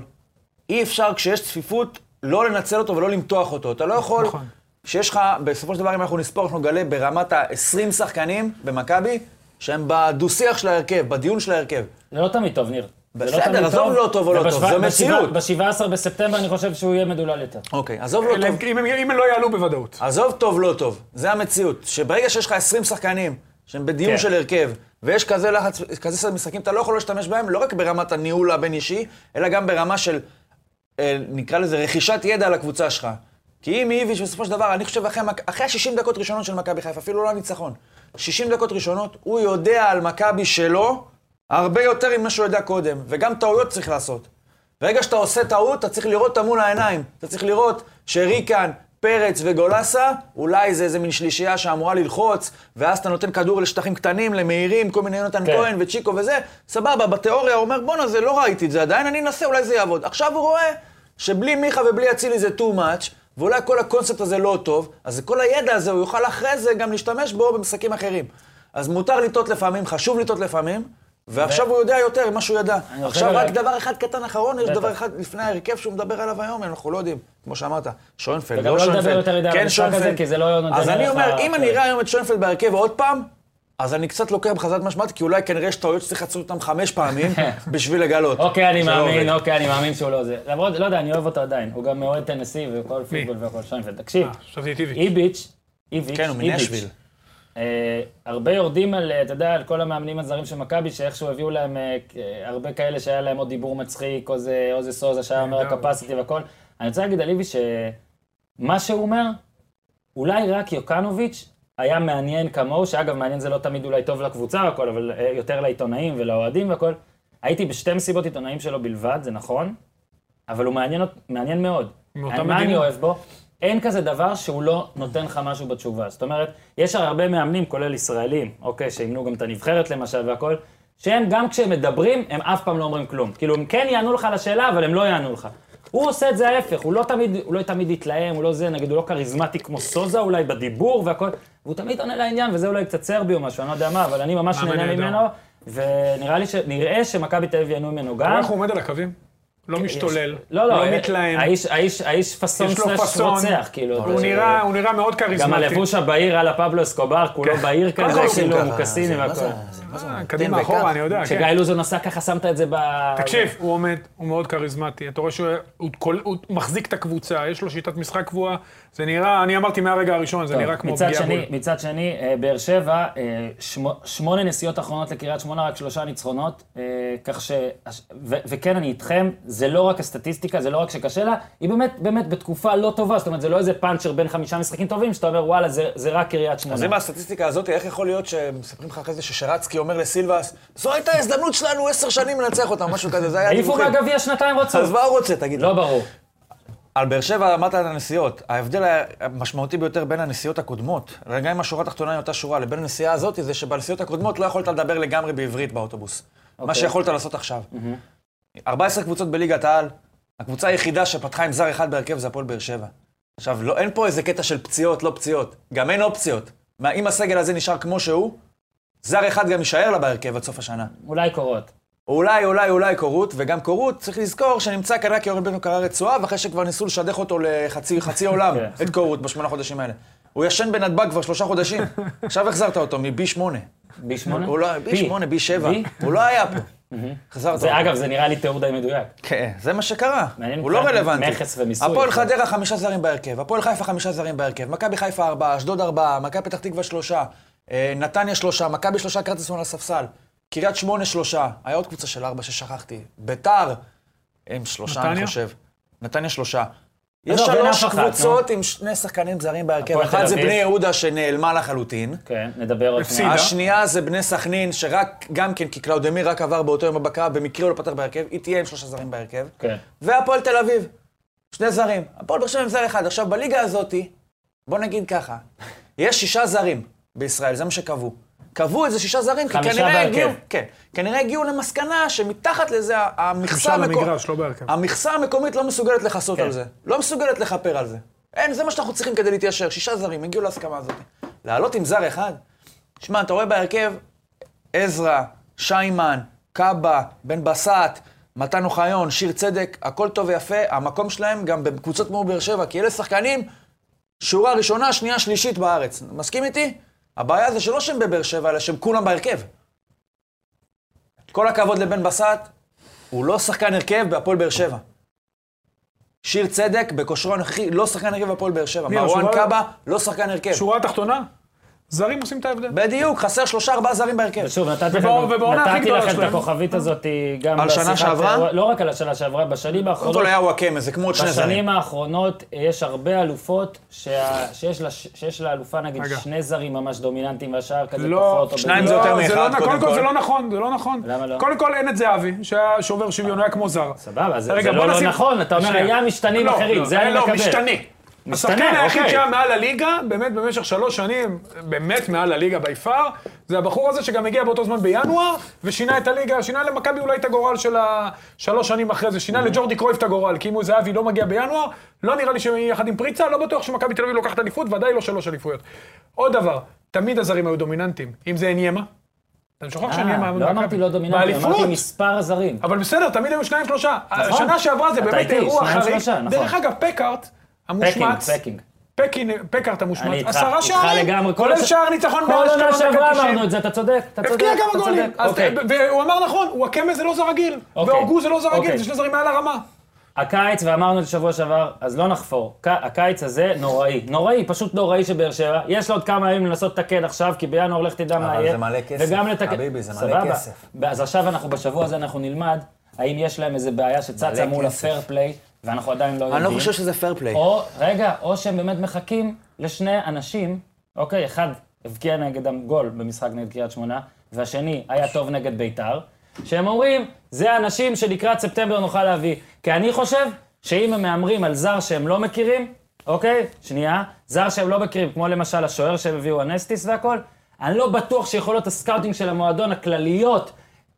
Speaker 4: אי אפשר כשיש צפיפות לא לנצל אותו ולא למתוח אותו. אתה לא יכול,
Speaker 3: נכון.
Speaker 4: שיש לך, בסופו של דבר, אם אנחנו נספור, אנחנו נגלה ברמת ה-20 שחקנים במכבי, שהם בדו-שיח של ההרכב, בדיון של ההרכב.
Speaker 1: זה לא תמיד טוב, ניר. זה
Speaker 4: בסדר,
Speaker 1: תמיד
Speaker 4: עזוב לא טוב או לא
Speaker 1: ובשבע-
Speaker 4: טוב, זו
Speaker 1: בשבעה-
Speaker 4: מציאות.
Speaker 1: ב-17 בספטמבר אני חושב שהוא יהיה מדולל יותר.
Speaker 4: אוקיי, עזוב לא
Speaker 3: אלא
Speaker 4: טוב.
Speaker 3: אם-
Speaker 1: כן.
Speaker 3: אם הם- אם הם לא יעלו בוודאות.
Speaker 4: עזוב טוב, לא טוב, זה המציאות. שברגע שיש לך 20 שחקנים שהם בדיון
Speaker 1: כן.
Speaker 4: של הרכב, ויש כזה לחץ, כזה סדר משחקים, אתה לא יכול להשתמש בהם, לא רק ברמת הניהול הבין-אישי, אלא גם ברמה של, אה, נקרא לזה, רכישת ידע על הקבוצה שלך. כי אם איביץ' בסופו של דבר, אני חושב אחרי, המק- אחרי ה-60 דקות ראשונות של מכבי חיפה, אפילו לא הניצחון, 60 דקות ראשונות, הוא יודע על מכבי שלו הרבה יותר ממה שהוא יודע קודם, וגם טעויות צריך לעשות. ברגע שאתה עושה טעות, אתה צריך לראות אותה מול העיניים. אתה צריך לראות שריקן, פרץ וגולסה, אולי זה איזה מין שלישייה שאמורה ללחוץ, ואז אתה נותן כדור לשטחים קטנים, למהירים, כל מיני יונתן
Speaker 1: כן.
Speaker 4: כן. כהן וצ'יקו וזה, סבבה, בתיאוריה הוא אומר, בואנה, זה לא ראיתי את זה עדיין, אני אנסה, אולי זה יעבוד. עכשיו הוא רואה שבלי מיכה ובלי אצילי זה too much, ואולי כל הקונספט הזה לא טוב, אז כל הידע הזה, הוא יוכל אחרי זה גם להשתמש בו במשחקים אחרים. אז מותר לטעות לפעמים, חשוב לטעות לפעמים, ועכשיו הוא יודע יותר ממה שהוא ידע.
Speaker 1: אני רוצה
Speaker 4: עכשיו רק
Speaker 1: להגיד-
Speaker 4: דבר אחד קטן אחרון, יש
Speaker 1: בטח.
Speaker 4: דבר אחד לפני ההרכב שהוא מדבר עליו היום, אנחנו לא יודעים, כמו שאמרת, שוינפלד,
Speaker 1: וגם
Speaker 4: לא
Speaker 1: לא לדבר
Speaker 4: שוינפלד,
Speaker 1: יותר מדי על
Speaker 4: כן
Speaker 1: המשחק הזה,
Speaker 4: שוינפלד.
Speaker 1: כי זה לא נותן
Speaker 4: אז אני
Speaker 1: לך-
Speaker 4: אומר, אם אני
Speaker 1: כן.
Speaker 4: אראה היום את שוינפלד בהרכב עוד פעם, אז אני קצת לוקח בחזרת משמעת, כי אולי כנראה יש טעויות שצריך לעשות אותן חמש פעמים בשביל לגלות.
Speaker 1: אוקיי, אני
Speaker 4: שלא
Speaker 1: מאמין,
Speaker 4: עובד.
Speaker 1: אוקיי, אני מאמין שהוא לא זה. למרות, לא יודע, אני אוהב אותו עדיין. הוא גם אוהד טנסי וכל פוטבול והכל שיינפלד. תקשיב,
Speaker 3: אה, חשבתי את איביץ'.
Speaker 1: איביץ', איביץ',
Speaker 4: כן, הוא מנשוויל.
Speaker 1: איביץ'. אה, הרבה יורדים על, אה, אתה יודע, על כל המאמנים הזרים של מכבי, שאיכשהו הביאו להם אה, כ- אה, הרבה כאלה שהיה להם עוד דיבור מצחיק, או זה או זה סוזה שהיה אומר
Speaker 3: נהדר.
Speaker 1: הקפסיטי והכל. אני רוצה להגיד על איביץ' שמה שהוא אומר, אולי רק יוקנוביץ' היה מעניין כמוהו, שאגב, מעניין זה לא תמיד אולי טוב לקבוצה והכל, אבל אה, יותר לעיתונאים ולאוהדים והכל. הייתי בשתי מסיבות עיתונאים שלו בלבד, זה נכון, אבל הוא מעניין, אות- מעניין מאוד.
Speaker 3: מאותה
Speaker 1: אני- מה אני
Speaker 3: מדינה.
Speaker 1: אוהב בו? אין כזה דבר שהוא לא נותן לך משהו בתשובה. זאת אומרת, יש הרבה מאמנים, כולל ישראלים, אוקיי, שאימנו גם את הנבחרת למשל והכל, שהם גם כשהם מדברים, הם אף פעם לא אומרים כלום. כאילו, הם כן יענו לך על השאלה, אבל הם לא יענו לך. הוא עושה את זה ההפך, הוא לא תמיד, הוא לא תמיד יתלהם, הוא לא זה, נגיד, הוא לא כריזמטי כמו סוזה אולי בדיבור והכל, והוא תמיד עונה לעניין, וזה אולי קצת סרבי או משהו, אני לא יודע מה, אבל אני ממש
Speaker 3: מאמן
Speaker 1: נהנה
Speaker 3: נהדר.
Speaker 1: ממנו, ונראה לי ש... נראה שמכבי תל אביב ייהנו ממנו
Speaker 3: אתה רואה
Speaker 1: גם.
Speaker 3: איך הוא עומד על הקווים? לא משתולל,
Speaker 1: לא, לא, אה,
Speaker 3: מתלהם.
Speaker 1: האיש- האיש האיש פאסון
Speaker 3: יש לו
Speaker 1: סלאש
Speaker 3: פאסון.
Speaker 1: רוצח, כאילו.
Speaker 3: הוא
Speaker 1: זה-
Speaker 4: אה,
Speaker 3: נראה- הוא נראה מאוד
Speaker 1: גם
Speaker 3: כריזמטי.
Speaker 1: הלבוש הבהיר על הפבלו אסקובר, כולו בהיר כזה,
Speaker 4: לא
Speaker 3: עושים
Speaker 1: כאילו,
Speaker 6: ככה?
Speaker 1: הוא קסיני
Speaker 6: זה- מה
Speaker 1: והכל.
Speaker 6: זה- זה- מה זה-
Speaker 3: אה, קדימה,
Speaker 6: תן
Speaker 3: אחורה,
Speaker 6: וכך.
Speaker 3: אני יודע, כן.
Speaker 1: כשגיא לוזון עשה ככה, שמת את זה ב...
Speaker 3: תקשיב, הוא עומד, הוא מאוד כריזמטי. אתה רואה שהוא הוא כל- הוא מחזיק את הקבוצה, יש לו שיטת משחק קבועה. זה נראה, אני אמרתי מהרגע הראשון, זה
Speaker 1: טוב,
Speaker 3: נראה כמו
Speaker 1: לא. מצד
Speaker 3: פגיעה
Speaker 1: שני,
Speaker 3: בול.
Speaker 1: מצד שני, אה, באר שבע, אה, שמו- שמונה נסיעות אחרונות לקריית שמונה, רק שלושה ניצחונות, אה, כך ש... הש- ו- וכן, אני איתכם, זה לא רק הסטטיסטיקה, זה לא רק שקשה לה, היא באמת, באמת בתקופה לא טובה, זאת אומרת, זה לא איזה פאנצ'ר בין חמישה משחקים טובים, שאתה אומר, וואלה, זה זה רק קריית שמונה.
Speaker 4: אז אם הסטטיסטיקה הזאת, איך יכול להיות שמספרים לך אחרי זה ששרצקי אומר לסילבס, זו הייתה ההזדמנות שלנו עשר שנים לנצח אותם, משהו כזה, זה היה
Speaker 1: העיפו מהגביע שנתיים רצוף.
Speaker 4: אז מה הוא רוצה, תגיד?
Speaker 1: לא ברור.
Speaker 4: על באר שבע אמרת על הנסיעות. ההבדל המשמעותי ביותר בין הנסיעות הקודמות, גם אם השורה התחתונה היא אותה שורה, לבין הנסיעה הזאת, זה שבנסיעות הקודמות לא יכולת לדבר לגמרי בעברית באוטובוס. מה שיכולת לעשות עכשיו. 14 קבוצות בליגת העל, הקבוצה היחידה שפתחה עם זר אחד בהרכב זה הפועל באר שבע. עכשיו, לא, אין פה איזה קטע של פציעות, לא פציעות. גם אין אופציות. מה, אם הסגל הזה נשאר כמו שהוא, זר אחד גם יישאר לה בהרכב עד סוף השנה.
Speaker 1: אולי קורות.
Speaker 4: אולי, אולי, אולי קורות, וגם קורות, צריך לזכור שנמצא כנראה כי אורן בנו קרא רצועה, ואחרי שכבר ניסו לשדך אותו לחצי חצי עולם,
Speaker 1: כן.
Speaker 4: את קורות, בשמונה חודשים האלה. הוא ישן בנתב"ג כבר שלושה חודשים, עכשיו החזרת אותו מ-B8.
Speaker 1: בי שמונה?
Speaker 4: הוא לא,
Speaker 1: פי.
Speaker 4: B8, B7,
Speaker 1: בי?
Speaker 4: הוא לא היה פה. החזרת אותו.
Speaker 1: זה, אגב, זה נראה לי תיאור די מדויק.
Speaker 4: כן, זה מה שקרה.
Speaker 1: מעניין
Speaker 4: הוא לא
Speaker 1: מבחינת
Speaker 4: רלוונטי.
Speaker 1: מכס ומיסוי. נכון.
Speaker 4: הפועל חדרה חמישה זרים בהרכב, הפועל חיפה חמישה זרים בהרכב, מכבי חיפה ארבעה, אשדוד ארבעה, מכבי פתח תקווה שלושה, אה, נתניה שלושה, מכבי שלושה קרטיסון על הספסל, קריית שמונה שלושה, היה עוד קבוצה של ארבע ששכחתי, ביתר, הם שלושה,
Speaker 3: נתניה?
Speaker 4: אני חושב. נתניה שלושה. יש
Speaker 1: לא, ואין
Speaker 4: שלוש
Speaker 1: אף אחת, נו.
Speaker 4: קבוצות עם שני שחקנים זרים בהרכב,
Speaker 1: הפועל תל
Speaker 4: אחת זה
Speaker 1: אביב.
Speaker 4: בני יהודה שנעלמה לחלוטין.
Speaker 1: כן, נדבר עוד
Speaker 3: הפסיד.
Speaker 1: מעט.
Speaker 4: השנייה זה בני סכנין, שרק, גם כן, כי קלאודמיר רק עבר באותו יום הבקרה, במקרה הוא לא פתח בהרכב, היא תהיה עם שלושה זרים בהרכב.
Speaker 1: כן.
Speaker 4: והפועל תל אביב, שני זרים. הפועל באר שבע עם זר אחד. עכשיו, בליגה הזאתי, בוא נגיד ככה, יש שישה זרים בישראל, זה מה שקבעו. קבעו איזה שישה זרים, כי
Speaker 1: חמישה
Speaker 4: כנראה
Speaker 1: בהרכב.
Speaker 4: הגיעו, כן, כנראה הגיעו למסקנה שמתחת לזה ה- המכסה,
Speaker 3: אפשר
Speaker 4: המקו-
Speaker 3: למגרש, לא בהרכב.
Speaker 4: המכסה המקומית לא מסוגלת לכסות
Speaker 1: כן.
Speaker 4: על זה. לא מסוגלת לכפר על זה. אין, זה מה שאנחנו צריכים כדי להתיישר. שישה זרים, הגיעו להסכמה הזאת. לעלות עם זר אחד? שמע, אתה רואה בהרכב, עזרא, שיימן, קאבה, בן בסט, מתן אוחיון, שיר צדק, הכל טוב ויפה, המקום שלהם גם בקבוצות כמו באר שבע, כי אלה שחקנים, שורה ראשונה, שנייה, שלישית בארץ. מסכים איתי? הבעיה זה שלא שהם בבאר שבע, אלא שהם כולם בהרכב. כל הכבוד לבן בסט, הוא לא שחקן הרכב בהפועל באר שבע. שיר צדק, בכושרו הנוכחי, לא שחקן הרכב בהפועל באר שבע.
Speaker 3: מי,
Speaker 4: מרואן
Speaker 3: השורה-
Speaker 4: קאבה, לא שחקן הרכב.
Speaker 3: שורה התחתונה, זרים עושים את ההבדל.
Speaker 4: בדיוק, חסר שלושה ארבעה זרים בהרכב.
Speaker 1: ושוב, נתתי לכם,
Speaker 3: ובעונה- ובעונה הכי
Speaker 1: נתתי
Speaker 3: גדולה
Speaker 1: לכם את
Speaker 3: שלהם.
Speaker 1: הכוכבית הזאת אה, גם
Speaker 4: על שנה
Speaker 1: בשיחת-
Speaker 4: שעברה?
Speaker 1: לא רק על השנה שעברה, בשנים
Speaker 4: קודם
Speaker 1: האחרונות,
Speaker 4: כל היה וואקמה, זה כמו עוד שני זרים.
Speaker 1: בשנים האחרונות אה, יש הרבה אלופות שה- שיש לה- שיש לאלופה נגיד
Speaker 3: רגע.
Speaker 1: שני זרים ממש דומיננטיים והשאר כזה
Speaker 3: לא,
Speaker 1: פחות. או
Speaker 4: שניים
Speaker 1: בדיוק.
Speaker 4: זה
Speaker 3: לא,
Speaker 4: יותר
Speaker 3: זה
Speaker 4: מאחד,
Speaker 3: לא נ-
Speaker 4: קודם
Speaker 3: קודם כל
Speaker 4: כל.
Speaker 3: זה לא נכון, זה לא נכון.
Speaker 1: למה לא?
Speaker 3: קודם כל אין את זהבי, שהיה שובר שוויון, הוא היה כמו זר.
Speaker 1: סבבה, זה-
Speaker 3: רגע,
Speaker 1: זה
Speaker 3: בוא
Speaker 1: לא לא
Speaker 3: נשים-
Speaker 1: נכון, אתה אומר,
Speaker 3: שנייה.
Speaker 1: היה משתנים
Speaker 3: לא,
Speaker 1: אחרים,
Speaker 3: לא,
Speaker 1: זה אני
Speaker 3: לא,
Speaker 1: מקבל.
Speaker 3: משתנה. השחקן היחיד
Speaker 1: אוקיי.
Speaker 3: שהיה מעל הליגה, באמת במשך שלוש שנים, באמת מעל הליגה בי פאר, זה הבחור הזה שגם הגיע באותו זמן בינואר, ושינה את הליגה, שינה למכבי אולי את הגורל של השלוש שנים אחרי זה, שינה לג'ורדי קרויף את הגורל, כי אם הוא זהבי לא מגיע בינואר, לא נראה לי שיחד עם פריצה, לא בטוח שמכבי תל אביב לוקחת אליפות, ודאי לא שלוש אליפויות. עוד דבר, תמיד הזרים היו דומיננטיים, אם זה עניימה. אתה שוכח שעניימה...
Speaker 1: אה,
Speaker 3: היה
Speaker 1: לא
Speaker 3: במכבי.
Speaker 1: אמרתי לא דומיננטי, אמרתי
Speaker 3: באליפות.
Speaker 1: מספר הזרים.
Speaker 3: אבל בסדר, תמיד היו שניים שלושה.
Speaker 1: נכון.
Speaker 3: השנה שעברה זה
Speaker 1: אתה
Speaker 3: באמת
Speaker 1: איתי,
Speaker 3: אירוע
Speaker 1: שניים,
Speaker 3: חריג.
Speaker 1: שלושה, נכון.
Speaker 3: דרך אגב, פקארט
Speaker 1: פקינג,
Speaker 3: המושמץ,
Speaker 1: פקינג.
Speaker 3: פקין- פקארט
Speaker 1: אני
Speaker 3: המושמץ,
Speaker 1: איתך,
Speaker 3: עשרה
Speaker 1: איתך
Speaker 3: שערים,
Speaker 1: לגמרי. כל
Speaker 3: כולל
Speaker 1: הש-
Speaker 3: שער ניצחון
Speaker 1: כל
Speaker 3: באשקלון
Speaker 1: עונה
Speaker 3: דקה
Speaker 1: שעברה
Speaker 3: 90.
Speaker 1: אמרנו את זה, אתה צודק, אתה צודק,
Speaker 3: הבקיע
Speaker 1: אתה
Speaker 3: לא, כמה גולים.
Speaker 1: צודק.
Speaker 3: אז-
Speaker 1: אוקיי.
Speaker 3: והוא אמר נכון, וואקמה זה לא זר רגיל,
Speaker 1: אוקיי.
Speaker 3: והוגו זה לא זר רגיל,
Speaker 1: אוקיי.
Speaker 3: זה שני זרים מעל הרמה.
Speaker 1: הקיץ, ואמרנו את זה שבוע שעבר, אז לא נחפור. ק- הקיץ הזה נוראי. נוראי, פשוט נוראי שבאר שבע. יש לו עוד כמה ימים לנסות לתקן עכשיו, כי בינואר לך תדע מה יהיה.
Speaker 4: אבל זה מלא כסף,
Speaker 1: וגם לתקן...
Speaker 4: חביבי, זה מלא
Speaker 1: סבבה.
Speaker 4: כסף.
Speaker 1: אז עכשיו אנחנו, בשבוע הזה אנחנו נלמד, האם יש להם איזה בעיה שצצה
Speaker 4: מלא
Speaker 1: מול
Speaker 4: כסף.
Speaker 1: הפייר פליי, ואנחנו עדיין לא יודעים.
Speaker 4: אני לא חושב שזה פייר פליי.
Speaker 1: או, רגע, או שהם באמת מחכים לשני אנשים, אוקיי, אחד הבקיע נגד גול במשחק נגד קריית שמונה, והשני היה טוב נגד ביתר, שהם אומרים, זה האנשים שלקראת ספטמבר נוכל להביא. כי אני חושב שאם הם מהמרים על זר שהם לא מכירים, אוקיי, שנייה, זר שהם לא מכירים, כמו למשל השוער שהם הביאו, אנסטיס והכל, אני לא בטוח שיכולות הסקאוטינג של המועדון הכלליות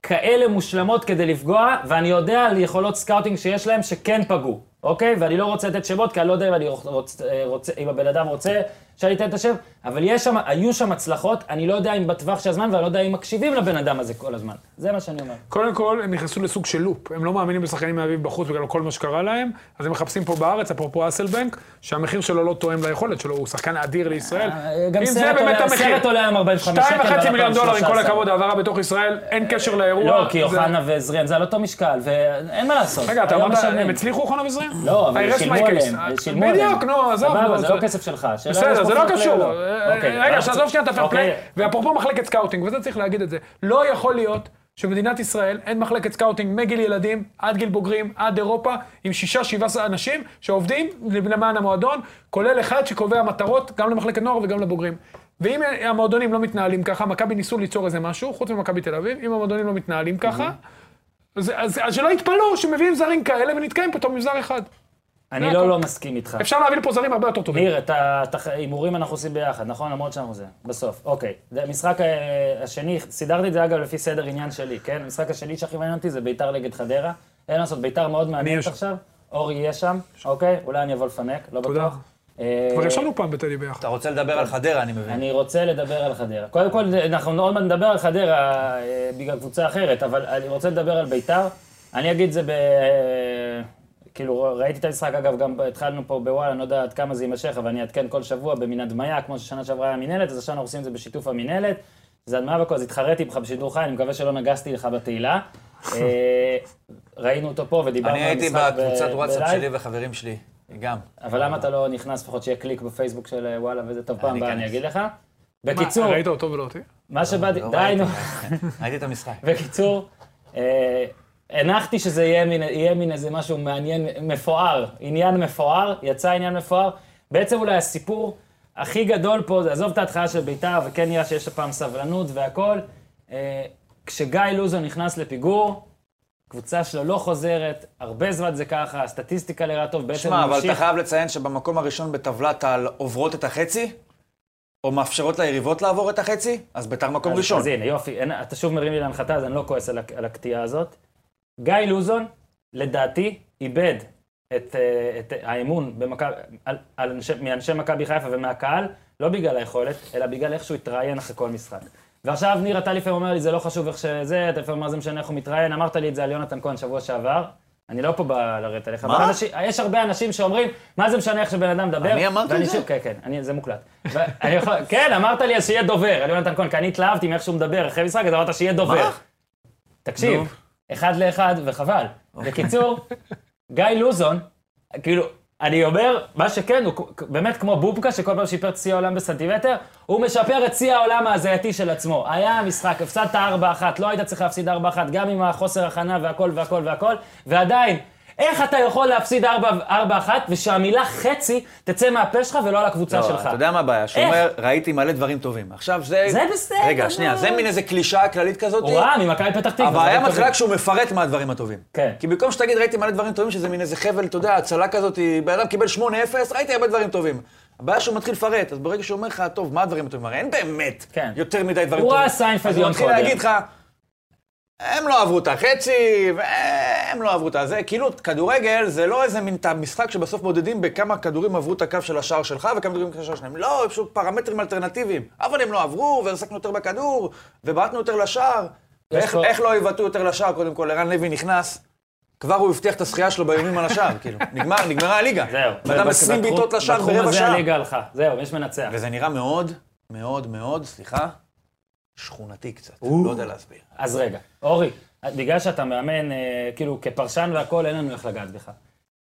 Speaker 1: כאלה מושלמות כדי לפגוע, ואני יודע על יכולות סקאוטינג שיש להם שכן פגעו. אוקיי? ואני לא רוצה לתת שמות, כי אני לא יודע אם, אני רוצ, אה, רוצה, אם הבן אדם רוצה שאני אתן את השם, אבל יש שם, היו שם הצלחות, אני לא יודע אם בטווח של הזמן, ואני לא יודע אם מקשיבים לבן אדם הזה כל הזמן. זה מה שאני אומר.
Speaker 3: קודם כל, הם נכנסו לסוג של לופ. הם לא מאמינים בשחקנים מהאביב בחוץ בגלל כל מה שקרה להם, אז הם מחפשים פה בארץ, אפרופו אסלבנק, שהמחיר שלו לא תואם ליכולת שלו, הוא שחקן אדיר לישראל.
Speaker 1: אה, גם
Speaker 3: אם זה
Speaker 1: סרט
Speaker 3: באמת
Speaker 1: עולה-
Speaker 3: המחיר.
Speaker 1: סרט עולה היום 45 שקל,
Speaker 3: שתיים וחצי
Speaker 1: ואנחנו
Speaker 3: מיליון
Speaker 1: על
Speaker 3: דולר, עם כל
Speaker 1: 13.
Speaker 3: הכבוד, העברה בתוך ישראל, אין קשר לאירוע.
Speaker 1: לא, כי
Speaker 3: זה-
Speaker 1: אוחנה וזריאן זה על אותו משקל, ואין מה לעשות.
Speaker 3: רגע, אתה
Speaker 1: היום
Speaker 3: אמרת,
Speaker 1: משלמים.
Speaker 3: הם הצליחו אוחנה וזריאן?
Speaker 1: לא, אבל
Speaker 3: הירס
Speaker 1: שילמו
Speaker 3: מייקלס.
Speaker 1: עליהם, שילמו עליהם.
Speaker 3: אה, בדיוק, נו, עזוב.
Speaker 1: סבבה,
Speaker 3: נו,
Speaker 1: זה לא כסף שלך. השאלה אם יש
Speaker 3: בסדר,
Speaker 1: פה
Speaker 3: זה לא
Speaker 1: fair play או
Speaker 3: קשור.
Speaker 1: לא.
Speaker 3: אה,
Speaker 1: אוקיי,
Speaker 3: רגע,
Speaker 1: אבל-
Speaker 3: שעזוב שנייה את הפייר פליי,
Speaker 1: אוקיי,
Speaker 3: ואפרופו מחלקת סקאוטינג, וזה צריך להגיד את זה. לא יכול להיות שבמדינת ישראל אין מחלקת סקאוטינג מגיל ילדים עד גיל בוגרים, עד אירופה, עם שישה, שבעה אנשים שעובדים למען המועדון, כולל אחד שקובע מטרות גם למחלקת נוער וגם לבוגרים. ואם המועדונים לא מתנהלים ככה, מכבי ניסו ליצור איזה משהו, חוץ ממכבי תל אביב, אם המועדונים לא מתנהלים ככה,
Speaker 1: Mm-hmm.
Speaker 3: אז, אז, אז שלא יתפלאו שמביאים זרים כאלה ונתקעים פתאום עם זר אחד.
Speaker 1: אני לא לא מסכים איתך.
Speaker 3: אפשר להביא לפה זרים הרבה יותר טובים.
Speaker 1: ניר, את ה- את ההימורים אנחנו עושים ביחד, נכון? למרות שאנחנו זה. בסוף, אוקיי. זה המשחק אה, השני, סידרתי את זה אגב לפי סדר עניין שלי, כן? המשחק השני שהכי מעניין אותי זה ביתר נגד חדרה. אין מה לעשות, ביתר מאוד מעניינת
Speaker 3: שם?
Speaker 1: עכשיו. אורי יהיה שם, אוקיי? אולי אני אבוא לפנק, לא
Speaker 3: תודה.
Speaker 1: בטוח. אה,
Speaker 3: כבר ישבנו פעם בטדי ביחד.
Speaker 4: אתה רוצה לדבר על חדרה, אני מבין.
Speaker 1: כן. אני רוצה לדבר על חדרה. קודם כל, אנחנו עוד מעט נדבר על חדרה אה, בגלל קבוצה אחרת, אבל אני רוצה לדבר על ביתר. אני אגיד זה ב... אה, כאילו, ראיתי את המשחק, אגב, גם התחלנו פה בוואלה, אני לא יודע עד כמה זה יימשך, אבל אני אעדכן כל שבוע במין הדמיה, כמו ששנה שעברה היה מינהלת, אז השנה אנחנו עושים את זה בשיתוף המינהלת. זה הדמיה והכל, אז התחרתי בך בשידור חי, אני מקווה שלא נגסתי לך בתהילה. אה, ראינו אותו פה ודיברנו
Speaker 4: אני
Speaker 1: על המשחק
Speaker 4: הייתי
Speaker 1: ב-
Speaker 4: בקבוצת וואטסאפ
Speaker 1: בלייב.
Speaker 4: שלי וחברים שלי, גם.
Speaker 1: אבל למה אתה לא נכנס, לפחות שיהיה קליק בפייסבוק של אה, וואלה וזה טוב, פעם הבאה אני
Speaker 4: אכנס.
Speaker 1: אגיד לך. בקיצור,
Speaker 3: מה, ראית אותו ולא אותי?
Speaker 1: מה שבאתי,
Speaker 4: לא
Speaker 1: די נו.
Speaker 4: ראיתי. ראיתי את המשחק.
Speaker 1: בקיצור, אה, הנחתי שזה יהיה מין, יהיה מין איזה משהו מעניין, מפואר, עניין מפואר, יצא עניין מפואר. בעצם אולי הסיפור הכי גדול פה, זה עזוב את ההתחלה של בית"ר, וכן נראה שיש הפעם סבלנות והכול. אה, כשגיא לוזון נכנס לפיגור, קבוצה שלו לא חוזרת, הרבה זמן זה ככה, הסטטיסטיקה לרעה טוב, בעצם
Speaker 4: שמע,
Speaker 1: הוא
Speaker 4: אבל אתה
Speaker 1: ממשיך.
Speaker 4: חייב לציין שבמקום הראשון בטבלת העוברות את החצי, או מאפשרות ליריבות לעבור את החצי, אז ביתר מקום
Speaker 1: אז-
Speaker 4: ראשון.
Speaker 1: אז הנה, יופי, אין, אתה שוב מרים לי להנחתה, אז אני לא כועס על, הק- על הקטיעה הזאת. גיא לוזון, לדעתי, איבד את, אה, את האמון במכב, על, על אנשי, מאנשי מכבי חיפה ומהקהל, לא בגלל היכולת, אלא בגלל איך שהוא התראיין אחרי כל משחק. ועכשיו, ניר, אתה לפעמים אומר לי, זה לא חשוב איך שזה, אתה לפעמים אומר, זה משנה איך הוא מתראיין, אמרת לי את זה על יונתן כהן שבוע שעבר. אני לא פה בא לרדת עליך, אבל אנשים- יש הרבה אנשים שאומרים, מה זה משנה איך שבן אדם מדבר?
Speaker 4: אני אמרתי
Speaker 1: ואני
Speaker 4: את זה?
Speaker 1: שוב- כן, כן, אני, זה מוקלט. ואני יכול, כן, אמרת לי אז שיהיה דובר, על יונתן כהן, כי אני התלהבתי מאיך שהוא מדבר אחרי משחק, אז אמרת שיהיה דובר. תקשיב, אחד לאחד, וחבל.
Speaker 4: אוקיי.
Speaker 1: בקיצור, גיא לוזון, כאילו, אני אומר, מה שכן, הוא כ- באמת כמו בובקה, שכל פעם שיפר את שיא העולם בסנטימטר, הוא משפר את שיא העולם ההזייתי של עצמו. היה משחק, הפסדת 4-1, לא היית צריך להפסיד 4-1, גם עם החוסר הכנה והכל והכל והכל, ועדיין, איך אתה יכול להפסיד 4-1 ושהמילה חצי תצא מהפה שלך ולא על הקבוצה
Speaker 4: לא,
Speaker 1: שלך?
Speaker 4: אתה יודע מה הבעיה? שהוא
Speaker 1: איך?
Speaker 4: אומר, ראיתי מלא דברים טובים. עכשיו זה...
Speaker 1: זה בסדר.
Speaker 4: רגע, שנייה, זה מין איזה קלישאה כללית כזאת.
Speaker 1: הוא ראה ממכבי פתח תקווה.
Speaker 4: הבעיה
Speaker 1: דברים טובים.
Speaker 4: מתחילה כשהוא מפרט מה הדברים הטובים.
Speaker 1: כן.
Speaker 4: כי במקום שתגיד, ראיתי מלא דברים טובים, שזה מין איזה חבל, אתה יודע, הצלה כזאת, בן אדם קיבל 8-0, ראיתי הרבה דברים טובים. הבעיה שהוא מתחיל לפרט, אז ברגע שהוא אומר לך, טוב, מה הדברים הטובים? הרי אין באמת
Speaker 1: כן.
Speaker 4: יותר מדי דברים
Speaker 1: הוא
Speaker 4: טובים.
Speaker 1: ראה סיינפלד יום
Speaker 4: אז הוא
Speaker 1: קודם.
Speaker 4: מתחיל להגיד לך, הם לא עברו את החצי, והם לא עברו את הזה. כאילו, כדורגל זה לא איזה מין את המשחק שבסוף מודדים בכמה כדורים עברו את הקו של השער שלך וכמה כדורים של השער שלהם. לא, יש פשוט פרמטרים אלטרנטיביים. אבל הם לא עברו, והרסקנו יותר בכדור, ובעטנו יותר לשער.
Speaker 1: יש
Speaker 4: ואיך
Speaker 1: פה-
Speaker 4: איך לא יבעטו יותר לשער, קודם כל, ערן לוי נכנס. כבר הוא הבטיח את הזכייה שלו באיומים על השער, כאילו. נגמר, נגמרה הליגה.
Speaker 1: זהו.
Speaker 4: ואדם
Speaker 1: בתחום-
Speaker 4: 20 בעיטות לשער
Speaker 1: בתחום
Speaker 4: ברבע
Speaker 1: הזה
Speaker 4: שעה.
Speaker 1: הליגה הלכה. זהו, יש מנצח.
Speaker 4: וזה נראה מאוד, מאוד, מאוד, סליחה, שכונתי קצת. לא יודע להסביר.
Speaker 1: אז רגע, אורי, בגלל שאתה מאמן, אה, כאילו, כפרשן והכול, אין לנו איך לגעת בך.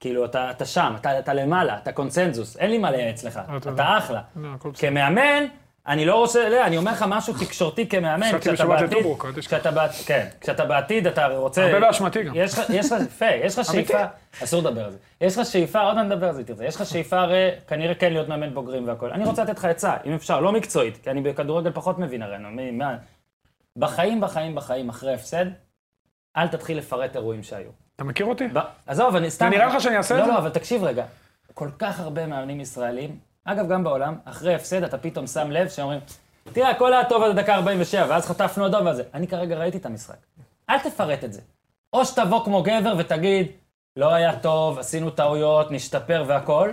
Speaker 1: כאילו, אתה, אתה שם, אתה, אתה למעלה, אתה קונצנזוס, אין לי מה לייעץ לך, אתה
Speaker 3: תודה.
Speaker 1: אחלה.
Speaker 3: לא, הכל בסדר.
Speaker 1: כמאמן, אני לא רוצה, לא, אני אומר לך משהו תקשורתי כמאמן,
Speaker 3: חשבתי
Speaker 1: כשאתה
Speaker 3: בשבת
Speaker 1: בעתיד,
Speaker 3: לטוברוק, אל תשכח.
Speaker 1: כשאתה בעתיד, כן, כשאתה בעתיד, אתה הרי רוצה...
Speaker 3: הרבה באשמתי גם.
Speaker 1: יש לך, יש לך, יפה, יש לך שאיפה, אסור לדבר על זה. יש לך שאיפה, עוד מעט נדבר על זה, תרצה. יש לך שאיפה הרי כנראה כן להיות מאמן בוגרים והכול. אני רוצה לתת לך עצה, אם אפשר, לא מקצועית, כי אני בכדורגל פחות מבין הרי, נו, מי- מה... בחיים, בחיים, בחיים, אחרי הפסד, אל תתחיל לפרט אירועים שהיו.
Speaker 3: אתה מכיר אותי?
Speaker 1: ב- עזוב, אני סתם...
Speaker 3: זה נראה לך שאני אעשה
Speaker 1: לא,
Speaker 3: את זה?
Speaker 1: לא, אבל תקשיב רגע. כל כך הרבה מאמנים ישראלים, אגב, גם בעולם, אחרי הפסד אתה פתאום שם לב שאומרים, תראה, הכל היה טוב עד הדקה 47, ואז חטפנו אדום וזה. אני כרגע ראיתי את המשחק. אל תפרט את זה. או שתבוא כמו גבר ותגיד, לא היה טוב, עשינו טעויות, נשתפר והכול,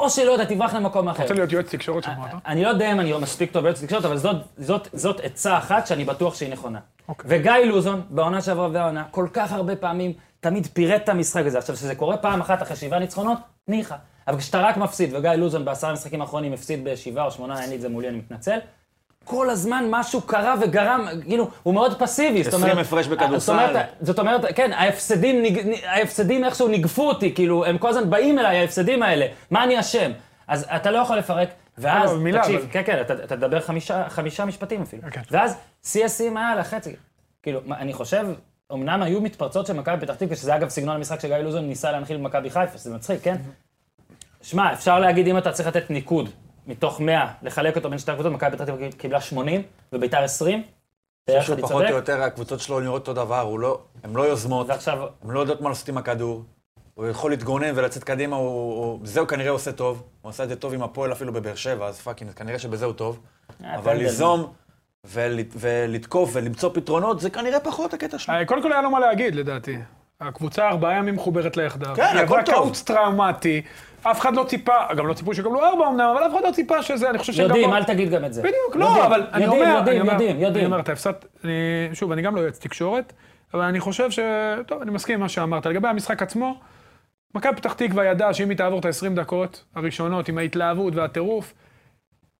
Speaker 1: או שלא יודע, תברח למקום אחר.
Speaker 3: רוצה להיות יועץ תקשורת שלך, אתה?
Speaker 1: אני לא יודע אם אני מספיק טוב ביועץ תקשורת, אבל זאת, זאת, זאת עצה אחת שאני בטוח שהיא נכונה.
Speaker 3: אוקיי.
Speaker 1: וגיא לוזון, בעונה שעברה והעונה, כל כך הרבה פעמים, תמיד פירט את המשחק הזה. עכשיו, כשזה קורה פעם אחת אחרי שבעה ניצחונות, ניחא. אבל כשאתה רק מפסיד, וגיא לוזון בעשרה המשחקים האחרונים הפסיד בשבעה או שמונה, אין לי את זה מולי, אני מתנצל. כל הזמן משהו קרה וגרם, כאילו, הוא מאוד פסיבי. זאת אומרת-
Speaker 4: עשרים הפרש בכדורסל.
Speaker 1: זאת אומרת, זאת אומרת, כן, ההפסדים, נג... נ- ההפסדים איכשהו ניגפו אותי, כאילו, הם כל הזמן באים אליי, ההפסדים האלה, מה אני אשם? אז אתה לא יכול לפרק, ואז,
Speaker 3: לא, מילה,
Speaker 1: תקשיב,
Speaker 3: אבל-
Speaker 1: כן, כן, אתה, אתה תדבר חמישה, חמישה משפטים אפילו.
Speaker 3: אוקיי.
Speaker 1: ואז CSים היה על החצי. כאילו, מה, אני חושב, אמנם היו מתפרצות של מכבי פתח תקווה, שזה אגב סגנון המשחק שגיא לוזון ניסה להנחיל במכבי חיפה, שזה מצחיק, כן? שמע, אפשר להגיד, אם אתה צריך לתת ניקוד מתוך 100, לחלק אותו בין שתי הקבוצות, מכבי פתח תקווה קיבלה 80, וביתר 20, בערך
Speaker 4: שהוא
Speaker 1: אני
Speaker 4: פחות
Speaker 1: צודק,
Speaker 4: או יותר, הקבוצות שלו נראות אותו דבר, הוא לא, הן לא יוזמות,
Speaker 1: ועכשיו אה,
Speaker 4: הן לא יודעות מה לעשות עם הכדור, הוא יכול להתגונן ולצאת קדימה, הוא, הוא, זה הוא כנראה עושה טוב, הוא עשה את זה טוב עם הפועל אפילו בבאר שבע, אז פאקינג, כנראה שבזה הוא טוב,
Speaker 1: אה,
Speaker 4: אבל
Speaker 1: פנדל.
Speaker 4: ליזום ול, ולתקוף ולמצוא פתרונות, זה כנראה פחות הקטע שלו.
Speaker 3: אה, קודם כל היה לו מה להגיד, לדעתי. הקבוצה ארבעה ימים מחוברת ליחדיו.
Speaker 4: כן, הכל
Speaker 3: היא
Speaker 4: טוב.
Speaker 3: עברה קאוץ טראומטי, אף אחד לא ציפה, גם לא ציפו שיקבלו ארבע אמנם, אבל אף אחד לא ציפה שזה, אני חושב שגם... לא-
Speaker 1: יודעים,
Speaker 3: ב-
Speaker 1: אל תגיד גם את זה.
Speaker 3: בדיוק,
Speaker 1: יודעים,
Speaker 3: לא, אבל אני
Speaker 1: יודעים,
Speaker 3: אומר, אני
Speaker 1: יודעים,
Speaker 3: אומר-
Speaker 1: יודעים,
Speaker 3: אני
Speaker 1: יודעים.
Speaker 3: אומר, אתה הפסדת, אני- שוב, אני גם לא יועץ תקשורת, אבל אני חושב ש... טוב, אני מסכים עם מה שאמרת. לגבי המשחק עצמו, מכבי פתח תקווה ידעה שאם היא תעבור את ה-20 דקות הראשונות עם ההתלהבות והטירוף,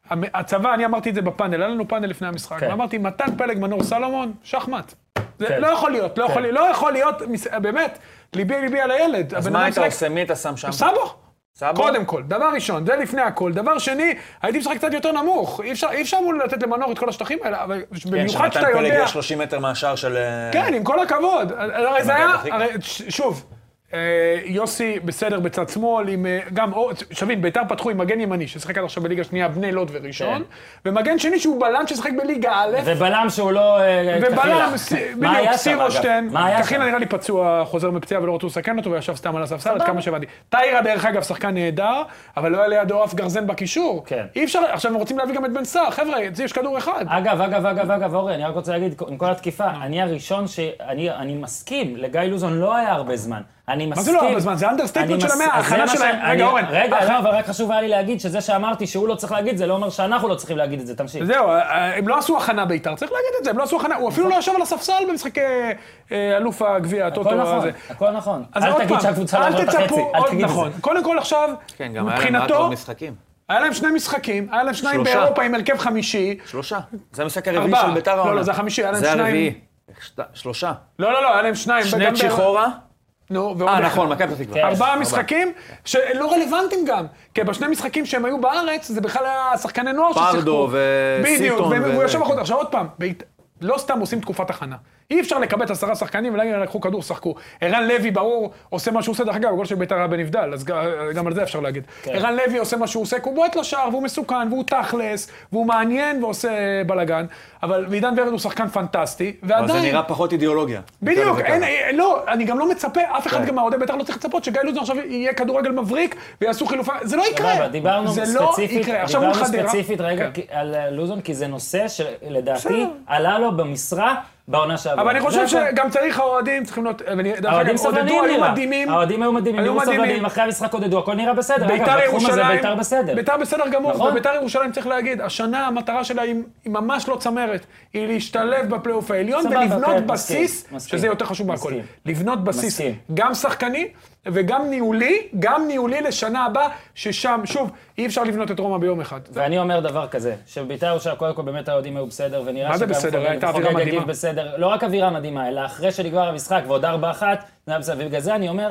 Speaker 3: המ- הצבא, אני אמרתי את זה בפאנל, היה לנו פאנל לפני המשחק,
Speaker 1: כן.
Speaker 3: ואמרתי, מתן פלג, מנור סלומון, שחמט. זה
Speaker 1: כן.
Speaker 3: לא יכול להיות, לא יכול להיות, לא יכול להיות, מס- באמת, ליבי ליבי על הילד.
Speaker 4: אז
Speaker 3: הבן
Speaker 4: מה
Speaker 3: אדם
Speaker 4: היית
Speaker 3: משחק-
Speaker 4: עושה? מי היית שם כן, שם?
Speaker 3: סבו.
Speaker 4: סבו?
Speaker 3: קודם כל, דבר ראשון, זה לפני הכל. דבר שני, הייתי משחק קצת יותר נמוך. אי אפשר, אי אפשר מול לתת למנור את כל השטחים האלה, אבל
Speaker 4: כן,
Speaker 3: במיוחד
Speaker 4: שמתן
Speaker 3: שאתה
Speaker 4: פלג
Speaker 3: יודע...
Speaker 4: היה 30 מטר מהשער של... אה,
Speaker 3: כן, עם כל הכבוד. הרי זה היה...
Speaker 4: מכבי פתח תקווה.
Speaker 3: הרי, ש- שוב, אה, יוסי בסדר בצד שמאל, עם... אה, גם... אור- שווים, ביתר פתחו עם מגן ימני, ששיחק עד עכשיו בליגה שנייה, בני לוד וראשון, ומגן שני שהוא בלם ששיחק בליגה א',
Speaker 1: ובלם שהוא לא... אה,
Speaker 3: ובלם,
Speaker 1: קחילה.
Speaker 3: ס-
Speaker 1: מה היה
Speaker 3: בדיוק,
Speaker 1: שם, אגב?
Speaker 3: סירושטיין,
Speaker 1: מה היה שם?
Speaker 3: קחילה נראה לי פצוע, חוזר מפציעה ולא רצו לסכן אותו, וישב סתם על הספסל, עד כמה שהבנתי. טיירה, דרך אגב, שחקן נהדר, אבל לא היה לידו אף גרזן בקישור.
Speaker 1: כן. אה,
Speaker 3: אי אפשר, עכשיו הם רוצים להביא גם את בן סער, חבר'ה, אצלי יש כדור אחד.
Speaker 1: אגב, אגב, אגב, אגב, אורי, אני רק רוצה להגיד, עם כל התקיפה, אני הראשון ש... אני אני מסכים, לגיא לוזון לא היה הרבה זמן. אני מסכים...
Speaker 3: זה לא הרבה זמן? זה אנדרסטייטמנט
Speaker 1: אני
Speaker 3: של
Speaker 1: מס-
Speaker 3: המאה,
Speaker 1: אז זה
Speaker 3: ההכנה
Speaker 1: מה ש-
Speaker 3: שלהם. רגע,
Speaker 1: אני-
Speaker 3: אורן,
Speaker 1: רגע,
Speaker 3: ההכנה-
Speaker 1: לא, אבל רק חשוב היה לי להגיד שזה שאמרתי שהוא לא צריך להגיד, זה לא אומר שאנחנו לא צריכים להגיד את זה, תמשיך.
Speaker 3: זהו, אה, אה, הם לא עשו הכנה בית"ר, צריך להגיד את זה, הם לא עשו הכנה, הוא אפילו לא ישב על הספסל במשחק אה, אה, אלוף הגביע, הטוטו
Speaker 1: הכל נכון,
Speaker 3: הזה.
Speaker 1: הכל נכון.
Speaker 3: אז עוד
Speaker 1: אל תגיד
Speaker 3: פעם,
Speaker 1: שהקבוצה לא עברה את החצי,
Speaker 3: תצפו,
Speaker 1: אל
Speaker 3: עוד-
Speaker 1: תגיד את
Speaker 3: נכון.
Speaker 1: זה.
Speaker 3: קודם כל עכשיו,
Speaker 4: כן, גם היה להם מעט
Speaker 3: מבחינתו,
Speaker 4: מאוד משחקים.
Speaker 3: היה להם שני משחקים, היה להם שניים
Speaker 4: שלושה.
Speaker 3: באירופה עם הרכב חמישי,
Speaker 4: שלושה. זה המשחק הרביעי
Speaker 3: ארבעה.
Speaker 4: של ביתר
Speaker 3: לא,
Speaker 4: העונה.
Speaker 3: לא, זה החמישי, היה להם
Speaker 4: זה
Speaker 3: שניים.
Speaker 4: הרביעי. שת- שלושה.
Speaker 3: לא, לא, לא, היה להם שניים.
Speaker 4: שני
Speaker 3: וגם ב-
Speaker 4: צ'יחורה.
Speaker 3: נו, ועוד
Speaker 4: אה,
Speaker 3: אחד.
Speaker 4: נכון, מכבי פתח תקווה.
Speaker 1: כן.
Speaker 3: ארבעה משחקים שלא רלוונטיים גם, כי בשני משחקים שהם היו בארץ, זה בכלל היה שחקני נוער ששיחקו.
Speaker 4: פרדו וסיטון
Speaker 3: בדיוק, והם-
Speaker 4: ו-
Speaker 3: והוא ישב החוצה. עכשיו עוד פעם, בית- לא סתם עושים תקופת הכנה. אי אפשר לקבל את עשרה שחקנים ולהגיד, לקחו כדור, שחקו. ערן לוי, ברור, עושה מה שהוא עושה, דרך אגב, הגול של בית"ר היה בנבדל, אז ג- גם על זה אפשר להגיד. ערן לוי עושה מה שהוא עושה, כי הוא בועט לשער, והוא מסוכן, והוא תכלס, והוא מעניין ועושה בלאגן, אבל ועידן ורד הוא שחקן פנטסטי, ועדיין...
Speaker 4: אבל זה נראה פחות אידיאולוגיה.
Speaker 3: בדיוק,
Speaker 4: נקרא
Speaker 3: אין,
Speaker 4: לזה ככה.
Speaker 3: אין, לא, אני גם לא מצפה, אף
Speaker 1: כן.
Speaker 3: אחד גם מהאוהדי בית"ר לא צריך לצפות שגיא לוזון עכשיו יהיה כדורגל מבריק ויעשו חילופה, זה לא יקרה.
Speaker 1: סבבה, דיברנו
Speaker 3: זה לא
Speaker 1: ספציפית,
Speaker 3: יקרה. עכשיו מול
Speaker 1: דיברנו
Speaker 3: חדרה.
Speaker 1: ספציפית רגע
Speaker 3: כן.
Speaker 1: כי- על אה, לוזון, כי זה נושא שלדעתי
Speaker 3: בסדר.
Speaker 1: עלה לו במשרה בעונה שעברה.
Speaker 3: אבל אני
Speaker 1: זה
Speaker 3: חושב
Speaker 1: הכל.
Speaker 3: שגם צריך האוהדים צריכים להיות, ואני- דרך אגב,
Speaker 1: האוהדים
Speaker 3: עודדו,
Speaker 1: סבלניים
Speaker 3: היו
Speaker 1: נראה.
Speaker 3: מדהימים.
Speaker 1: האוהדים היו מדהימים,
Speaker 3: היו
Speaker 1: נראו סבלניים,
Speaker 3: מדהימים.
Speaker 1: אחרי המשחק עודדו, הכל נראה בסדר. אגב,
Speaker 3: ביתר
Speaker 1: בתחום הזה
Speaker 3: ירושלים,
Speaker 1: ביתר בסדר.
Speaker 3: ביתר בסדר גמור,
Speaker 1: נכון.
Speaker 3: וביתר ירושלים צריך להגיד, השנה המטרה שלה היא, היא ממש לא צמרת, היא להשתלב בפלייאוף העליון
Speaker 1: סבבה,
Speaker 3: ולבנות
Speaker 1: כן,
Speaker 3: בסיס,
Speaker 1: מסכים, מסכים.
Speaker 3: שזה יותר חשוב מהכל.
Speaker 1: מסכים.
Speaker 3: לבנות בסיס,
Speaker 1: מסכים.
Speaker 3: גם שחקני וגם ניהולי, גם ניהולי לשנה הבאה, ששם, שוב, אי אפשר לבנות את רומא ביום אחד.
Speaker 1: ואני אומר דבר כזה, שביתר ירושלים, קודם כל באמת האוהדים היו בסדר, ונראה
Speaker 3: מה זה בסדר?
Speaker 1: חוגג-
Speaker 3: הייתה אווירה
Speaker 1: חוגג
Speaker 3: מדהימה.
Speaker 1: יגיב בסדר. לא רק אווירה מדהימה, אלא אחרי שנגמר המשחק ועוד 4-1, זה היה בסדר. ובגלל זה אני אומר,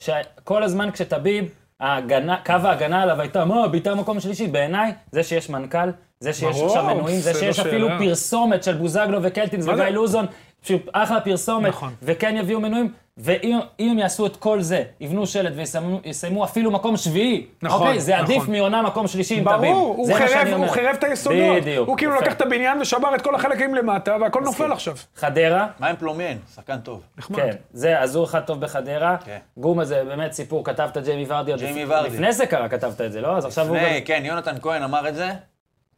Speaker 1: שכל הזמן כשטביב, ההגנה, קו ההגנה עליו הייתה, מה, ביתר מקום שלישי, בעיניי, זה שיש מנכ"ל, זה שיש
Speaker 3: ברור,
Speaker 1: עכשיו מנויים, זה
Speaker 3: זה
Speaker 1: שיש
Speaker 3: לא שאלה.
Speaker 1: אפילו פרסומת של בוזגלו וקלטינס
Speaker 3: מה זה?
Speaker 1: וגיא לוזון, פשוט אחלה פרסומת,
Speaker 3: נכון.
Speaker 1: וכן יביאו מנויים, ואם אם הם יעשו את כל זה, יבנו שלט ויסיימו יסיימו אפילו מקום שביעי,
Speaker 3: נכון,
Speaker 1: אוקיי? זה עדיף
Speaker 3: נכון.
Speaker 1: מעונה מקום שלישי עם טביב.
Speaker 3: ברור, הוא
Speaker 1: זה מה שאני
Speaker 3: חירב,
Speaker 1: אומר.
Speaker 3: הוא חירב את היסודות.
Speaker 1: בדיוק.
Speaker 3: הוא כאילו
Speaker 1: יפה.
Speaker 3: לקח את הבניין ושבר את כל החלקים למטה, והכל נופל עכשיו.
Speaker 1: חדרה,
Speaker 4: מה עם פלומיין? שחקן טוב.
Speaker 3: נחמד.
Speaker 1: כן, זה אז הוא אחד טוב בחדרה.
Speaker 4: כן.
Speaker 1: גומה זה באמת סיפור, כתבת ג'יימי ורדי. עוד
Speaker 4: ג'יימי
Speaker 1: לפ-
Speaker 4: ורדי.
Speaker 1: לפני זה קרה, כתבת את זה, לא? אז עכשיו הוא גם...
Speaker 4: לפני, כן, יונתן כהן אמר את זה,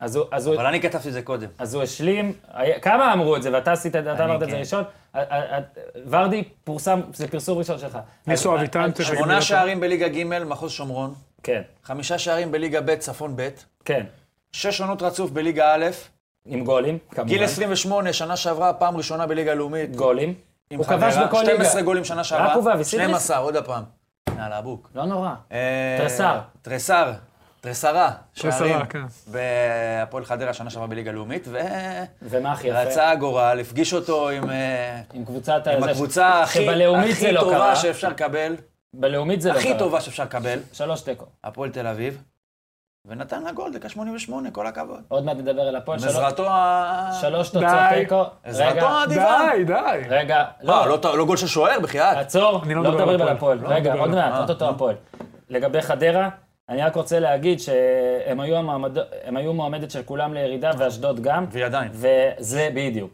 Speaker 1: אז הוא- אז הוא-
Speaker 7: אבל אני כתבתי את זה קודם.
Speaker 1: אז הוא השלים, היה- כמה אמרו את זה, ואתה עשית, את- אתה אמרת את זה
Speaker 7: כן.
Speaker 1: ראשון. ה- ה- ה- ורדי פורסם, זה פרסום ראשון שלך.
Speaker 3: ניסו
Speaker 1: אז-
Speaker 3: אביטן,
Speaker 1: אז-
Speaker 3: צריך להגיד
Speaker 4: שמונה שערים בליגה ג', מחוז שומרון,
Speaker 1: כן,
Speaker 4: חמישה שערים בליגה ב', צפון ב',
Speaker 1: כן.
Speaker 4: שש עונות רצוף בליגה א',
Speaker 1: עם גולים, כמובן.
Speaker 4: גיל 28, שנה שעברה, פעם ראשונה בליגה לאומית.
Speaker 1: גולים.
Speaker 4: עם
Speaker 1: הוא כבש
Speaker 4: חברה,
Speaker 1: בכל ליגה.
Speaker 4: 12 גולים שנה שעברה.
Speaker 1: הוא ואבי סידריס?
Speaker 4: 12, עוד הפעם. יאללה, הבוק.
Speaker 1: לא נורא.
Speaker 4: אה,
Speaker 1: תרסר.
Speaker 4: תרסר. תרסרה. שערים.
Speaker 3: כן.
Speaker 4: בהפועל חדרה שנה שעברה בליגה לאומית, ו-
Speaker 1: ומה הכי יפה?
Speaker 4: רצה הגורל, הפגיש אותו עם אה,
Speaker 1: עם קבוצת...
Speaker 4: עם
Speaker 1: הזה,
Speaker 4: הקבוצה הכי
Speaker 1: שבלאומית
Speaker 4: הכי
Speaker 1: זה לא קרה.
Speaker 4: טובה שאפשר לקבל,
Speaker 1: בלאומית זה לא קרה.
Speaker 4: הכי טובה שאפשר לקבל,
Speaker 1: שלוש תיקו.
Speaker 4: הפועל תל אביב, ונתן לה גול, דקה 88, כל הכבוד.
Speaker 1: עוד מעט נדבר על הפועל. שלוש-
Speaker 4: בעזרתו ה...
Speaker 1: שלוש תוצאות
Speaker 3: די.
Speaker 1: תיקו. רגע,
Speaker 4: עזרתו האדיבה.
Speaker 3: די, די.
Speaker 1: רגע.
Speaker 4: מה, לא ט- לא גול של שוער, בחייאת.
Speaker 1: עצור,
Speaker 3: אני
Speaker 1: לא
Speaker 3: לא מדבר
Speaker 1: מדברים על
Speaker 3: על
Speaker 1: הפועל.
Speaker 3: הפועל. לא
Speaker 1: רגע,
Speaker 3: מדבר
Speaker 1: עוד
Speaker 3: על-
Speaker 1: מעט, אוטוטו הפועל. לגבי חדרה, אני רק רוצה להגיד שהם היו המעמד- הם היו מועמדת של כולם לירידה, ואשדוד גם.
Speaker 4: והיא עדיין.
Speaker 1: וזה בדיוק.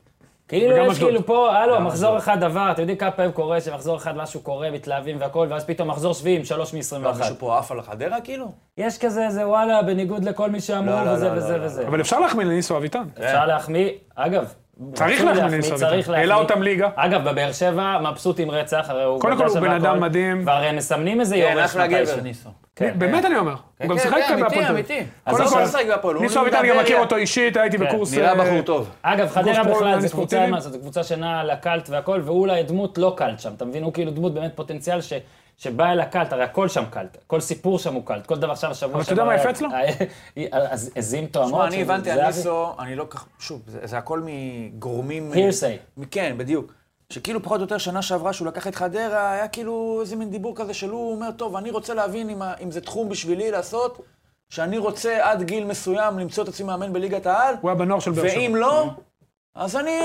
Speaker 1: כאילו
Speaker 3: וגם
Speaker 1: יש
Speaker 3: אשדוד.
Speaker 1: כאילו פה, הלו, מחזור אחד עבר, אתם יודעים כמה פעמים קורה שמחזור אחד משהו קורה, מתלהבים והכל, ואז פתאום מחזור שביעי עם שלוש
Speaker 4: מה,
Speaker 1: מ-21.
Speaker 4: לא, מישהו פה עף על חדרה כאילו?
Speaker 1: יש כזה, זה וואלה, בניגוד לכל מי שאמרו,
Speaker 4: לא, לא,
Speaker 1: וזה
Speaker 4: לא,
Speaker 1: וזה
Speaker 4: לא, לא.
Speaker 1: וזה.
Speaker 3: אבל אפשר להחמיא לניסו אביטן.
Speaker 1: אפשר להחמיא, אגב.
Speaker 3: אה. צריך
Speaker 1: רוצים
Speaker 3: להחמיא לניסו
Speaker 1: צריך
Speaker 3: אביטן.
Speaker 1: להחמיא.
Speaker 3: העלה אותם ליגה.
Speaker 1: אגב, בבאר שבע מבסוטים רצח, הרי הוא...
Speaker 3: קודם כל
Speaker 1: בבאר
Speaker 3: הוא
Speaker 1: שבע
Speaker 3: בן אדם
Speaker 1: הכל,
Speaker 3: מדהים.
Speaker 1: כבר הם מסמנים איזה
Speaker 4: כן,
Speaker 1: יורש
Speaker 4: אחלה גבר,
Speaker 1: מתישהו.
Speaker 4: ניסו.
Speaker 1: כן.
Speaker 3: באמת אני אומר. הוא גם
Speaker 4: כן,
Speaker 3: שיחק
Speaker 4: כן,
Speaker 3: כאן בהפועל. תל
Speaker 4: אמיתי,
Speaker 3: אביב.
Speaker 4: אמיתי.
Speaker 1: אז
Speaker 4: הוא
Speaker 1: קודם
Speaker 4: לא
Speaker 1: כל-
Speaker 4: משחק בהפועל, הוא
Speaker 3: ניסו אביטן,
Speaker 4: מדבר,
Speaker 3: גם מכיר
Speaker 4: יא-
Speaker 3: אותו אישית, הייתי
Speaker 1: כן,
Speaker 3: בקורס...
Speaker 4: נראה
Speaker 3: אה,
Speaker 4: בחור טוב.
Speaker 1: אגב, חדרה
Speaker 3: גוף
Speaker 1: בכלל זה
Speaker 3: פרו-אורגני
Speaker 1: קבוצה,
Speaker 3: ספורטיבי.
Speaker 1: מה זה, זו קבוצה שנעה לקלט והכל, והוא אולי דמות לא קלט שם, אתה מבין? הוא כאילו דמות באמת פוטנציאל ש... שבא אל הקלט, הרי הכל שם קלט, כל סיפור שם הוא קלט, כל דבר שם השבוע
Speaker 3: אבל אתה יודע מה יפה אצלו?
Speaker 1: אה, אז עזים תואמות.
Speaker 4: תשמע, אני
Speaker 1: שזה-
Speaker 4: הבנתי
Speaker 1: לא, זה
Speaker 4: על
Speaker 1: היה-
Speaker 4: ניסו, אני לא כך, שוב, זה זה הכל מגורמים...
Speaker 1: Hearsay.
Speaker 4: מ- כן, בדיוק. שכאילו פחות או יותר שנה שעברה שהוא לקח את חדרה, היה כאילו איזה מין דיבור כזה של הוא אומר, טוב, אני רוצה להבין אם, ה- אם זה תחום בשבילי לעשות, שאני רוצה עד גיל מסוים למצוא את עצמי מאמן בליגת העל,
Speaker 3: הוא היה בנוער של באר שבע.
Speaker 4: ואם לא, אז אני,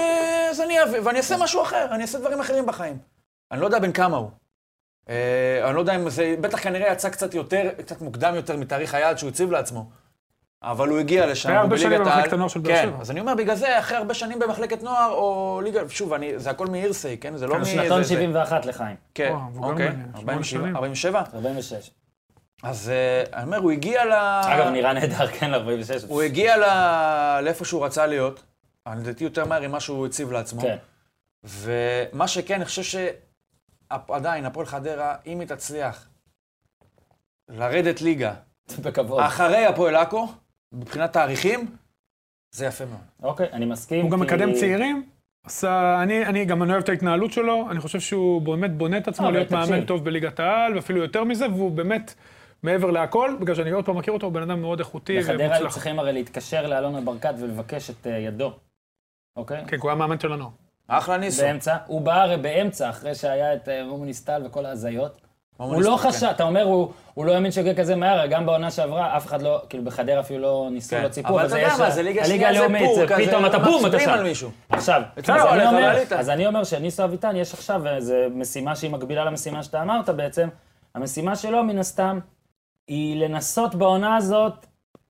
Speaker 4: אז אני אביא, ואני אעשה משהו אחר, אני אעשה דברים אחרים בחיים. אני לא יודע בן כמה הוא. אה, אני לא יודע אם זה, בטח כנראה יצא קצת יותר, קצת מוקדם יותר מתאריך היעד שהוא הציב לעצמו. אבל הוא הגיע לשם,
Speaker 3: היה
Speaker 4: הוא
Speaker 3: הרבה שנים
Speaker 4: בליגת העל.
Speaker 3: במחלקת הנוער של באר
Speaker 4: כן,
Speaker 3: שבע.
Speaker 4: אז אני אומר, בגלל זה, אחרי הרבה שנים במחלקת נוער, או ליגה, שוב, אני, זה הכל מאירסי, כן? זה לא מ...
Speaker 1: שנתון
Speaker 4: זה- זה-
Speaker 1: 71 לחיים,
Speaker 4: כן,
Speaker 3: וואו, והוא גם
Speaker 4: אוקיי,
Speaker 3: בן שמונה
Speaker 4: 47,
Speaker 3: שנים.
Speaker 4: 47.
Speaker 1: 46.
Speaker 4: אז אה, אני אומר, הוא הגיע ל...
Speaker 1: אגב, נראה נהדר, כן, ל-46.
Speaker 4: הוא הגיע ל- לאיפה שהוא רצה להיות, אני לדעתי יותר מהר ממה שהוא הציב לעצמו.
Speaker 1: כן.
Speaker 4: ומה שכן, אני חושב שעדיין, הפועל חדרה, אם היא תצליח לרדת ליגה
Speaker 1: בכבוד.
Speaker 4: אחרי הפועל עכו, מבחינת תאריכים, זה יפה מאוד.
Speaker 1: אוקיי, אני מסכים.
Speaker 3: הוא גם
Speaker 1: כי-
Speaker 3: מקדם צאירים. עשה, אני, אני גם אני אוהב את ההתנהלות שלו, אני חושב שהוא באמת בונה את עצמו
Speaker 1: אבל
Speaker 3: להיות
Speaker 1: אה, תקשיב.
Speaker 3: מאמן טוב בליגת העל, ואפילו יותר מזה, והוא באמת, מעבר להכל, בגלל שאני עוד פעם מכיר אותו, הוא בן אדם מאוד איכותי
Speaker 1: בחדרה היו
Speaker 3: ומוצלח.
Speaker 1: צריכים הרי להתקשר לאלונה ברקת ולבקש את אה, ידו, אוקיי?
Speaker 3: כן, כי הוא היה מאמן של הנוער.
Speaker 4: אחלה ניסו.
Speaker 1: באמצע. הוא בא הרי באמצע, אחרי שהיה את אה, מומוניסטל וכל ההזיות. הוא
Speaker 4: מומוניסטל,
Speaker 1: לא
Speaker 4: כן.
Speaker 1: חשב, אתה אומר, הוא- הוא לא האמין שהוא יגיע כזה מהר, גם בעונה שעברה, אף אחד לא, כאילו בחדרה אפילו לא ניסו,
Speaker 4: כן.
Speaker 1: לא ציפו.
Speaker 4: אבל
Speaker 1: אבל
Speaker 4: אתה יודע
Speaker 1: יש-
Speaker 4: מה, זה ליגה
Speaker 1: הליגה
Speaker 4: שנייה, זה
Speaker 1: הלאומית,
Speaker 4: פור
Speaker 1: זה
Speaker 4: כזה,
Speaker 1: פתאום אתה בום, אתה
Speaker 4: מצביעים
Speaker 1: שם.
Speaker 4: על מישהו.
Speaker 1: עכשיו,
Speaker 4: אצלנו
Speaker 1: אז אני
Speaker 4: עלית,
Speaker 1: אומר-
Speaker 4: עלית.
Speaker 1: אז אני אומר שניסו אביטן, יש עכשיו, וזו משימה שהיא מקבילה למשימה שאתה אמרת בעצם, המשימה שלו מן הסתם היא לנסות בעונה הזאת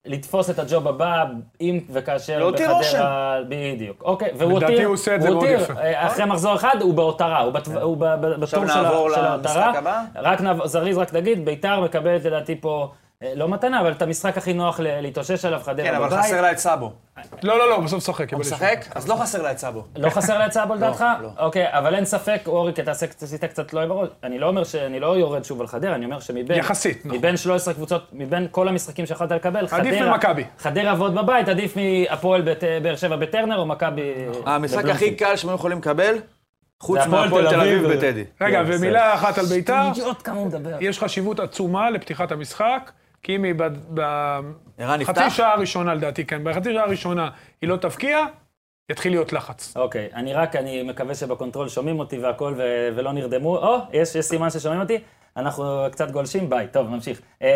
Speaker 1: לתפוס את הג'וב הבא, אם וכאשר
Speaker 4: להותיר
Speaker 1: בחדרה... בדיוק. אוקיי, והוא
Speaker 3: לדעתי
Speaker 1: הותיר,
Speaker 3: הוא עושה את זה מאוד
Speaker 1: הותיר,
Speaker 3: יפה.
Speaker 1: אה, אחרי מחזור אחד הוא בהותרה, הוא בת- הוא ב- ב- בטור של ה-
Speaker 4: כן. נעבור
Speaker 1: של
Speaker 4: למשחק
Speaker 1: ההותרה.
Speaker 4: הבא?
Speaker 1: רק נעבור, זריז, רק נגיד, ביתר מקבלת לדעתי פה, אה, לא מתנה, אבל את המשחק הכי נוח ל- להתאושש עליו, חדרה
Speaker 4: כן,
Speaker 1: בבית.
Speaker 4: אבל חסר לה את סאבו.
Speaker 3: לא, לא, לא, בסוף שחק.
Speaker 4: הוא משחק? אז לא חסר לה את סאבו.
Speaker 1: לא חסר להצעה לדעתך?
Speaker 4: לא.
Speaker 1: אוקיי, אבל אין ספק, אורי, כי אתה עשית- עשית קצת לא עם הראש. אני לא אומר ש... אני לא יורד שוב על חדרה, אני אומר שמבין...
Speaker 3: יחסית, נכון.
Speaker 1: מבין 13 קבוצות, מבין כל המשחקים שיכולת לקבל, חדרה...
Speaker 3: ממכבי.
Speaker 1: חדרה ועוד בבית, עדיף מהפועל בת- באר שבע בטרנר או מכבי...
Speaker 4: אה, המשחק
Speaker 1: בבלומפילד.
Speaker 4: הכי קל שהם יכולים לקבל, חוץ
Speaker 1: זה הפועל
Speaker 4: מהפועל
Speaker 1: תל
Speaker 4: תל
Speaker 1: אביב
Speaker 4: אביב
Speaker 1: ו-
Speaker 4: בטדי.
Speaker 3: רגע,
Speaker 1: בסדר.
Speaker 3: ומילה אחת על ביתר,
Speaker 1: אידיוט כמה הוא מדבר.
Speaker 3: יש חשיבות עצומה לפתיחת המשחק, כי אם היא ב-
Speaker 4: ערן
Speaker 3: בחצי
Speaker 4: נפתח?
Speaker 3: שעה הראשונה, לדעתי, כן, בחצי שעה הראשונה היא לא תבקיע, יתחיל להיות לחץ.
Speaker 1: אוקיי, אני רק, אני מקווה שבקונטרול שומעים אותי והכל ו- ולא נרדמו. או, יש, יש סימן ששומעים אותי. אנחנו קצת גולשים, ביי. טוב, נמשיך. אה,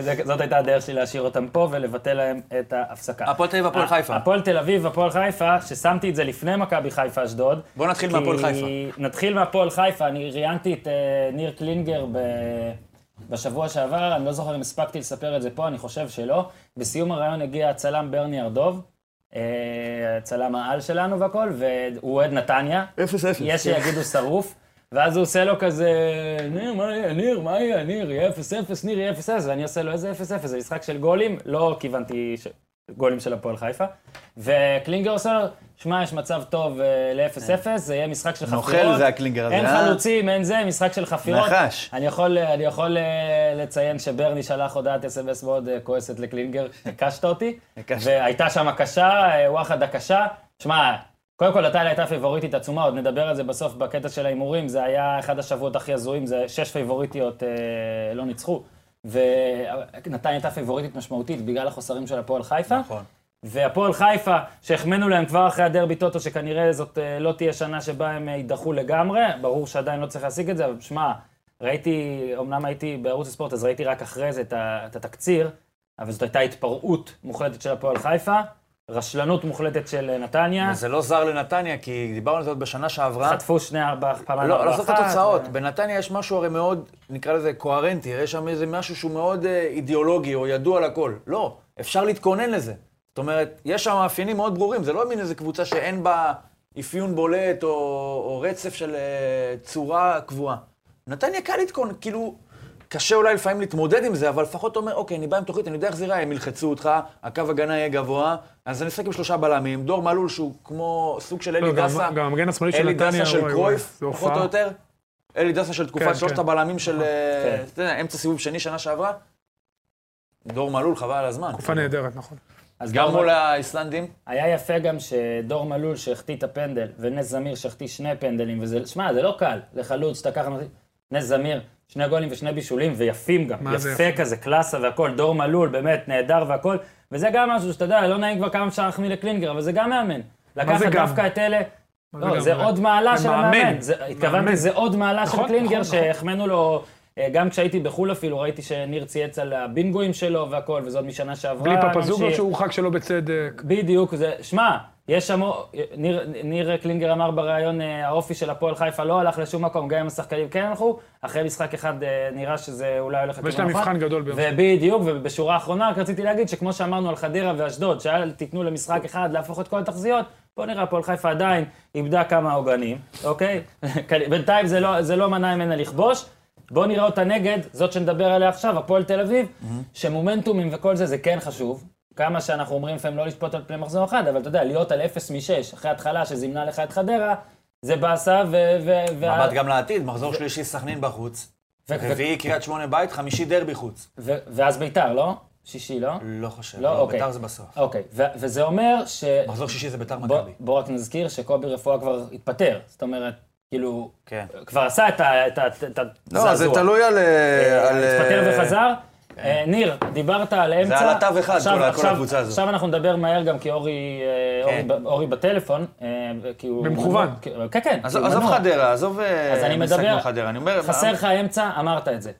Speaker 1: זה, זאת הייתה הדרך שלי להשאיר אותם פה ולבטל להם את ההפסקה.
Speaker 4: הפועל תל אביב, הפועל
Speaker 1: ה-
Speaker 4: חיפה.
Speaker 1: הפועל תל אביב, הפועל חיפה, ששמתי את זה לפני מכבי חיפה אשדוד.
Speaker 4: בוא נתחיל
Speaker 1: כי-
Speaker 4: מהפועל חיפה.
Speaker 1: אה, נתחיל מהפועל חיפה, אני ראיינתי את אה, ניר קלינגר ב... בשבוע שעבר, אני לא זוכר אם הספקתי לספר את זה פה, אני חושב שלא. בסיום הראיון הגיע הצלם ברני ארדוב, אה, צלם העל שלנו והכל, והוא אוהד נתניה.
Speaker 4: אפס אפס. כן.
Speaker 1: יש שיגידו שרוף. ואז הוא עושה לו כזה, ניר, מה יהיה, ניר, מה יהיה, ניר, יהיה 0-0, ניר יהיה 0-0, ואני עושה לו איזה 0-0, זה משחק של גולים, לא כיוונתי ש... גולים של הפועל חיפה. וקלינגר עושה לו, שמע, יש מצב טוב אה, ל-0-0, זה יהיה משחק של
Speaker 4: נוכל
Speaker 1: חפירות.
Speaker 4: זה הקלינגר הזה,
Speaker 1: אין
Speaker 4: אה?
Speaker 1: חלוצים, אין זה, משחק של חפירות.
Speaker 4: נחש.
Speaker 1: אני יכול, אה, אני יכול אה, לציין שברני שלח הודעת אס.אם.אס מאוד אה, כועסת לקלינגר, הקשת אותי.
Speaker 4: הקשת.
Speaker 1: והייתה שם הקשה, אה, וואחד הקשה. שמע, קודם כל, הטיילה הייתה פייבוריטית עצומה, עוד נדבר על זה בסוף בקטע של ההימורים, זה היה אחד השבועות הכי הזויים, זה שש פייבוריטיות אה, לא ניצחו. ונתניה הייתה פייבוריטית משמעותית בגלל החוסרים של הפועל חיפה.
Speaker 2: נכון.
Speaker 1: והפועל חיפה, שהחמאנו להם כבר אחרי הדרבי טוטו, שכנראה זאת אה, לא תהיה שנה שבה הם אה, יידחו לגמרי, ברור שעדיין לא צריך להשיג את זה, אבל שמע, ראיתי, אמנם הייתי בערוץ הספורט, אז ראיתי רק אחרי זה את ה- את התקציר, אבל זאת הייתה התפרעות מוחלטת של הפועל חיפה, רשלנות מוחלטת של אה, נתניה,
Speaker 2: זה לא זר לנתניה, כי דיברנו על זה עוד בשנה שעברה.
Speaker 1: חטפו שני ארבע, פעמיים
Speaker 2: לא,
Speaker 1: ארבע
Speaker 2: לעשות
Speaker 1: אחת. אה,
Speaker 2: את התוצאות. בנתניה יש משהו הרי מאוד, נקרא לזה קוהרנטי, יש שם איזה משהו שהוא מאוד אה, אידיאולוגי או ידוע לכל. לא, אפשר להתכונן לזה. זאת אומרת, יש שם מאפיינים מאוד ברורים, זה לא מין איזו קבוצה שאין בה אפיון בולט או, או רצף של אה, צורה קבועה. נתניה קל להתכונן, כאילו, קשה אולי לפעמים להתמודד עם זה, אבל לפחות אתה אומר, אוקיי, אני בא עם תוכנית, אני יודע איך זה ייראה, הם ילחצו אותך, הקו הגנה יהיה גבוה, אז אני אשחק עם שלושה בלמים, דור מלול שהוא כמו סוג של אלי
Speaker 3: לא, גם-
Speaker 2: דסה.
Speaker 3: גם המגן השמאלי של
Speaker 2: אלי
Speaker 3: נתניה,
Speaker 2: דסה של
Speaker 3: וואי, וואי,
Speaker 2: קרויף,
Speaker 3: זה
Speaker 2: פחות או
Speaker 3: הופעה.
Speaker 2: יותר. אלי דסה של
Speaker 3: כן,
Speaker 2: תקופת שלושת
Speaker 3: כן.
Speaker 2: הבלמים של אה,
Speaker 1: כן.
Speaker 2: אתה יודע, אמצע סיבוב שני שנה שעברה. דור מלול, חבל על הזמן.
Speaker 3: תקופה
Speaker 1: אוקיי.
Speaker 3: נהדרת, נכון.
Speaker 1: אז
Speaker 2: גם
Speaker 1: דור-
Speaker 2: מול האיסלנדים.
Speaker 1: היה יפה גם שדור מלול שהחטיא את הפנדל, ונס זמיר שהחטיא שני פנדלים, וזה, שמע, זה לא קל לחלוץ שאתה ככה... מחטיא. נס זמיר, שני גולים ושני בישולים, ויפים גם.
Speaker 3: מה זה
Speaker 1: יפה
Speaker 3: יפה?
Speaker 1: כזה, קלאסה והכול, דור מלול, באמת, נהדר והכול. וזה גם משהו שאתה יודע, לא נעים כבר כמה אפשר להחמיא לקלינגר, אבל זה גם מאמן. לקחת
Speaker 3: זה גם?
Speaker 1: דווקא את אלה...
Speaker 3: מה זה
Speaker 1: לא,
Speaker 3: גם?
Speaker 1: זה
Speaker 3: זה-
Speaker 1: עוד מעלה
Speaker 3: זה
Speaker 1: של
Speaker 3: מאמן.
Speaker 1: המאמן. זה- התכוונתי,
Speaker 3: מאמן.
Speaker 1: זה עוד מעלה של
Speaker 3: נכון,
Speaker 1: קלינגר,
Speaker 3: נכון, נכון.
Speaker 1: שהחמאנו לו, אה, גם כשהייתי בחו"ל אפילו, ראיתי שניר צייץ על הבינגואים שלו והכול, וזה עוד משנה שעברה.
Speaker 3: בלי פפזוגו
Speaker 1: ממשיך.
Speaker 3: שהורחק שלא בצדק.
Speaker 1: בדיוק, זה, שמע, יש שם, ניר, ניר קלינגר אמר בריאיון, אה, האופי של הפועל חיפה לא הלך לשום מקום, גם אם השחקנים כן הלכו, אחרי משחק אחד אה, נראה שזה אולי הולך
Speaker 3: ויש להם
Speaker 1: לכיוון
Speaker 3: מבחן
Speaker 1: אחד.
Speaker 3: גדול ביום.
Speaker 1: ובדיוק, ובשורה האחרונה רק רציתי להגיד שכמו שאמרנו על חדרה ואשדוד, שאל תיתנו למשחק אחד להפוך את כל התחזיות, בוא נראה, הפועל חיפה עדיין איבדה כמה עוגנים, אוקיי? בינתיים זה לא, זה לא מנע ממנה לכבוש. בוא נראה אותה נגד, זאת שנדבר עליה עכשיו, הפועל תל אביב,
Speaker 2: Mm-hmm.
Speaker 1: שמומנטומים וכל זה, זה כן חשוב. כמה שאנחנו אומרים לפעמים לא לשפוט על פני מחזור אחד, אבל אתה יודע, להיות על 0 מ-6, אחרי התחלה שזימנה לך את חדרה, זה באסה, ו... ו- וה-
Speaker 2: מבט גם לעתיד, מחזור שלישי סכנין בחוץ.
Speaker 1: ו- ו-
Speaker 2: רביעי קריית שמונה בית, חמישי דרבי חוץ.
Speaker 1: ו- ואז ביתר, לא? שישי, לא?
Speaker 2: לא חושב,
Speaker 1: לא,
Speaker 2: לא,
Speaker 1: אוקיי.
Speaker 2: ביתר זה בסוף.
Speaker 1: אוקיי, ו- וזה אומר ש...
Speaker 2: מחזור שישי זה ביתר
Speaker 1: בוא,
Speaker 2: מכבי.
Speaker 1: בוא רק נזכיר שקובי רפואה כבר התפטר. זאת אומרת, כאילו,
Speaker 2: כן.
Speaker 1: כבר עשה את ה- את ה- את הזעזוע.
Speaker 4: לא, זה תלוי על... אה, על, אה,
Speaker 1: התפטר וחזר.
Speaker 2: כן.
Speaker 1: אה, ניר, דיברת על אמצע.
Speaker 2: על התו אחד,
Speaker 1: עכשיו-
Speaker 2: כל ה- כל
Speaker 1: עכשיו-
Speaker 2: הקבוצה הזאת.
Speaker 1: עכשיו אנחנו נדבר מהר גם כי אורי, אה, אורי
Speaker 2: כן.
Speaker 1: ב- אורי בטלפון. אה, כי הוא-
Speaker 3: במכוון.
Speaker 1: כי- כן, כן.
Speaker 4: עזוב
Speaker 1: כי הוא
Speaker 4: עזוב
Speaker 1: מנוע.
Speaker 4: חדרה, עזוב אה,
Speaker 1: אז אני
Speaker 4: משחק
Speaker 1: מדבר,
Speaker 4: מול חדרה. אני אומר,
Speaker 1: חסר לך אמצע, אמרת את זה.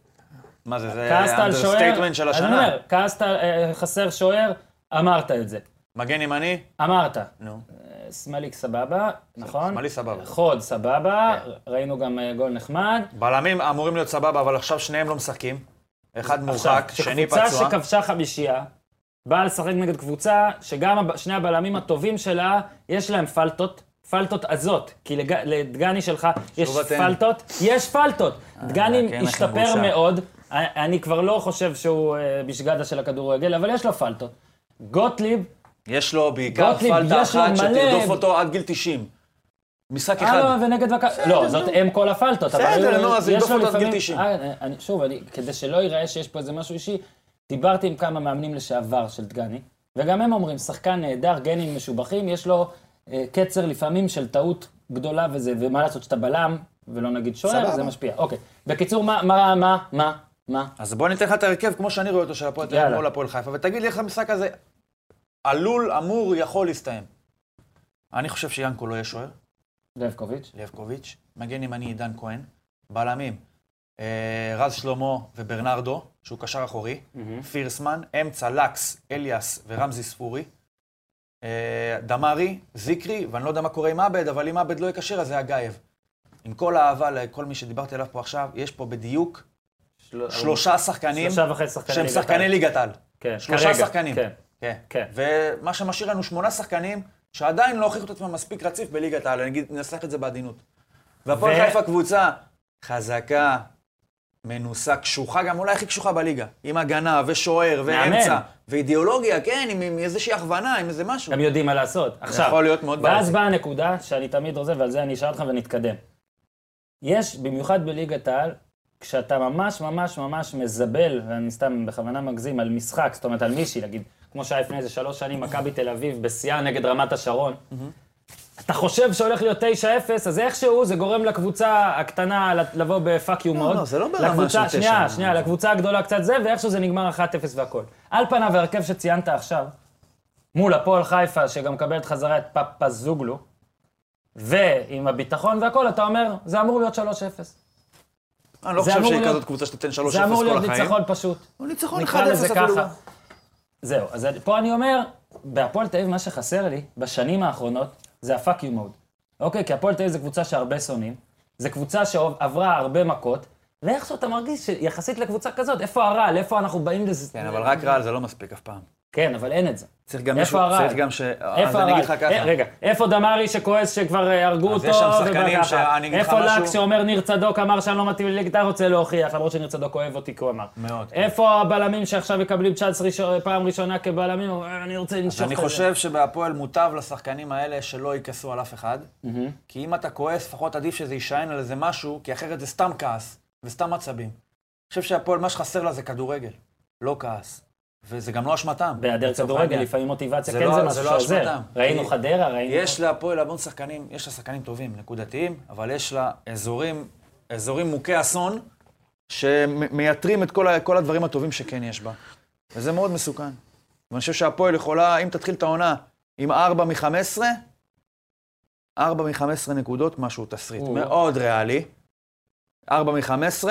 Speaker 4: מה זה, זה
Speaker 1: כעסת על שוער,
Speaker 4: אנדרסטייטמנט אה, של
Speaker 1: אז אני אומר,
Speaker 4: השנה.
Speaker 1: כעסת, אה, חסר שוער, אמרת את זה.
Speaker 4: מגן ימני?
Speaker 1: אמרת.
Speaker 4: נו.
Speaker 1: אה, סמליק סבבה, נכון?
Speaker 4: שמאלי סבבה. כן.
Speaker 1: חוד סבבה, ראינו גם אה, גול נחמד.
Speaker 4: בלמים אמורים להיות סבבה, אבל עכשיו שניהם לא משחקים. אחד מורחק,
Speaker 1: עכשיו,
Speaker 4: שני
Speaker 1: שקבוצה
Speaker 4: פצוע.
Speaker 1: שכבשה חמישייה, באה לשחק נגד קבוצה שגם הב- שני הבלמים הטובים שלה, יש להם פלטות. פלטות עזות, כי לג... לדגני שלך יש
Speaker 4: אתם.
Speaker 1: פלטות, יש פלטות. דגני
Speaker 4: כן, לכם
Speaker 1: השתפר
Speaker 4: בושה.
Speaker 1: מאוד, אני- אני כבר לא חושב שהוא אה, בשגדה של הכדורגל, אבל יש לו פלטות. גוטליב,
Speaker 4: יש לו בעיקר
Speaker 1: גוטליב,
Speaker 4: פלטה
Speaker 1: יש לו
Speaker 4: אחת
Speaker 1: מלא-
Speaker 4: שתרדוף אותו עד גיל 90. משחק אחד.
Speaker 1: הלו אה, ונגד מכבי... לא, זאת אם כל הפלטות. אבל
Speaker 4: בסדר,
Speaker 1: היו-
Speaker 4: נו, אז
Speaker 1: יש
Speaker 4: ירדוף
Speaker 1: לו
Speaker 4: אותו עד גיל
Speaker 1: לפעמים-
Speaker 4: 90.
Speaker 1: אה, אה, אני- שוב, אני- כדי שלא ייראה שיש פה איזה משהו אישי, דיברתי עם כמה מאמנים לשעבר של דגני, וגם הם אומרים, שחקן נהדר, גנים משובחים, יש לו אה, קצר לפעמים של טעות גדולה וזה, ומה לעשות שאתה בלם, ולא נגיד שוער,
Speaker 4: סבבה.
Speaker 1: זה משפיע. אוקיי. בקיצור, מה, מה, מה, מה, מה?
Speaker 4: אז בוא ניתן לך את ההרכב כמו שאני רואה אותו של הפועל תל אביב
Speaker 1: יאללה.
Speaker 4: מול הפועל חיפה, ותגיד לי איך המשחק הזה עלול, אמור, יכול להסתיים. אני חושב שיאנקו לא יהיה שוער,
Speaker 1: לבקוביץ'?
Speaker 4: לבקוביץ', מגן ימני עידן כהן, בלמים, אה, רז שלמה וברנרדו, שהוא קשר אחורי, פירסמן, אמצע לקס, אליאס ורמזי ספורי, אה, דמארי, זיקרי, ואני לא יודע מה קורה עם עבד, אבל אם עבד לא יהיה כשיר אז זה אגייב. עם כל האהבה לכל מי שדיברתי עליו פה עכשיו, יש פה בדיוק שלושה שחקנים
Speaker 1: שלושה וחצי שחקני
Speaker 4: שהם
Speaker 1: ליגת
Speaker 4: שחקני
Speaker 1: העל.
Speaker 4: ליגת על.
Speaker 1: כן,
Speaker 4: שלושה
Speaker 1: כרגע,
Speaker 4: שחקנים.
Speaker 1: כן.
Speaker 4: כן.
Speaker 1: כן.
Speaker 4: ומה שמשאיר לנו שמונה שחקנים שעדיין לא הוכיחו את עצמם מספיק רציף בליגת העל, אני אגיד, ננסח את זה בעדינות. והפועל
Speaker 1: ו-
Speaker 4: חיפה קבוצה חזקה, מנוסה, קשוחה, גם אולי הכי קשוחה בליגה. עם הגנה ושוער ואמצע.
Speaker 1: מאמן.
Speaker 4: ואידיאולוגיה, כן, עם, עם איזושהי הכוונה, עם איזה משהו.
Speaker 1: הם יודעים מה לעשות. עכשיו,
Speaker 4: יכול להיות מאוד
Speaker 1: ואז
Speaker 4: בעייתי.
Speaker 1: באה הנקודה שאני תמיד רוצה, ועל זה אני אשאל אותך ונתקדם. יש, במיוחד בליגת העל, כשאתה ממש ממש ממש מזבל, ואני סתם בכוונה מגזים, על משחק, זאת אומרת על מישהי, נגיד, כמו שהיה לפני איזה שלוש שנים, מכבי תל אביב, בשיאה נגד רמת השרון.
Speaker 4: Mm-hmm.
Speaker 1: אתה חושב שהולך להיות 9-0, אז איכשהו זה גורם לקבוצה הקטנה ל- לבוא בפאק יו מאוד.
Speaker 4: לא, זה לא ברמה
Speaker 1: לקבוצה-
Speaker 4: של
Speaker 1: שנייה,
Speaker 4: 9.
Speaker 1: שנייה, לקבוצה הגדולה קצת זה, ואיכשהו זה נגמר 1-0 והכל. על פניו, ההרכב שציינת עכשיו, מול הפועל חיפה, שגם מקבלת חזרה את פפזוגלו, ועם הביטחון והכל, אתה אומר, זה אמור להיות 3-0.
Speaker 4: אני לא
Speaker 1: זה
Speaker 4: חושב
Speaker 1: אמור
Speaker 4: שהיא
Speaker 1: להיות-
Speaker 4: כזאת קבוצה שתיתן 3-0 לא כל
Speaker 1: זה
Speaker 4: החיים.
Speaker 1: אמור להיות ניצחון פשוט.
Speaker 4: הוא ניצחון 1-0
Speaker 1: נקרא לזה
Speaker 4: אפילו. לא.
Speaker 1: ככה. זהו, אז אני- פה אני אומר, בהפועל תל אביב מה שחסר לי בשנים האחרונות זה הפאק יו מוד. אוקיי, כי הפועל תל אביב זו קבוצה שהרבה שונאים, זו קבוצה שעברה הרבה מכות, ואיכשהו אתה מרגיש שיחסית לקבוצה כזאת, איפה הרעל, איפה אנחנו באים לזה?
Speaker 4: כן, אבל רק רעל זה לא מספיק אף פעם.
Speaker 1: כן, אבל אין את זה.
Speaker 4: צריך גם
Speaker 1: איפה
Speaker 4: מישהו,
Speaker 1: הרעל?
Speaker 4: צריך גם ש... אז
Speaker 1: איפה
Speaker 4: אני אגיד
Speaker 1: הרעל?
Speaker 4: לך
Speaker 1: אה,
Speaker 4: ככה.
Speaker 1: רגע, איפה דמארי שכועס שכבר אה, הרגו
Speaker 4: אז
Speaker 1: אותו?
Speaker 4: יש שם שחקנים
Speaker 1: ובא ככה?
Speaker 4: שאני אגיד לך
Speaker 1: איפה
Speaker 4: משהו?
Speaker 1: לק שאומר ניר צדוק אמר שאני לא מתאים לליגת העל, רוצה להוכיח, למרות שניר צדוק אוהב אותי, כי הוא אמר.
Speaker 4: מאוד, כן.
Speaker 1: אוקיי. איפה הבלמים שעכשיו מקבלים צ'אנס ראשון- פעם ראשונה כבלמים, אבל, אה, אני רוצה לנשוך את זה.
Speaker 4: אני חושב שבהפועל מוטב לשחקנים האלה שלא יכעסו על אף אחד, כי אם אתה כועס, לפחות עדיף שזה יישען על איזה משהו, כי אחרת זה סתם כעס וסתם עצבים. אני חושב שהפועל, מה שחסר לה זה כדורגל, לא כעס. וזה גם לא אשמתם.
Speaker 1: בהיעדר
Speaker 4: לצורך
Speaker 1: כדורגל,
Speaker 4: העניין.
Speaker 1: לפעמים מוטיבציה,
Speaker 4: זה
Speaker 1: כן
Speaker 4: לא-
Speaker 1: זה
Speaker 4: זה
Speaker 1: משהו
Speaker 4: לא
Speaker 1: שעוזר.
Speaker 4: אשמתם.
Speaker 1: ראינו
Speaker 4: כי
Speaker 1: חדרה, ראינו...
Speaker 4: יש להפועל המון שחקנים, יש לה שחקנים טובים, נקודתיים, אבל יש לה אזורים, אזורים מוכי אסון, שמייתרים את כל, ה- כל הדברים הטובים שכן יש בה. וזה מאוד מסוכן. ואני חושב שהפועל יכולה, אם תתחיל את העונה עם 4 מ-15, 4 מ-15 נקודות, משהו תסריט.
Speaker 1: או.
Speaker 4: מאוד ריאלי. 4 מ-15,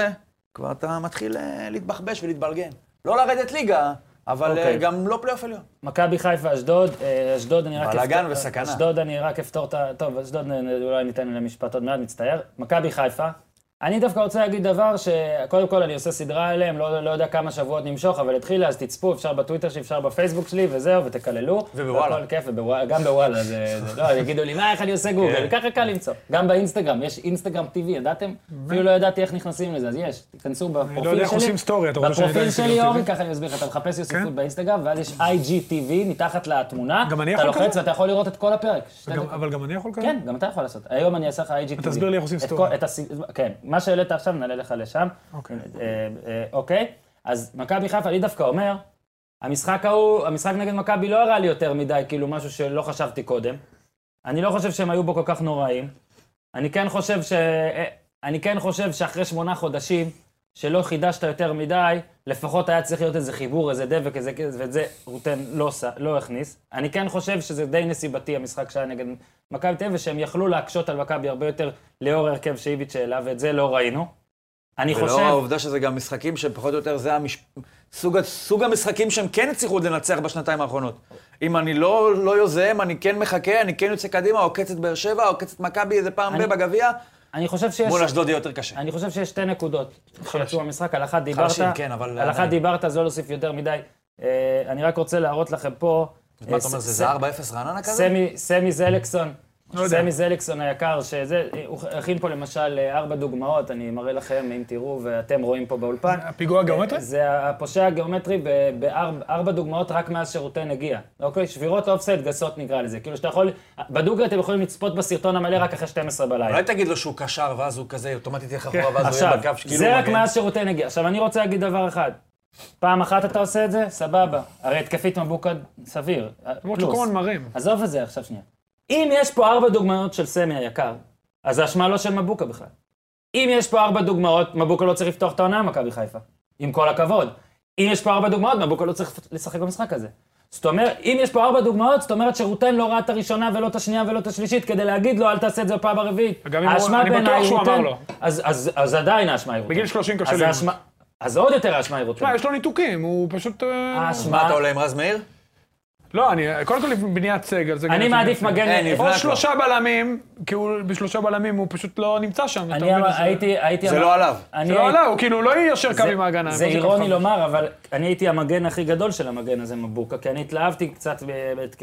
Speaker 4: כבר אתה מתחיל אה, להתבחבש ולהתבלגן. לא לרדת ליגה, אבל
Speaker 1: אוקיי.
Speaker 4: okay. גם לא פלייאוף עליון.
Speaker 1: מכבי חיפה, אשדוד, אה, אשדוד אני רק...
Speaker 4: בלאגן
Speaker 1: אפתור-
Speaker 4: וסכנה.
Speaker 1: אשדוד אני רק אפתור את ה... טוב, אשדוד נ- אולי ניתן למשפט עוד מעט, מצטער. מכבי חיפה. אני דווקא רוצה להגיד דבר שקודם כל אני עושה סדרה עליהם, לא, לא יודע כמה שבועות נמשוך, אבל התחילה, אז תצפו, אפשר בטוויטר שלי, אפשר בפייסבוק שלי, וזהו, ותקללו.
Speaker 4: ובוואלה.
Speaker 1: והכל כיף, ובוואלה, גם בוואלה, זה... זה- לא, יגידו לי, מה, איך אני עושה גוגל?
Speaker 4: כן.
Speaker 1: ככה קל למצוא. גם באינסטגרם, יש אינסטגרם TV, ידעתם? אפילו לא ידעתי איך נכנסים לזה, אז יש, תיכנסו בפרופיל שלי.
Speaker 3: לא יודע איך עושים story, אתה רוצה שאני אדע
Speaker 1: בפרופיל
Speaker 3: אינסטגרם
Speaker 1: שלי,
Speaker 3: TV?
Speaker 1: אורי, ככה אני מסביר לך, אתה
Speaker 3: כן.
Speaker 1: מחפש יוסיפות באינסטגרם, ואז יש IGTV מתחת לתמונה.
Speaker 3: גם אני
Speaker 1: אתה
Speaker 3: יכול
Speaker 1: לוחץ
Speaker 3: כזה?
Speaker 1: ואתה יכול לראות את כל הפרק. שתי
Speaker 3: גם-
Speaker 1: דקות.
Speaker 3: אבל גם אני יכול כזה?
Speaker 1: כן, גם אתה יכול לעשות. היום אני אעשה לך IGTV.
Speaker 3: תסביר לי איך עושים
Speaker 1: את
Speaker 3: סטורי.
Speaker 1: כל- את הס- כן, מה שהעלית עכשיו נעלה לך לשם.
Speaker 3: אוקיי.
Speaker 1: אה, אה, אוקיי, אז מכבי חיפה, אני דווקא אומר, המשחק ההוא, המשחק נגד מכבי לא הראה לי יותר מדי, כאילו משהו שלא חשבתי קודם. אני לא חושב שהם היו בו כל כך נוראים. אני כן חושב ש... אה, אני כן חושב שאחרי שמונה חודשים, שלא חידשת יותר מדי, לפחות היה צריך להיות איזה חיבור, איזה דבק, איזה כזה, ואת זה רוטן לא, עשה- לא הכניס. אני כן חושב שזה די נסיבתי, המשחק שהיה נגד מכבי תל אביב, ושהם יכלו להקשות על מכבי הרבה יותר לאור ההרכב שאיביץ' העלה, ואת זה לא ראינו. אני
Speaker 4: ולאור
Speaker 1: חושב...
Speaker 4: העובדה שזה גם משחקים שהם פחות או יותר, זה המש... סוג, ה- סוג המשחקים שהם כן הצליחו עוד לנצח בשנתיים האחרונות. אם אני לא, לא יוזם, אני כן מחכה, אני כן יוצא קדימה, עוקץ את באר שבע, עוקץ את מכבי איזה פעם
Speaker 1: אני-
Speaker 4: ב בגביע,
Speaker 1: אני חושב שיש...
Speaker 4: מול אשדוד יהיה יותר קשה.
Speaker 1: אני חושב שיש שתי נקודות שיצאו במשחק, על אחת דיברת,
Speaker 4: חלשים, כן, אבל
Speaker 1: על אחת
Speaker 4: עדיין.
Speaker 1: דיברת, אז לא להוסיף יותר מדי. אה, אני רק רוצה להראות לכם פה... אה,
Speaker 4: מה אתה אומר, זה זה 4-0 רעננה כזה?
Speaker 1: סמי- סמי זלקסון,
Speaker 3: לא יודע.
Speaker 1: סמי זלקסון היקר, שזה, הוא הכין פה למשל אה, ארבע דוגמאות, אני מראה לכם, אם תראו, ואתם רואים פה באולפן.
Speaker 3: הפיגוע
Speaker 1: אה,
Speaker 3: הגיאומטרי?
Speaker 1: זה הפושע הגיאומטרי ב- בארבע ארבע דוגמאות רק מאז שרוטן הגיע. אוקיי? שבירות אופסייד גסות נקרא לזה. כאילו שאתה יכול, בדוגרי אתם יכולים לצפות בסרטון המלא רק אחרי 12 בלילה.
Speaker 4: אולי תגיד לו שהוא קשר, ואז הוא כזה אוטומטית ילך אחורה, ואז הוא יהיה
Speaker 1: עכשיו,
Speaker 4: בקו שכאילו
Speaker 1: זה
Speaker 4: הוא
Speaker 1: רק
Speaker 4: מגן.
Speaker 1: מאז שרוטן הגיע. עכשיו, אני רוצה להגיד דבר אחד. פעם אחת אתה עושה את זה, סבבה. הרי התקפית מבוקה סביר.
Speaker 3: למרות
Speaker 1: פלוס.
Speaker 3: שכל הזמן מרים.
Speaker 1: עזוב את זה עכשיו שנייה. אם יש פה ארבע דוגמאות של סמי היקר, אז האשמה לא של מבוקה בכלל. אם יש פה ארבע דוגמאות, מבוקה לא צריך לפתוח את העונה במכבי חיפה. עם כל הכבוד. אם יש פה ארבע דוגמאות, מבוקה לא צריך לשחק במשחק הזה. זאת אומרת, אם יש פה ארבע דוגמאות, זאת אומרת שרוטן לא ראה את הראשונה ולא את השנייה ולא את השלישית כדי להגיד לו, אל תעשה את זה בפעם הרביעית.
Speaker 3: גם אם הוא-
Speaker 1: האשמה
Speaker 3: אני בטוח
Speaker 1: בעיניי היא
Speaker 3: שהוא אמר
Speaker 1: רוטן.
Speaker 3: לו.
Speaker 1: אז- אז- אז עדיין האשמה היא רוטן.
Speaker 3: בגיל 30 קשה
Speaker 1: אז
Speaker 3: ללמוד.
Speaker 1: האשמה- אז עוד יותר האשמה היא רוטן.
Speaker 3: תשמע, יש לו ניתוקים, הוא פשוט... אה,
Speaker 1: האשמה-
Speaker 4: מה, אתה עולה עם רז מאיר?
Speaker 3: לא, אני... קודם כל בניית סגל. זה גם
Speaker 1: אני
Speaker 3: יש
Speaker 1: מעדיף
Speaker 3: לי-
Speaker 1: מגן...
Speaker 4: אין,
Speaker 3: או
Speaker 4: לבנת לא.
Speaker 3: שלושה בלמים, כי הוא בשלושה בלמים הוא פשוט לא נמצא שם. אתה
Speaker 1: אני
Speaker 3: מבין?
Speaker 1: אמר-
Speaker 3: זה-
Speaker 1: הייתי... הייתי
Speaker 4: זה
Speaker 1: אמר-
Speaker 4: לא עליו.
Speaker 1: אני
Speaker 3: זה
Speaker 1: הייתי-
Speaker 3: לא עלה, הוא כאילו לא יישר קו
Speaker 1: זה-
Speaker 3: עם ההגנה.
Speaker 1: זה
Speaker 3: מה
Speaker 1: אירוני לא-
Speaker 3: ככה.
Speaker 1: לומר, אבל אני הייתי המגן הכי גדול של המגן הזה, מבוקה, כי אני התלהבתי קצת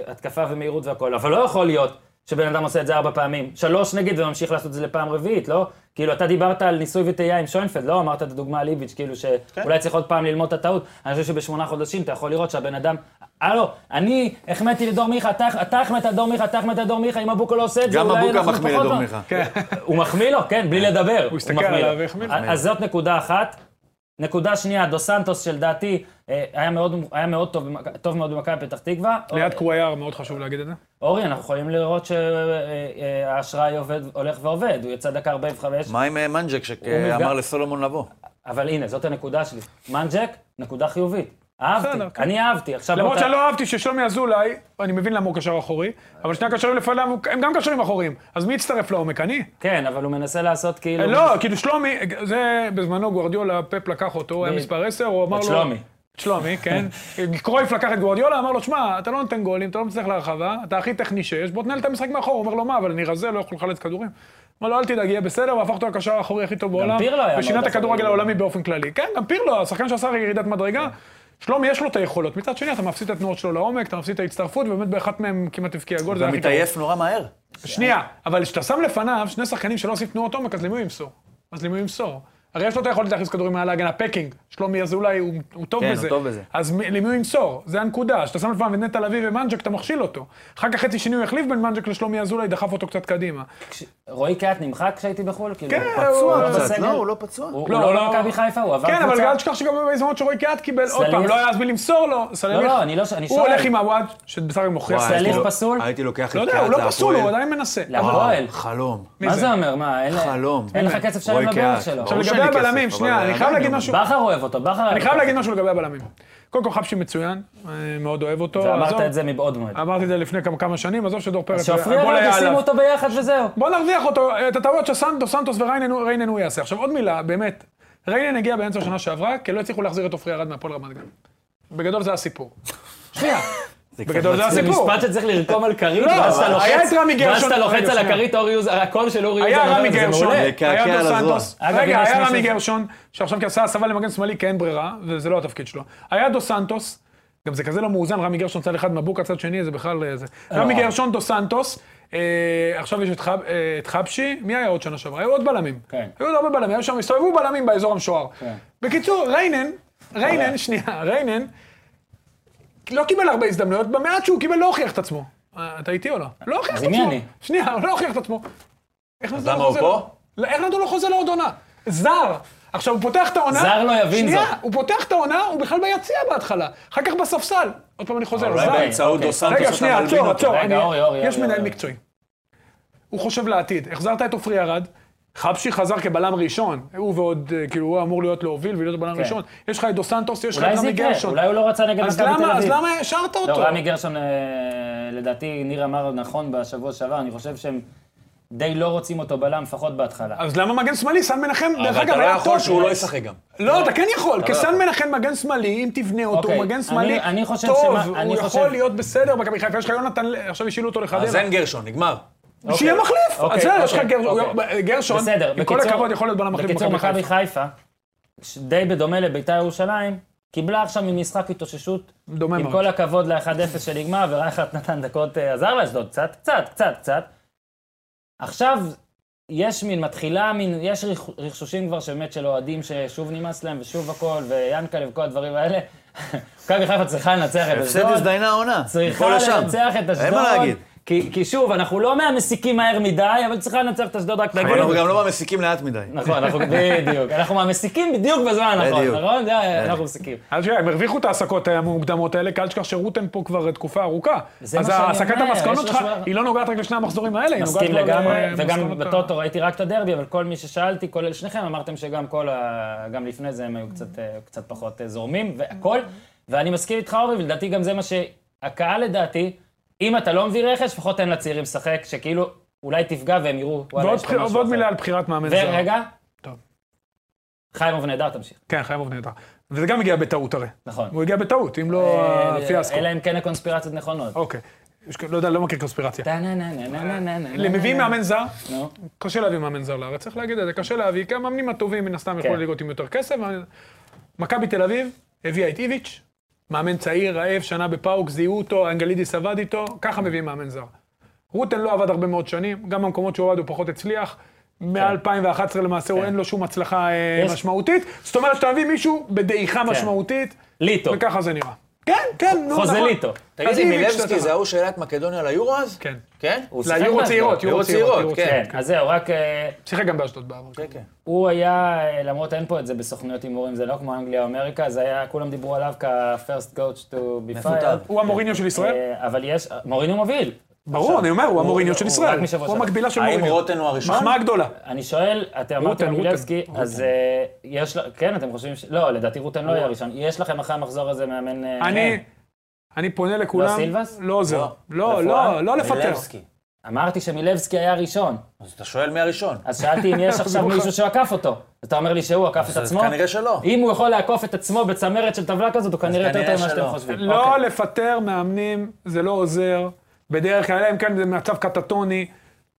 Speaker 1: בהתקפה ומהירות והכול, אבל לא יכול להיות שבן אדם עושה את זה ארבע פעמים. שלוש נגיד וממשיך לעשות את זה לפעם רביעית, לא? כאילו, אתה דיברת על ניסוי וטעייה עם שוינפלד, לא אמרת את הדוגמה על איביץ', כאילו
Speaker 4: כן.
Speaker 1: שאולי צריך עוד פעם ללמוד את הטעות. אני חושב שבשמונה חודשים אתה יכול לראות שהבן אדם... הלו, אני החמאתי לדור מיכה, אתה- אתה החמאת לדור מיכה, אתה החמאת לדור מיכה, אם אבוקה לא עושה את זה,
Speaker 4: גם
Speaker 1: אולי
Speaker 4: אבוקה
Speaker 1: אנחנו
Speaker 4: מחמיא
Speaker 1: פחות
Speaker 4: לדור
Speaker 1: ב-
Speaker 4: מיכה.
Speaker 1: הוא מחמיא לו, כן, בלי לדבר. הוא
Speaker 3: אה, הסתכל
Speaker 1: מחמיא לו.
Speaker 3: עליו והחמיא לו.
Speaker 1: אז זאת נקודה אחת. נקודה שנייה, דו סנטוס שלדעתי אה, היה מאוד, היה מאוד טוב, במכ- טוב מאוד במכבי פתח תקווה.
Speaker 3: ליד
Speaker 1: אור-
Speaker 3: קוויאר, מאוד חשוב להגיד את זה.
Speaker 1: אורי, אנחנו יכולים לראות שהאשראי עובד, הולך ועובד, הוא יצא דקה 45,
Speaker 4: מה עם אה, מנג'ק
Speaker 1: נפגע.
Speaker 4: שאמר לסולומון לבוא?
Speaker 1: אבל הנה, זאת הנקודה שלי. מנג'ק, נקודה חיובית. אהבתי,
Speaker 3: בסדר, כן.
Speaker 1: אני אהבתי. עכשיו בוא
Speaker 3: למרות
Speaker 1: ת-
Speaker 3: שאני לא אהבתי ששלומי אזולאי, אני מבין למה הוא קשר אחורי, אבל שני הקשרים לפניו הוא- הם גם קשרים אחוריים. אז מי יצטרף לעומק? אני?
Speaker 1: כן, אבל הוא מנסה לעשות כאילו...
Speaker 3: לא, כאילו שלומי, זה בזמנו גוורדיולה, פפ לקח אותו, הוא היה
Speaker 1: מי?
Speaker 3: מספר 10, הוא אמר לו...
Speaker 1: את שלומי.
Speaker 3: את שלומי, כן. קרויף לקח את גוורדיולה, אמר לו, שמע, אתה לא נותן גולים, אתה לא מצליח להרחבה, אתה הכי טכני שיש, בוא תנהל את המשחק מאחור. הוא אומר לו, מה, אבל אני רזה, לא יכול לחלץ כדורים. אמר לו, אל תדאג, יהיה בסדר, והפך אותו לקשר האחורי הכי טוב בעולם.
Speaker 1: פירלו היה
Speaker 3: ושינה
Speaker 1: מאוד
Speaker 3: את הכדורגל
Speaker 1: אחורי.
Speaker 3: העולמי באופן כללי. כן, גם פירלו, השחקן שעשה ירידת מדרגה.
Speaker 1: כן.
Speaker 3: שלומי, יש לו את היכולות. מצד שני, אתה מפסיד את התנועות שלו לעומק, אתה מפסיד את ההצטרפות, ובאמת באחת מהם כמעט הבקיע גול, זה
Speaker 4: הוא
Speaker 3: היה הכי קרוב.
Speaker 4: מתעייף נורא מהר.
Speaker 3: שנייה, אבל כשאתה שם לפניו שני שחקנים שלא עושים תנועות עומק, אז למי הוא ימסור? אז למי הוא ימסור? הרי יש לו את היכולת להכניס כדורים מעל ההגנה, פקינג, שלומי אזולאי, הוא, הוא טוב
Speaker 4: כן, הוא
Speaker 3: בזה.
Speaker 4: טוב בזה.
Speaker 3: אז מ- למי הוא ימסור? זה הנקודה, שאתה שם לפניו את נטע לביא ומנג'ק, אתה מכשיל אותו. אחר כך חצי שני הוא החליף בין מנג'ק לשלומי אזולאי, דחף אותו קצת קדימה.
Speaker 1: כש- רועי קאט נמחק כשהייתי בחו"ל? כאילו,
Speaker 3: כן,
Speaker 1: הוא
Speaker 3: הוא-
Speaker 1: פצוע
Speaker 3: קצת,
Speaker 1: בסגל? הוא
Speaker 4: לא פצוע.
Speaker 1: הוא
Speaker 3: לא,
Speaker 1: לא
Speaker 3: לא.
Speaker 1: במכבי חיפה, הוא עבר
Speaker 3: כן, אבל
Speaker 1: קבוצה.
Speaker 3: אל תשכח שגם בהזדמנות שרועי קהת קיבל, עוד
Speaker 1: סליח.
Speaker 3: פעם, לא היה אז מי למסור לו. סליח.
Speaker 1: לא, אני לא ש- אני
Speaker 3: הוא
Speaker 1: שואל.
Speaker 3: הולך עם הוואד, שבסך הכל מוכיח.
Speaker 4: אה,
Speaker 1: וואי,
Speaker 3: את
Speaker 1: סליח.
Speaker 3: עצמו.
Speaker 1: הליך פסול?
Speaker 4: הייתי לוקח את
Speaker 3: לא יודע, הוא לא
Speaker 4: קהת
Speaker 3: פסול, הוא
Speaker 4: להפועל.
Speaker 3: עדיין מנסה.
Speaker 1: להפועל.
Speaker 4: חלום.
Speaker 3: מי
Speaker 1: מה
Speaker 3: זה?
Speaker 1: זה אומר? מה, אין לה-
Speaker 4: חלום.
Speaker 1: אין לך כסף שלם
Speaker 4: רועי
Speaker 1: לברך
Speaker 4: קהת.
Speaker 1: שלו.
Speaker 4: ברור
Speaker 3: עכשיו לגבי
Speaker 4: שאין לי כסף,
Speaker 3: הבלמים,
Speaker 4: אבל
Speaker 3: שנייה, אני
Speaker 4: עדיין
Speaker 3: חייב
Speaker 4: אני
Speaker 3: להגיד
Speaker 4: אומר.
Speaker 3: משהו.
Speaker 1: בכר אוהב אותו, בכר אוהב
Speaker 3: אני חייב
Speaker 1: אותו.
Speaker 3: להגיד משהו לגבי הבלמים. קודם כל חפשי מצוין, אני מאוד אוהב אותו.
Speaker 1: ואמרת
Speaker 3: עזוב-
Speaker 1: את זה מבעוד מועד.
Speaker 3: אמרתי את זה לפני כמה כמה שנים, עזוב שדור פרץ, אה,
Speaker 1: שעפרי עליו ישימו אותו ביחד וזהו.
Speaker 3: בוא נרוויח אותו, את הטעויות שסנטו, סנטוס וריינן הוא- ריינן הוא יעשה. עכשיו עוד מילה, באמת, ריינן הגיע באמצע השנה שעברה, כי לא הצליחו להחזיר את עופרי ארד מהפועל רמת גן. בגדול זה הסיפור. שנייה, בגדול זה
Speaker 1: זה
Speaker 3: הסיפור.
Speaker 1: משפט שצריך לרקום על כרית,
Speaker 3: לא,
Speaker 1: ואז אתה
Speaker 3: אבל
Speaker 1: לוחץ,
Speaker 3: היה את רמי
Speaker 1: ואז
Speaker 3: גרשון-
Speaker 1: אתה לוחץ
Speaker 3: רגע,
Speaker 1: על
Speaker 3: שנייה.
Speaker 1: הכרית אורי יוז, הקול של אורי יוז,
Speaker 3: היה רמי גרשון,
Speaker 4: לקעקע
Speaker 3: היה
Speaker 4: על
Speaker 3: דו
Speaker 4: הזרוע.
Speaker 3: סנטוס,
Speaker 1: אגב, אם
Speaker 3: רגע,
Speaker 1: יש
Speaker 3: היה
Speaker 1: מישהו
Speaker 3: רמי
Speaker 1: ש-
Speaker 3: גרשון, שעכשיו כי עשה הסבה למגן שמאלי כי אין ברירה, וזה לא התפקיד שלו. היה דו סנטוס, גם זה כזה לא מאוזן, רמי גרשון צד אחד, מבוקה צד שני, זה בכלל אה, זה. רמי גרשון, דו סנטוס, אה, עכשיו יש את חב- אה, את חבשי, מי היה עוד שנה שעברה? היו עוד בלמים.
Speaker 1: כן.
Speaker 3: היו עוד הרבה בלמים, היו שם, הסתובבו בלמים באזור המשוער. בקיצור, ריינן, ריינן, שנייה, ריינן, לא קיבל הרבה הזדמנויות, במעט שהוא קיבל לא הוכיח את עצמו. אה, אתה איתי או לא? לא הוכיח את
Speaker 1: עם מי
Speaker 3: עצמו.
Speaker 1: אני?
Speaker 3: שנייה, הוא לא הוכיח את עצמו. איך נתנו
Speaker 4: למה
Speaker 3: לו
Speaker 4: הוא
Speaker 3: חוזה?
Speaker 4: פה?
Speaker 3: לא, איך נתנו לו חוזה לעוד עונה? זר. עכשיו, הוא פותח את העונה...
Speaker 1: זר לא יבין
Speaker 3: שנייה,
Speaker 1: זאת.
Speaker 3: הוא פותח את העונה, הוא בכלל ביציע בהתחלה. אחר כך בספסל. עוד פעם אני חוזר,
Speaker 4: אולי
Speaker 3: זר.
Speaker 4: באמצעות
Speaker 1: אוקיי.
Speaker 4: דו סנטוס
Speaker 3: רגע,
Speaker 4: אתה
Speaker 3: שנייה,
Speaker 4: מלבין
Speaker 3: עצור,
Speaker 4: אותו.
Speaker 3: עצור.
Speaker 1: רגע,
Speaker 3: אני-
Speaker 1: אורי, אורי,
Speaker 3: יש
Speaker 1: אורי,
Speaker 3: מנהל
Speaker 1: אורי.
Speaker 3: מקצועי. הוא חושב לעתיד. החזרת את עופרי ארד, חבשי חזר כבלם ראשון. הוא ועוד, אה, כאילו, הוא אמור להיות להוביל ולהיות בלם
Speaker 1: כן.
Speaker 3: ראשון. יש לך את דו סנטוס, יש לך
Speaker 1: אולי
Speaker 3: את
Speaker 1: זה
Speaker 3: רמי
Speaker 1: יקרה,
Speaker 3: גרשון.
Speaker 1: אולי הוא לא רצה נגד מכבי
Speaker 3: אז
Speaker 1: תל אביב.
Speaker 3: למה, אז למה השארת אותו?
Speaker 1: לא, רמי גרשון, אה, לדעתי, ניר אמר נכון בשבוע שעבר, אני חושב שהם די לא רוצים אותו בלם, לפחות בהתחלה.
Speaker 3: אז למה מגן שמאלי? סן מנחם, דרך
Speaker 4: אבל
Speaker 3: אגב,
Speaker 4: אתה לא
Speaker 3: היה
Speaker 4: יכול
Speaker 3: טוב.
Speaker 4: שהוא לא ישחק גם.
Speaker 3: לא, אתה כן יכול, כסן מנחם מגן שמאלי, אם תבנה אותו,
Speaker 1: אוקיי,
Speaker 3: הוא מגן
Speaker 1: אני-
Speaker 3: שמאלי
Speaker 1: אני חושב
Speaker 3: טוב,
Speaker 1: שמה- אני
Speaker 3: הוא
Speaker 1: חושב-
Speaker 3: יכול להיות בסדר במכבי חיפה, יש לך יונתן, ל- עכשיו השאילו אותו
Speaker 4: אז
Speaker 3: לחדרה.
Speaker 4: אין גרשון, נגמר.
Speaker 1: אוקיי.
Speaker 3: שיהיה מחליף,
Speaker 1: אוקיי,
Speaker 3: אז בסדר, יש לך
Speaker 1: אוקיי,
Speaker 3: גר-
Speaker 1: אוקיי.
Speaker 3: גרשון,
Speaker 1: בסדר,
Speaker 3: עם כל
Speaker 1: בקיצור-
Speaker 3: הכבוד יכול להיות בלם מחליף
Speaker 1: בקיצור,
Speaker 3: במכבי
Speaker 1: מכבי
Speaker 3: חיפה.
Speaker 1: חיפה, ש- די בדומה לביתר ירושלים, קיבלה עכשיו ממשחק התאוששות.
Speaker 3: דומה
Speaker 1: עם
Speaker 3: מאוד.
Speaker 1: כל הכבוד ל-1-0 שנגמר, ורייכרד נתן דקות, אה, עזר לאשדוד קצת, קצת, קצת, קצת. עכשיו, יש מין, מתחילה מין, יש רכ- רכשושים כבר שבאמת של אוהדים ששוב נמאס להם, ושוב הכל, ויאנקל'ה וכל הדברים האלה. מכבי חיפה צריכה לנצח את
Speaker 4: הפסד
Speaker 3: לא,
Speaker 1: אשדוד.
Speaker 4: הזדיינה העונה.
Speaker 1: צריכה
Speaker 4: מפה לשם.
Speaker 1: לנצח את אשדוד.
Speaker 4: אין מה להגיד.
Speaker 1: כי, כי שוב, אנחנו לא מהמסיקים מהר מדי, אבל צריכה לנצח את אשדוד רק
Speaker 4: אבל
Speaker 1: נגיד.
Speaker 4: אנחנו גם לא מסיקים לאט מדי.
Speaker 1: נכון, אנחנו בדיוק. אנחנו מהמסיקים בדיוק בזמן הנכון,
Speaker 4: בדיוק.
Speaker 1: נכון? זה אנחנו מסיקים.
Speaker 3: אז תראה, הם הרוויחו את ההעסקות המוקדמות האלה, כי אל תשכח שרוטן פה כבר תקופה ארוכה.
Speaker 1: זה
Speaker 3: אז
Speaker 1: מה שאני
Speaker 3: העסקת
Speaker 1: אומר,
Speaker 3: המסקנות
Speaker 1: יש
Speaker 3: שלך,
Speaker 1: משהו-
Speaker 3: היא לא נוגעת רק לשני המחזורים האלה, היא נוגעת
Speaker 1: מסכים
Speaker 3: כבר
Speaker 1: לגמרי,
Speaker 3: למסקנות
Speaker 1: וגם
Speaker 3: ה-
Speaker 1: בטוטו ראיתי רק את הדרבי, אבל כל מי ששאלתי, כולל שניכם, אמרתם שגם כל ה... גם לפני זה הם היו קצת, אה, קצת פחות אה, זורמים, והכול. ואני מסכים איתך, אורי, ולדעתי גם זה מה שהקהל, לדעתי, אם אתה לא מביא רכש, לפחות תן לצעירים לשחק, שכאילו אולי תפגע והם יראו, וואלה,
Speaker 3: ועוד
Speaker 1: יש פה
Speaker 3: בחיר-
Speaker 1: משהו
Speaker 3: ועוד
Speaker 1: אחר.
Speaker 3: מילה על בחירת מאמן זר.
Speaker 1: ורגע,
Speaker 3: טוב.
Speaker 1: חיימוב נהדר, תמשיך.
Speaker 3: כן, חיימוב נהדר. וזה גם הגיע בטעות הרי.
Speaker 1: נכון.
Speaker 3: הוא הגיע בטעות, אם לא
Speaker 1: אה,
Speaker 3: הפיאסקו.
Speaker 1: אלא אם כן הקונספירציות נכונות.
Speaker 3: אוקיי. יש כ- לא יודע, לא מכיר קונספירציה.
Speaker 1: טה-נה-נה-נה-נה-נה-נה-נה.
Speaker 3: מביאים מאמן זר,
Speaker 1: נו.
Speaker 3: קשה להביא מאמן זר לארץ, צריך להגיד את זה, קשה להביא, כי המאמנים הטובים מן הסתם
Speaker 1: כן.
Speaker 3: יכולים לראות עם יותר כסף. אבל- מכבי תל אביב הביאה את איביץ', מאמן צעיר, רעב, שנה בפאוק, זיהו אותו, אנגלידיס עבד איתו, ככה מביאים מאמן זר. רוטן לא עבד הרבה מאוד שנים, גם במקומות שהוא עבד הוא פחות הצליח. מ-2011 למעשה הוא אין לו שום הצלחה אה,
Speaker 1: כן. יש- כן.
Speaker 3: משמעותית. זאת אומרת שאתה מביא מישהו בדעיכה משמעותית,
Speaker 1: ליטו.
Speaker 3: וככה זה נראה. כן, כן, נו, נכון.
Speaker 1: חוזה ליטו.
Speaker 4: תגיד לי,
Speaker 3: אז אם
Speaker 4: מילבסקי
Speaker 3: השתתף-
Speaker 4: זה ההוא שהעלה את מקדוניה ליורו אז?
Speaker 3: כן.
Speaker 4: כן?
Speaker 1: הוא שיחק
Speaker 3: ליורו
Speaker 1: באשדוד.
Speaker 3: צעירות, יורו
Speaker 4: יורו
Speaker 3: צעירות,
Speaker 4: צעירות,
Speaker 3: יורו
Speaker 4: כן.
Speaker 3: צעירות.
Speaker 1: כן, אז זהו, רק... אה,
Speaker 3: שיחק גם באשדוד בעבר. כן, כן.
Speaker 1: הוא היה, אה, למרות אין פה את זה בסוכנויות הימורים, זה לא כמו אנגליה או אמריקה, זה היה, כולם דיברו עליו כ-first coach to be fired.
Speaker 3: הוא המוריניו של ישראל?
Speaker 1: אה, אבל יש, מוריניו מוביל.
Speaker 3: ברור, אני אומר, הוא המוריניו של
Speaker 1: הוא לא, רק
Speaker 3: ישראל.
Speaker 1: משבוע
Speaker 3: הוא
Speaker 1: שעבר.
Speaker 3: המקבילה של
Speaker 4: האם
Speaker 3: מוריניו.
Speaker 4: רוטן הוא הראשון?
Speaker 3: מחמאה גדולה.
Speaker 1: אני שואל, אתם אמרתם
Speaker 3: רוטן,
Speaker 1: על
Speaker 3: רוטן.
Speaker 1: מילבסקי, אז אה, יש, ל- כן, אתם חושבים ש... לא, לדעתי רוטן לא יהיה הראשון. יש לכם אחרי המחזור הזה מאמן... אה,
Speaker 3: אני... אני פונה לכולם,
Speaker 1: לא סילבס?
Speaker 3: לא עוזר.
Speaker 1: לא.
Speaker 3: לא,
Speaker 4: אה?
Speaker 3: לא, לא לפטר.
Speaker 4: מילבסקי.
Speaker 1: אמרתי שמילבסקי היה הראשון,
Speaker 4: אז אתה שואל מי הראשון.
Speaker 1: אז שאלתי אם יש עכשיו
Speaker 3: בדיוק.
Speaker 1: מישהו שעקף אותו. אז אתה אומר לי שהוא עקף את
Speaker 4: אז
Speaker 1: עצמו?
Speaker 4: כנראה שלא.
Speaker 1: אם הוא יכול לעקוף את עצמו בצמרת של טבלה כזאת, הוא כנראה יותר
Speaker 4: כנראה
Speaker 1: טוב ממה שאתם
Speaker 4: שלא.
Speaker 1: חושבים.
Speaker 3: לא
Speaker 1: אוקיי.
Speaker 3: לפטר מאמנים, זה לא עוזר. בדרך כלל, אלא אם כן זה מצב קטטוני.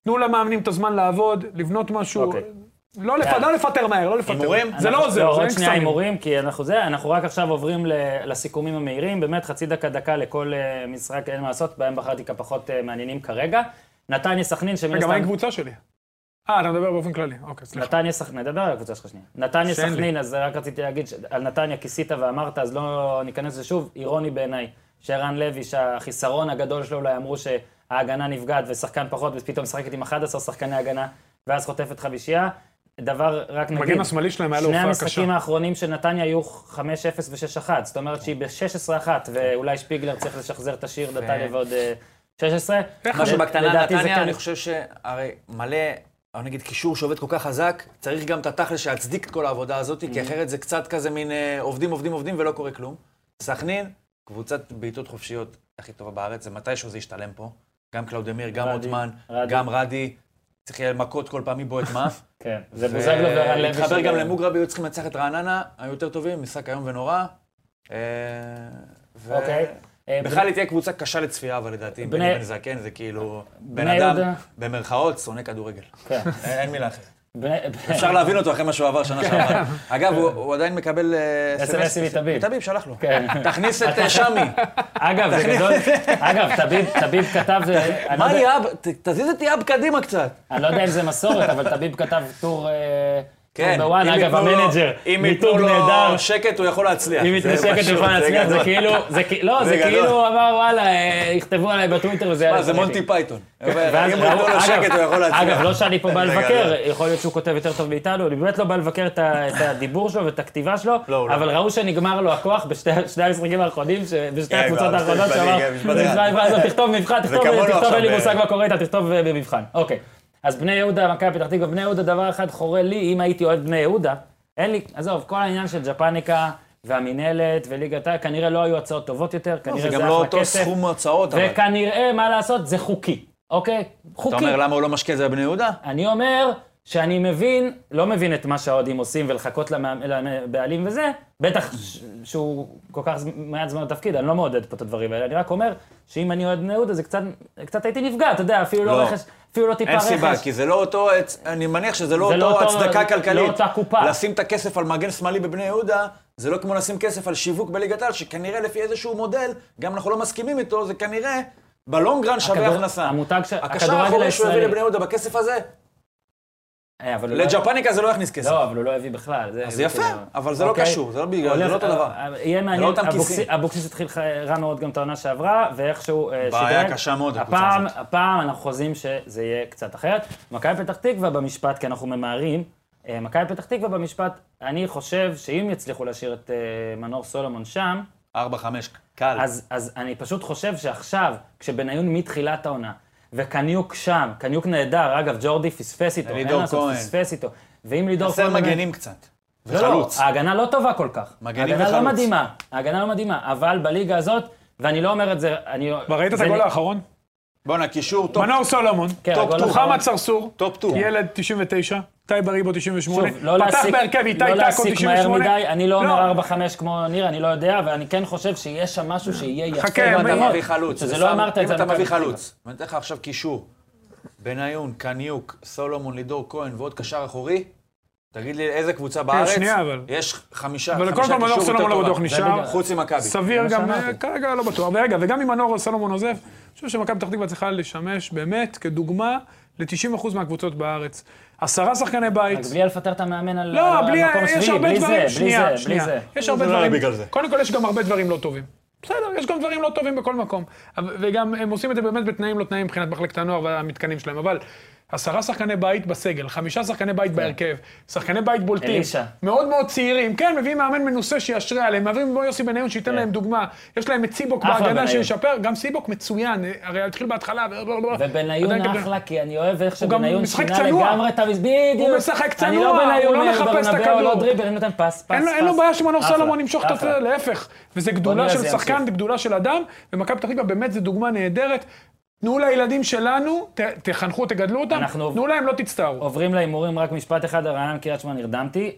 Speaker 3: תנו למאמנים את הזמן לעבוד, לבנות משהו.
Speaker 1: אוקיי.
Speaker 3: לא לפ- לא לפטר מהר, לא לפטר.
Speaker 4: הימורים?
Speaker 3: זה לא
Speaker 1: אנחנו-
Speaker 3: עוזר, זה אין
Speaker 1: עוד שנייה
Speaker 3: קסמים.
Speaker 1: הימורים, כי אנחנו זה, אנחנו רק עכשיו עוברים ל- לסיכומים המהירים, באמת חצי דקה דקה לכל אה, משחק, אין מה לעשות, בהם בחרתי כפחות אה, מעניינים כרגע. נתניה סכנין, שמן
Speaker 3: רגע, מה עם
Speaker 1: הסתם...
Speaker 3: קבוצה שלי? אה, אתה מדבר באופן כללי. אוקיי, סליחה.
Speaker 1: נתניה סכנין, נדבר על הקבוצה שלך שנייה. נתניה
Speaker 3: שאין לי.
Speaker 1: סכנין, אז רק רציתי להגיד, ש- על נתניה כיסית ואמרת, אז לא ניכנס לזה שוב, אירוני בעיניי, שערן לוי, שהחיסרון הגדול שלו, אולי אמרו שההגנה נפגעת ושחקן פחות, ופתאום משחקת עם 11 שחקני הגנה, ואז חוטפת חמישייה. דבר, רק נגיד...
Speaker 3: מגן השמאלי שלהם היה לו
Speaker 1: שני
Speaker 3: הופעה
Speaker 1: המשחקים
Speaker 3: קשה.
Speaker 1: האחרונים של נתניה היו 5-0 ו-6-1, זאת אומרת שהיא ב-16-1, ואולי שפיגלר צריך לשחזר את השיר נתניה ועוד אה, 16.
Speaker 4: משהו
Speaker 1: ל-
Speaker 4: בקטנה,
Speaker 1: לדעתי זה
Speaker 4: נתניה,
Speaker 1: כן-
Speaker 4: אני חושב שהרי מלא, או נגיד קישור שעובד כל כך חזק, צריך גם את התכל'ס שיצדיק את כל העבודה הזאת, כי
Speaker 1: Mm-hmm.
Speaker 4: אחרת זה קצת כזה מין אה, עובדים, עובדים, עובדים ולא קורה כלום. סכנין, קבוצת בעיטות חופשיות הכי טובה בארץ, זה מתישהו זה ישתלם פה. גם קלאודמיר, גם
Speaker 1: רדי,
Speaker 4: עותמן,
Speaker 1: רדי.
Speaker 4: גם רדי. צריך יהיה מכות כל פעם מבועט מאף.
Speaker 1: כן, זה בוזגלו ורן לוי. כן.
Speaker 4: התחבר
Speaker 1: שלהם.
Speaker 4: אה, גם למוגרבי, היו צריכים לנצח את רעננה, היו יותר טובים, משחק איום ונורא. אה, ו-
Speaker 1: אוקיי. אה,
Speaker 4: בכלל היא תהיה קבוצה קשה לצפייה, אבל לדעתי, עם
Speaker 1: בני-
Speaker 4: בני בן זקן זה כאילו, בן
Speaker 1: בני
Speaker 4: אדם,
Speaker 1: יהודה.
Speaker 4: במרכאות, שונא כדורגל.
Speaker 1: כן.
Speaker 4: אין אין מילה אחרת.
Speaker 1: בני- בני-
Speaker 4: אפשר להבין אותו אחרי מה שהוא עבר שנה
Speaker 1: כן.
Speaker 4: שעברה. אגב, הוא- הוא עדיין מקבל... אה,
Speaker 1: SMS
Speaker 4: SMS.
Speaker 1: מתביב.
Speaker 4: מתביב, שלח לו.
Speaker 1: כן.
Speaker 4: תכניס את אה, שמי.
Speaker 1: אגב, זה גדול. אגב, תביב- תביב כתב... אה, אני לא
Speaker 4: מה
Speaker 1: יודע-
Speaker 4: יאב? ת- תזיז את יאב קדימה קצת.
Speaker 1: אני לא יודע אם זה מסורת, אבל תביב כתב טור... אה,
Speaker 4: כן.
Speaker 1: טור בוואן,
Speaker 4: אם
Speaker 1: אגב,
Speaker 4: ייתנו לו-
Speaker 1: המנג'ר,
Speaker 4: אם
Speaker 1: מיתוג
Speaker 4: ייתנו
Speaker 1: נהדר,
Speaker 4: לו שקט, הוא יכול להצליח.
Speaker 1: אם
Speaker 4: זה
Speaker 1: מתנשקת
Speaker 4: פשוט,
Speaker 1: בפן
Speaker 4: זה
Speaker 1: עצמי, זה
Speaker 4: גדול.
Speaker 1: כאילו, זה כאילו, לא, זה
Speaker 4: גדול.
Speaker 1: כאילו אמר וואלה, אה, יכתבו עליי בטוויטר וזה
Speaker 4: מה,
Speaker 1: יעלה.
Speaker 4: זה
Speaker 1: ברייטינג".
Speaker 4: מונטי פייתון. אם
Speaker 1: כן. ואז
Speaker 4: הוא
Speaker 1: ראו-
Speaker 4: ייתנו לו שקט, הוא יכול להצליח.
Speaker 1: אגב, לא שאני פה בא
Speaker 4: זה
Speaker 1: לבקר,
Speaker 4: גדול.
Speaker 1: יכול להיות שהוא כותב יותר טוב מאיתנו, אני באמת לא בא לבקר את ה- את הדיבור שלו ואת הכתיבה שלו,
Speaker 4: לא, הוא לא.
Speaker 1: אבל ראו שנגמר לו הכוח בשתי שני המשחקים האחרונים, ש- בשתי
Speaker 4: כן,
Speaker 1: הקבוצות
Speaker 4: כבר,
Speaker 1: האחרונות,
Speaker 4: משפט
Speaker 1: שאמר,
Speaker 4: אחד, כן, משפט
Speaker 1: "תשמע,
Speaker 4: אחד."
Speaker 1: מה זה, תכתוב מבחן, תכתוב,
Speaker 4: כמונו
Speaker 1: תכתוב,
Speaker 4: עכשיו,
Speaker 1: אין לי
Speaker 4: אה,
Speaker 1: מושג מה קורה איתה, תכתוב אה, במבחן. אוקיי. אז בני יהודה, מכבי פתח תקווה, בני יהודה, דבר אחד חורה לי, אם הייתי אוהד בני יהודה, אין לי, עזוב, כל העניין של ג'פניקה והמינהלת וליגת העל, כנראה לא היו הצעות טובות יותר, כנראה זה אחלה
Speaker 4: זה
Speaker 1: כסף.
Speaker 4: גם לא אותו סכום הוצאות, אבל. אתה
Speaker 1: וכנראה, מה לעשות, זה חוקי, אוקיי? חוקי.
Speaker 4: אומר, למה הוא לא משקיע את זה בבני יהודה?
Speaker 1: אני אומר שאני מבין, לא מבין את מה שהאוהדים עושים ולחכות למאמ- לבעלים וזה, בטח ש- שהוא כל כך ז- מעט זמן בתפקיד, אני לא מעודד פה את הדברים האלה, אני רק אומר שאם אני אוהד בני יהודה, זה קצת, קצת הייתי נפגע, אתה יודע, אפילו לא
Speaker 4: לא.
Speaker 1: רכש, אפילו לא טיפה
Speaker 4: אין
Speaker 1: רכש.
Speaker 4: סיבה, כי זה לא אותו, הצ- אני מניח שזה לא
Speaker 1: זה לא
Speaker 4: אותו
Speaker 1: אותו-
Speaker 4: הצדקה
Speaker 1: לא
Speaker 4: כלכלית.
Speaker 1: אותה קופה.
Speaker 4: לשים את הכסף על מגן שמאלי בבני יהודה, זה לא כמו לשים כסף על שיווק בליגת העל, שכנראה לפי איזשהו מודל, גם אנחנו לא מסכימים איתו, זה כנראה בלונגרן שווה
Speaker 1: הכדור-
Speaker 4: הכנסה.
Speaker 1: המותג של-
Speaker 4: הקשר
Speaker 1: הכדורגל
Speaker 4: האחורי שהוא הביא
Speaker 1: הישראלי.
Speaker 4: לבני יהודה בכסף הזה,
Speaker 1: אה, אבל הוא לא-
Speaker 4: לג'פניקה זה לא יכניס כסף.
Speaker 1: לא, אבל הוא לא הביא בכלל.
Speaker 4: אז יפה, אבל זה לא
Speaker 1: אוקיי.
Speaker 4: קשור, זה לא בגלל- זה
Speaker 1: הולך-
Speaker 4: לא אותו דבר.
Speaker 1: אה, אה, יהיה מעניין,
Speaker 4: אותם
Speaker 1: אבוקסיס-
Speaker 4: כיסים.
Speaker 1: אבוקסיס התחיל ח- רע מאוד גם את העונה שעברה, ואיכשהו אה, שדרג.
Speaker 4: בעיה קשה מאוד, הקבוצה
Speaker 1: הפעם,
Speaker 4: הזאת.
Speaker 1: הפעם אנחנו חוזים שזה יהיה קצת אחרת. מכבי פתח תקווה במשפט, כי אנחנו ממהרים. אה, מכבי פתח תקווה במשפט, אני חושב שאם יצליחו להשאיר את אה, מנור סולומון שם,
Speaker 4: 4-5, קל.
Speaker 1: אז, אז אני פשוט חושב שעכשיו, כשבניון מתחילת העונה, וקניוק שם, קניוק נהדר, אגב, ג'ורדי פספס איתו, אין
Speaker 4: לידור
Speaker 1: מה לעשות,
Speaker 4: כהן.
Speaker 1: פספס איתו. ואם לידור
Speaker 4: חסר
Speaker 1: באמת-
Speaker 4: מגנים קצת.
Speaker 1: לא, לא,
Speaker 4: וחלוץ.
Speaker 1: ההגנה לא טובה כל כך.
Speaker 4: מגנים
Speaker 1: ההגנה לא
Speaker 4: וחלוץ.
Speaker 1: מדהימה, ההגנה לא מדהימה, אבל בליגה הזאת, ואני לא אומר את זה, אני...
Speaker 3: כבר ראית את
Speaker 1: זה
Speaker 3: הגול
Speaker 1: נ-
Speaker 3: האחרון?
Speaker 4: בואנה, קישור טופ
Speaker 3: מנור סולומון,
Speaker 1: כן, הגול האחרון.
Speaker 3: מוחמד צרצור,
Speaker 4: טופ טו.
Speaker 3: ילד 99, טייב אריבו 98,
Speaker 1: שוב, לא
Speaker 3: פתח
Speaker 1: להסיק,
Speaker 3: בהרכב איתי
Speaker 1: לא
Speaker 3: טאקו
Speaker 1: להסיק מהר
Speaker 3: 98.
Speaker 1: מדי, אני לא
Speaker 3: לא.
Speaker 1: אומר 4-5 כמו ניר, אני לא יודע, ואני כן חושב שיש שם משהו שיהיה יפה.
Speaker 3: חכה,
Speaker 1: ואתה
Speaker 3: אם
Speaker 4: אתה
Speaker 1: אמרת-
Speaker 4: מביא חלוץ.
Speaker 1: שזה
Speaker 4: ושם-
Speaker 1: לא אמרת את זה.
Speaker 4: אם אתה
Speaker 1: מכבי
Speaker 4: מביא
Speaker 1: פתח תקווה.
Speaker 4: חלוץ, ואני אתן לך עכשיו קישור, בניון, קניוק, סולומון, לידור כהן ועוד קשר אחורי, תגיד לי, איזה קבוצה בארץ?
Speaker 3: כן, שנייה, אבל.
Speaker 4: יש חמישה,
Speaker 3: אבל
Speaker 4: חמישה
Speaker 3: קודם כל מנור
Speaker 4: קישור
Speaker 3: סולומון
Speaker 4: יותר
Speaker 3: לא בטוח
Speaker 4: טובה.
Speaker 3: נשאר.
Speaker 4: חוץ ממכבי.
Speaker 3: סביר
Speaker 4: זה
Speaker 3: גם,
Speaker 4: מה
Speaker 3: אה,
Speaker 4: שאמרתי.
Speaker 3: כרגע לא בטוח. ורגע, וגם אם מנור סולומון עוזב, אני חושב שמכבי פתח תקווה צריכה לשמש באמת כדוגמה ל-90% מהקבוצות בארץ. עשרה שחקני בית.
Speaker 1: רק בלי לפטר את המאמן על
Speaker 3: לא,
Speaker 1: על
Speaker 3: בלי,
Speaker 1: מקום
Speaker 3: יש
Speaker 1: שביעי,
Speaker 3: הרבה
Speaker 1: בלי
Speaker 3: דברים,
Speaker 1: זה, בלי
Speaker 3: שנייה,
Speaker 1: זה, בלי
Speaker 3: שנייה.
Speaker 1: זה.
Speaker 3: יש הרבה
Speaker 4: זה לא היה
Speaker 3: דברים,
Speaker 4: בגלל זה.
Speaker 3: קודם כל יש גם הרבה דברים לא טובים. בסדר, יש גם דברים לא טובים בכל מקום. אבל- וגם הם עושים את זה באמת בתנאים לא תנאים מבחינת מחלקת הנוער והמתקנים שלהם, אבל... עשרה שחקני בית בסגל, חמישה שחקני בית בהרכב, שחקני בית בולטים,
Speaker 1: כן. אלישע.
Speaker 3: מאוד מאוד צעירים, כן, מביאים מאמן מנוסה שישרה עליהם, מביאים כמו יוסי בניון שייתן
Speaker 1: כן.
Speaker 3: להם דוגמה, יש להם את סיבוק
Speaker 1: אחלה
Speaker 3: בהגנה
Speaker 1: בניון.
Speaker 3: שישפר, גם סיבוק מצוין, הרי התחיל בהתחלה,
Speaker 1: ובניון
Speaker 3: עדיין קפטן.
Speaker 1: אחלה, כי אני אוהב איך
Speaker 3: לא הוא גם
Speaker 1: שבניון
Speaker 3: משחק
Speaker 1: שינה
Speaker 3: צנוע.
Speaker 1: לגמרי את המס... בדיוק.
Speaker 3: הוא משחק
Speaker 1: אני
Speaker 3: צנוע,
Speaker 1: לא
Speaker 3: הוא
Speaker 1: בניון,
Speaker 3: לא מחפש את
Speaker 1: ברנבאו,
Speaker 3: הכדור.
Speaker 1: לא דריבר, אני נותן פס, פס,
Speaker 3: אין,
Speaker 1: פס.
Speaker 3: לו- אין לו בעיה שמנור
Speaker 1: אחלה,
Speaker 3: סלומון ימשוך את
Speaker 1: אחלה.
Speaker 3: הפרק, להפך. וזה גדולה
Speaker 1: נראה
Speaker 3: של
Speaker 1: זה
Speaker 3: שחקן,
Speaker 1: ימשיך.
Speaker 3: זה גדולה של אדם, ומכבי פתח תקווה באמת זו דוגמה נהדרת. תנו לילדים שלנו, ת, תחנכו, תגדלו אותם,
Speaker 1: אנחנו-
Speaker 3: תנו להם, לא תצטערו.
Speaker 1: עוברים להימורים, רק משפט אחד, הרעיון קריית שמונה נרדמתי.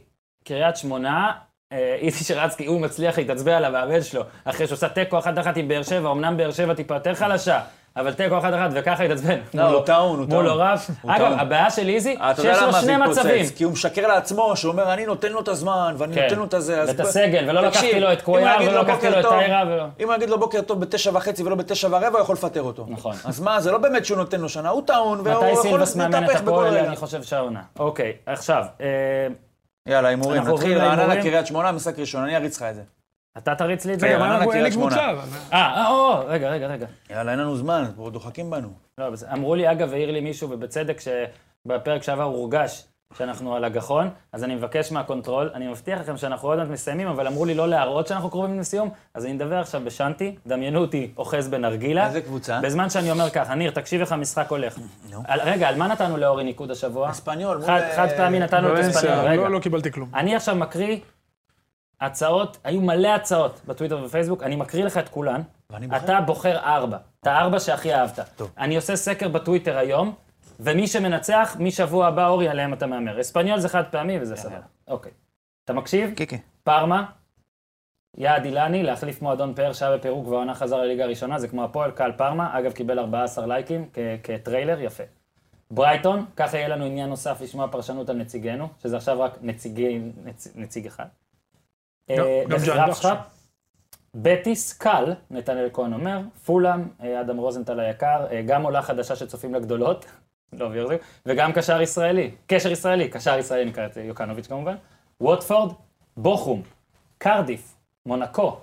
Speaker 1: קריית שמונה, אה, איתי שרצקי, הוא מצליח להתעצבן על המאמן שלו, אחרי שעושה תיקו אחת אחת עם באר שבע, אמנם באר שבע טיפה יותר חלשה, אבל תיקו אחת אחת, וככה התעצבן.
Speaker 4: לא טעון, הוא
Speaker 1: מול
Speaker 4: טעון.
Speaker 1: הוריו.
Speaker 4: הוא
Speaker 1: אגב,
Speaker 4: טעון. אה,
Speaker 1: הבעיה של איזי,
Speaker 4: אתה
Speaker 1: שיש
Speaker 4: יודע
Speaker 1: לו
Speaker 4: למה זה
Speaker 1: שני מצבים.
Speaker 4: התפוצץ? כי הוא משקר לעצמו, שהוא אומר, אני נותן לו את הזמן, ואני
Speaker 1: כן.
Speaker 4: נותן לו את הזה. אז
Speaker 1: ואת
Speaker 4: ב-
Speaker 1: הסגל, ולא
Speaker 4: תקשיב,
Speaker 1: לקחתי לו את
Speaker 4: אם
Speaker 1: קוויאר,
Speaker 4: הוא יגיד
Speaker 1: ולא לקחתי
Speaker 4: "בוקר
Speaker 1: לו את
Speaker 4: טוב",
Speaker 1: טיירה, ולא-
Speaker 4: אם הוא יגיד לו בוקר טוב בתשע וחצי ולא בתשע ורבע, הוא יכול לפטר אותו.
Speaker 1: נכון.
Speaker 4: אז מה, זה לא באמת שהוא נותן לו שנה, הוא טעון, והוא
Speaker 1: מתי
Speaker 4: יכול
Speaker 1: סילבס מאמן את
Speaker 4: להתהפך בכל
Speaker 1: הפועל,
Speaker 4: רגע.
Speaker 1: אני חושב שהעונה. אוקיי, עכשיו, אה,
Speaker 4: יאללה, הימורים,
Speaker 1: אנחנו עוברים
Speaker 4: נתחיל, רעננה,
Speaker 1: להימורים.
Speaker 4: קריית שמונה, משחק ראשון, אני אריץ לך את זה.
Speaker 1: אתה תריץ לי את זה?
Speaker 3: רגע,
Speaker 4: כן,
Speaker 3: מה,
Speaker 4: רעננה,
Speaker 3: אנחנו- אין לי
Speaker 4: קריית שמונה.
Speaker 3: קבוצה, אבל-
Speaker 1: אה, אה, או, רגע, רגע, רגע.
Speaker 4: יאללה, אין לנו זמן, פה דוחקים בנו.
Speaker 1: לא, בסדר. אמרו לי, אגב, העיר לי מישהו, ובצדק, שבפרק שעבר הורגש שאנחנו על הגחון, אז אני מבקש מהקונטרול, אני מבטיח לכם שאנחנו עוד מעט מסיימים, אבל אמרו לי לא להראות שאנחנו קרובים לסיום, אז אני מדבר עכשיו בשאנטי, דמיינו אותי אוחז בנרגילה.
Speaker 4: איזה קבוצה?
Speaker 1: בזמן שאני אומר ככה, ניר, תקשיב איך המשחק הולך. על- רגע, על מה נתנו לאורי ניקוד השבוע?
Speaker 4: אספניול, מול... אה,
Speaker 1: חד חד פעמי נתנו את אספניול,
Speaker 3: לא-
Speaker 1: רגע.
Speaker 3: לא קיבלתי כלום.
Speaker 1: אני עכשיו מקריא הצעות, היו מלא הצעות בטוויטר ובפייסבוק, אני מקריא לך את כולן.
Speaker 4: ואני בוחר?
Speaker 1: אתה בוחר ארבע, את הארבע שהכי אהבת. טוב. אני עושה סקר בטוויטר היום, ומי שמנצח, משבוע הבא, אורי, עליהם אתה מהמר. אספניול זה חד פעמי וזה סבבה. אוקיי. אתה מקשיב?
Speaker 4: כן, כן.
Speaker 1: פארמה, יעד אילני, להחליף מועדון פאר שהיה בפירוק והעונה חזר לליגה הראשונה, זה כמו הפועל, קהל פארמה, אגב, קיבל 14 לייקים כ- כטריילר, יפה. ברייטון, ככה יהיה לנו עניין נוסף לשמוע פרשנות על נציגנו, שזה עכשיו רק נציגי, נצ, נציג אחד.
Speaker 3: לא, גם
Speaker 1: אה,
Speaker 3: ג'אנדו
Speaker 1: בחרפשה,
Speaker 3: עכשיו.
Speaker 1: בטיס קל, נתנאל כהן אומר, פולאם, אה, אדם רוזנטל היקר, אה, גם עולה חדשה שצופים לגדולות, לא אבהיר את זה, וגם קשר ישראלי, קשר ישראלי, קשר ישראלי נקרא את יוקנוביץ' כמובן, ווטפורד, בוכום, קרדיף, מונקו,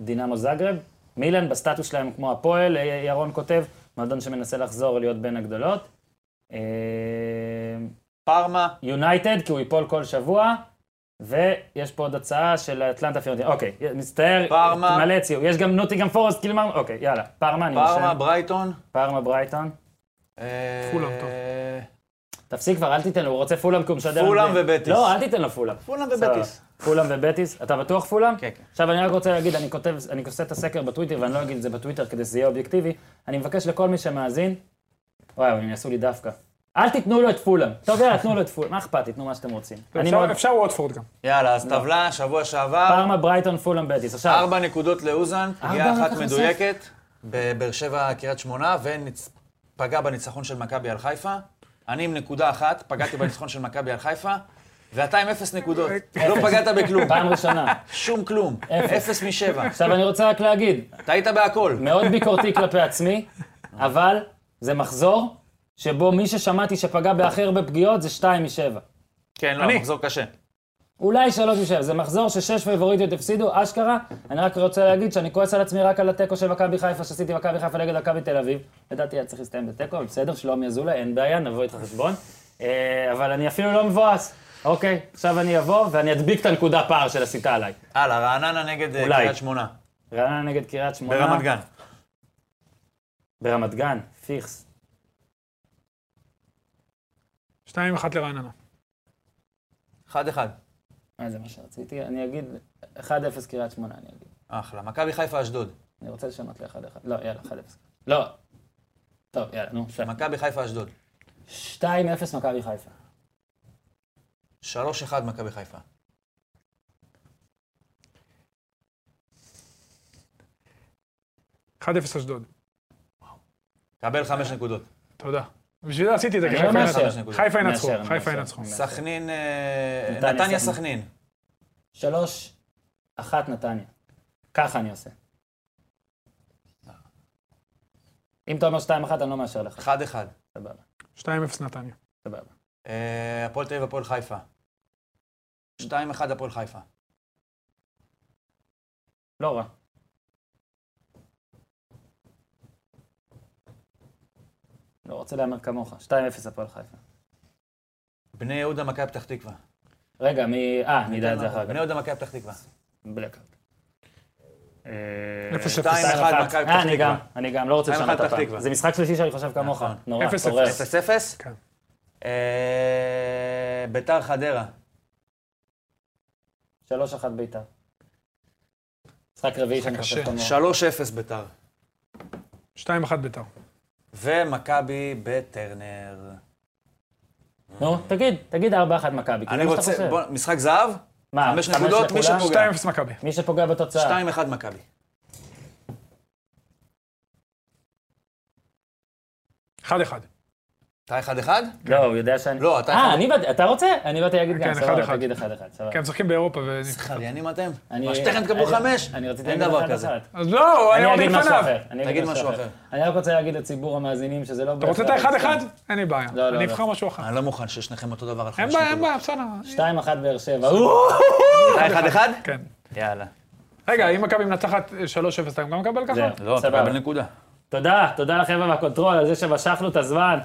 Speaker 1: דינמו זגרב, מילן בסטטוס שלהם כמו הפועל, אה, ירון כותב, מועדון שמנסה לחזור להיות בין הגדולות. אה, לא
Speaker 4: פארמה,
Speaker 1: יונייטד, אה, כי הוא ייפול כל שבוע, ויש פה עוד הצעה של אטלנטה פיורנטין. אוקיי, מצטער,
Speaker 4: פארמה.
Speaker 1: מלא הציעו. יש גם נוטי גם פורסט, קילמר, אוקיי, יאללה. פארמה, אני
Speaker 4: פארמה,
Speaker 1: רושם.
Speaker 4: ברייטון.
Speaker 1: פארמה ברייטון.
Speaker 4: אה,
Speaker 3: פולאם, טוב.
Speaker 1: תפסיק כבר, אל תיתן לו, הוא רוצה פולאם כי הוא משדר...
Speaker 4: פולאם
Speaker 1: אנגלית.
Speaker 4: ובטיס.
Speaker 1: לא, אל תיתן לו פולאם.
Speaker 4: פולאם
Speaker 1: סבבה.
Speaker 4: ובטיס.
Speaker 1: פולאם ובטיס. אתה בטוח פולאם?
Speaker 4: כן, כן.
Speaker 1: עכשיו אני רק רוצה להגיד, אני כותב, אני עושה את הסקר בטוויטר, ואני לא אגיד את זה בטוויטר כדי שזה יהיה אובייקטיבי. אני מבקש לכל מי שמאזין, וואי, אבל הם יעשו לי דווקא. אל תיתנו לו את פולאם. טוב, יאללה, תנו לו את פולאם. מה אכפת? תיתנו מה שאתם רוצים. אני
Speaker 3: אפשר-
Speaker 1: מאוד...
Speaker 3: אפשר וואטפורד גם.
Speaker 4: יאללה, אז טבלה, שבוע שעבר,
Speaker 1: פארמה, ברייטון, פולאם, בטיס. עכשיו,
Speaker 4: ארבע נקודות לאוזן, פגיעה
Speaker 1: ארבע
Speaker 4: אחת
Speaker 1: לקח
Speaker 4: מדויקת, בבאר שבע, קריית שמונה, ופגע בניצחון של מכבי על חיפה. אני עם נקודה אחת, פגעתי בניצחון של מכבי על חיפה, ואתה עם אפס נקודות. לא פגעת בכלום,
Speaker 1: פעם ראשונה.
Speaker 4: שום כלום. אפס משבע.
Speaker 1: עכשיו אני רוצה רק להגיד,
Speaker 4: טעית בהכל.
Speaker 1: מאוד ביקורתי כלפי עצמי, אבל זה מחזור שבו מי ששמעתי שפגע בהכי הרבה פגיעות זה 2 מ-7.
Speaker 4: כן, לא,
Speaker 3: אני.
Speaker 4: מחזור קשה.
Speaker 1: אולי 3 מ-7, זה מחזור ששש פייבוריטיות הפסידו, אשכרה. אני רק רוצה להגיד שאני כועס על עצמי רק על התיקו של מכבי חיפה, שעשיתי מכבי חיפה נגד מכבי תל אביב. לדעתי היה צריך להסתיים בתיקו, אבל בסדר, שלומי אזולאי, אין בעיה, נבוא איתך חשבון. אה, אבל אני אפילו לא מבואס. אוקיי, עכשיו אני אבוא ואני אדביק את הנקודה פער של הסיטה עליי.
Speaker 4: הלאה, רעננה נגד אה,
Speaker 1: אולי.
Speaker 4: קריית שמונה.
Speaker 1: רעננה נגד קריית שמונה.
Speaker 4: ברמת גן.
Speaker 1: ברמת גן, פיכס.
Speaker 3: 2-1 לרעננה.
Speaker 4: אחד אחד.
Speaker 1: אה, זה מה שרציתי. אני אגיד 1-0 קריית שמונה, אני אגיד.
Speaker 4: אחלה. מכבי חיפה אשדוד.
Speaker 1: אני רוצה לשנות ל-1-1. לא, יאללה, 1-0. לא. טוב, יאללה, נו, שם.
Speaker 4: מכבי חיפה אשדוד.
Speaker 1: 2-0 מכבי חיפה.
Speaker 4: שלוש אחד מכבי חיפה.
Speaker 3: 1-0 אשדוד.
Speaker 4: קבל חמש נקודות.
Speaker 1: אה. לא
Speaker 3: תודה. בשביל זה עשיתי את זה, כי
Speaker 1: אני לא
Speaker 3: חיפה
Speaker 1: מאשר.
Speaker 3: ינצחו. חיפה ינצחו,
Speaker 1: מאשר,
Speaker 3: חיפה
Speaker 1: מאשר.
Speaker 3: ינצחו.
Speaker 4: סכנין, אה,
Speaker 1: נתניה,
Speaker 4: נתניה
Speaker 1: סכנין.
Speaker 4: סכנין.
Speaker 1: שלוש, אחת נתניה. ככה אני עושה. אם אתה אומר שתיים אחת, אני לא מאשר לך.
Speaker 4: 1-1.
Speaker 1: סבבה,
Speaker 3: 2-0 נתניה.
Speaker 1: סבבה.
Speaker 4: אה, הפועל תל אביב, הפועל חיפה. 2-1 הפועל חיפה.
Speaker 1: לא רע. לא רוצה להמר כמוך. 2-0 הפועל חיפה.
Speaker 4: בני יהודה, מכבי פתח תקווה.
Speaker 1: רגע, מי... אה, נדע את זה אחר כך.
Speaker 4: בני יהודה, מכבי פתח תקווה.
Speaker 1: בלקארט.
Speaker 3: אפס אפס.
Speaker 4: 2-1 מכבי פתח
Speaker 1: אה, אני גם,
Speaker 4: תקווה.
Speaker 1: אני גם, לא רוצה
Speaker 4: שתיים
Speaker 1: לשנות
Speaker 4: אחת פתח
Speaker 1: הפעם.
Speaker 4: תקווה.
Speaker 1: זה משחק שלישי שאני חושב כמוך.
Speaker 4: נכון.
Speaker 1: נורא,
Speaker 3: אפס
Speaker 1: תורר.
Speaker 3: אפס.
Speaker 4: 0-0.
Speaker 3: כן.
Speaker 4: אה, ביתר חדרה.
Speaker 1: 3-1 ביתר. משחק רביעי שאני חושב
Speaker 3: קשה.
Speaker 1: כמוך.
Speaker 4: 3-0 ביתר.
Speaker 3: 2-1 ביתר.
Speaker 4: ומכבי בטרנר.
Speaker 1: נו, תגיד, תגיד 4-1 מכבי. כי
Speaker 4: אני
Speaker 1: זה מה שאתה
Speaker 4: רוצה,
Speaker 1: חושב.
Speaker 4: בוא, משחק זהב?
Speaker 1: מה,
Speaker 4: חמש
Speaker 1: חמש
Speaker 4: נקודות, מי
Speaker 1: לכולם?
Speaker 4: שפוגע.
Speaker 3: 2-0 מכבי.
Speaker 1: מי שפוגע בתוצאה.
Speaker 4: 2-1 מכבי.
Speaker 3: אחד אחד.
Speaker 4: אתה 1-1?
Speaker 1: לא, הוא יודע שאני...
Speaker 4: לא, אתה
Speaker 1: אה,
Speaker 4: אחד.
Speaker 1: אני באתי, אתה רוצה? אני באתי להגיד גם,
Speaker 3: כן,
Speaker 1: סבבה,
Speaker 3: אחד-אחד.
Speaker 1: תגיד 1-1, סבבה.
Speaker 3: כי הם משחקים באירופה ו...
Speaker 4: חריינים אתם?
Speaker 1: אני-
Speaker 4: מה, שתיכם תקבלו
Speaker 1: אני-
Speaker 4: 5?
Speaker 1: אני רציתי
Speaker 4: אין
Speaker 1: להגיד
Speaker 4: דבר
Speaker 1: אחד
Speaker 4: כזה.
Speaker 1: אחד.
Speaker 3: אז לא, היה
Speaker 1: אני
Speaker 3: עוד
Speaker 1: אגיד משהו
Speaker 3: לפניו.
Speaker 1: אחר. אני
Speaker 4: תגיד
Speaker 1: אגיד משהו
Speaker 4: משהו
Speaker 1: אחר.
Speaker 4: אחר.
Speaker 1: אני רק רוצה להגיד לציבור המאזינים שזה לא...
Speaker 3: אתה רוצה את האחד אחד? אין לי בעיה.
Speaker 1: לא, לא,
Speaker 3: אני
Speaker 1: לא.
Speaker 3: אבחר משהו אחר.
Speaker 4: אני לא מוכן ששניכם אותו דבר על
Speaker 3: אין
Speaker 4: חמש
Speaker 3: בעיה, אין
Speaker 4: נקודות.
Speaker 3: בעיה, בסדר.
Speaker 1: 2-1 באר שבע. אוו!
Speaker 4: אתה 1-1?
Speaker 3: כן.
Speaker 4: יאלה.
Speaker 3: רגע, אם מכבי מנצחת אה, 3-0, אתה גם מקבל ככה?
Speaker 1: זהו.
Speaker 4: לא, אתה
Speaker 1: סבבה.
Speaker 4: מקבל נקודה.
Speaker 1: תודה, תודה לחבר'ה מהקונטרול על זה שמשכנו את הזמן.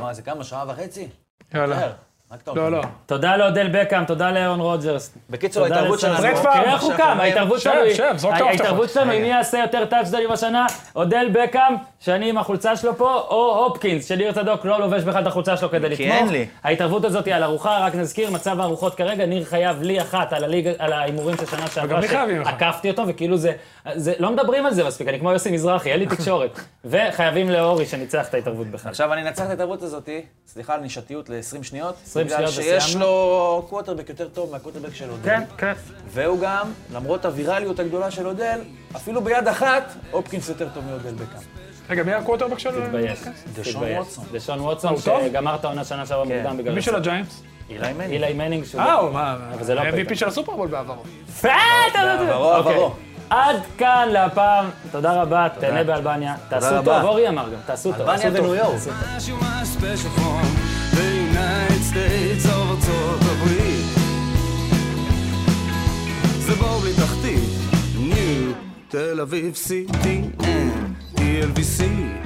Speaker 4: מה, זה כמה? שעה וחצי?
Speaker 3: יאללה.
Speaker 4: מהר. רק אתה
Speaker 3: לא,
Speaker 4: אומר.
Speaker 3: לא.
Speaker 1: תודה לאודל בקאם, תודה לאהרון רוג'רס.
Speaker 4: בקיצור,
Speaker 1: תודה
Speaker 4: ההתערבות
Speaker 1: לסן.
Speaker 4: שלנו...
Speaker 3: ברדפארד.
Speaker 1: תראה איך הוא קם, ההתערבות
Speaker 3: שב,
Speaker 1: שלנו היא...
Speaker 3: שב, זרוק את
Speaker 1: ההי-
Speaker 3: ההבטחות.
Speaker 1: ההתערבות שלנו היא מי יעשה יותר טאצ'דנים השנה, אודל בקאם, שאני עם החולצה שלו פה, או הופקינס, שניר צדוק לא לובש בכלל את החולצה שלו כדי לתמוך.
Speaker 4: אין לי.
Speaker 1: ההתערבות הזאת היא על ארוחה, רק נזכיר, מצב הארוחות כרגע, ניר חייב לי אחת על הליגה- על ההימורים של שנה שעברה,
Speaker 3: לי חייבים לך.
Speaker 1: שעקפתי אותו, וכאילו זה... זה- לא מדברים על זה מספיק, אני כמו יוסי מזרחי, אין לי תקשורת. וחייבים לאורי שניצח את ההתערבות בכלל.
Speaker 4: עכשיו אני אנצח את ההתערבות הזאתי, סליחה על נישתיות ל-20 שניות.
Speaker 1: 20
Speaker 4: בגלל
Speaker 1: שניות
Speaker 4: שיש
Speaker 1: וסיימנו.
Speaker 4: לו קווטרבק יותר טוב מהקווטרבק של אודל.
Speaker 1: כן, כן.
Speaker 4: והוא גם, למרות הווירליות הגדולה של אודל, אפילו ביד אחת, הופקינס יותר טוב מאודל בקאם.
Speaker 3: רגע, מי הקווטרבק של...
Speaker 1: תתבייש.
Speaker 4: דשון
Speaker 1: תתבייש.
Speaker 4: ווטסון.
Speaker 1: דשון ווטסון,
Speaker 3: טוב? כן.
Speaker 1: שגמר את העונה שנה שעברה מוקדם בגלל...
Speaker 3: מי של הג'יינטס?
Speaker 4: אילי מני.
Speaker 1: אילי מנינג שהוא...
Speaker 3: אה, הוא מה...
Speaker 1: אבל זה לא פייטון.
Speaker 3: MVP של הסופרבול בעברו.
Speaker 4: בעברו,
Speaker 1: אוקיי.
Speaker 4: עברו.
Speaker 1: עד כאן להפעם, תודה רבה, תהנה באלבניה. תעשו
Speaker 4: רבה.
Speaker 1: טוב, אורי אמר גם, תעשו טוב.
Speaker 4: אלבניה
Speaker 1: תעשו טוב.
Speaker 4: וניו יורק.
Speaker 1: תעשו טוב.
Speaker 5: As you are special from the United States of ארצות הברית. זה בור בלי E תחתית, ניו, תל אביב, CTN, TLVC.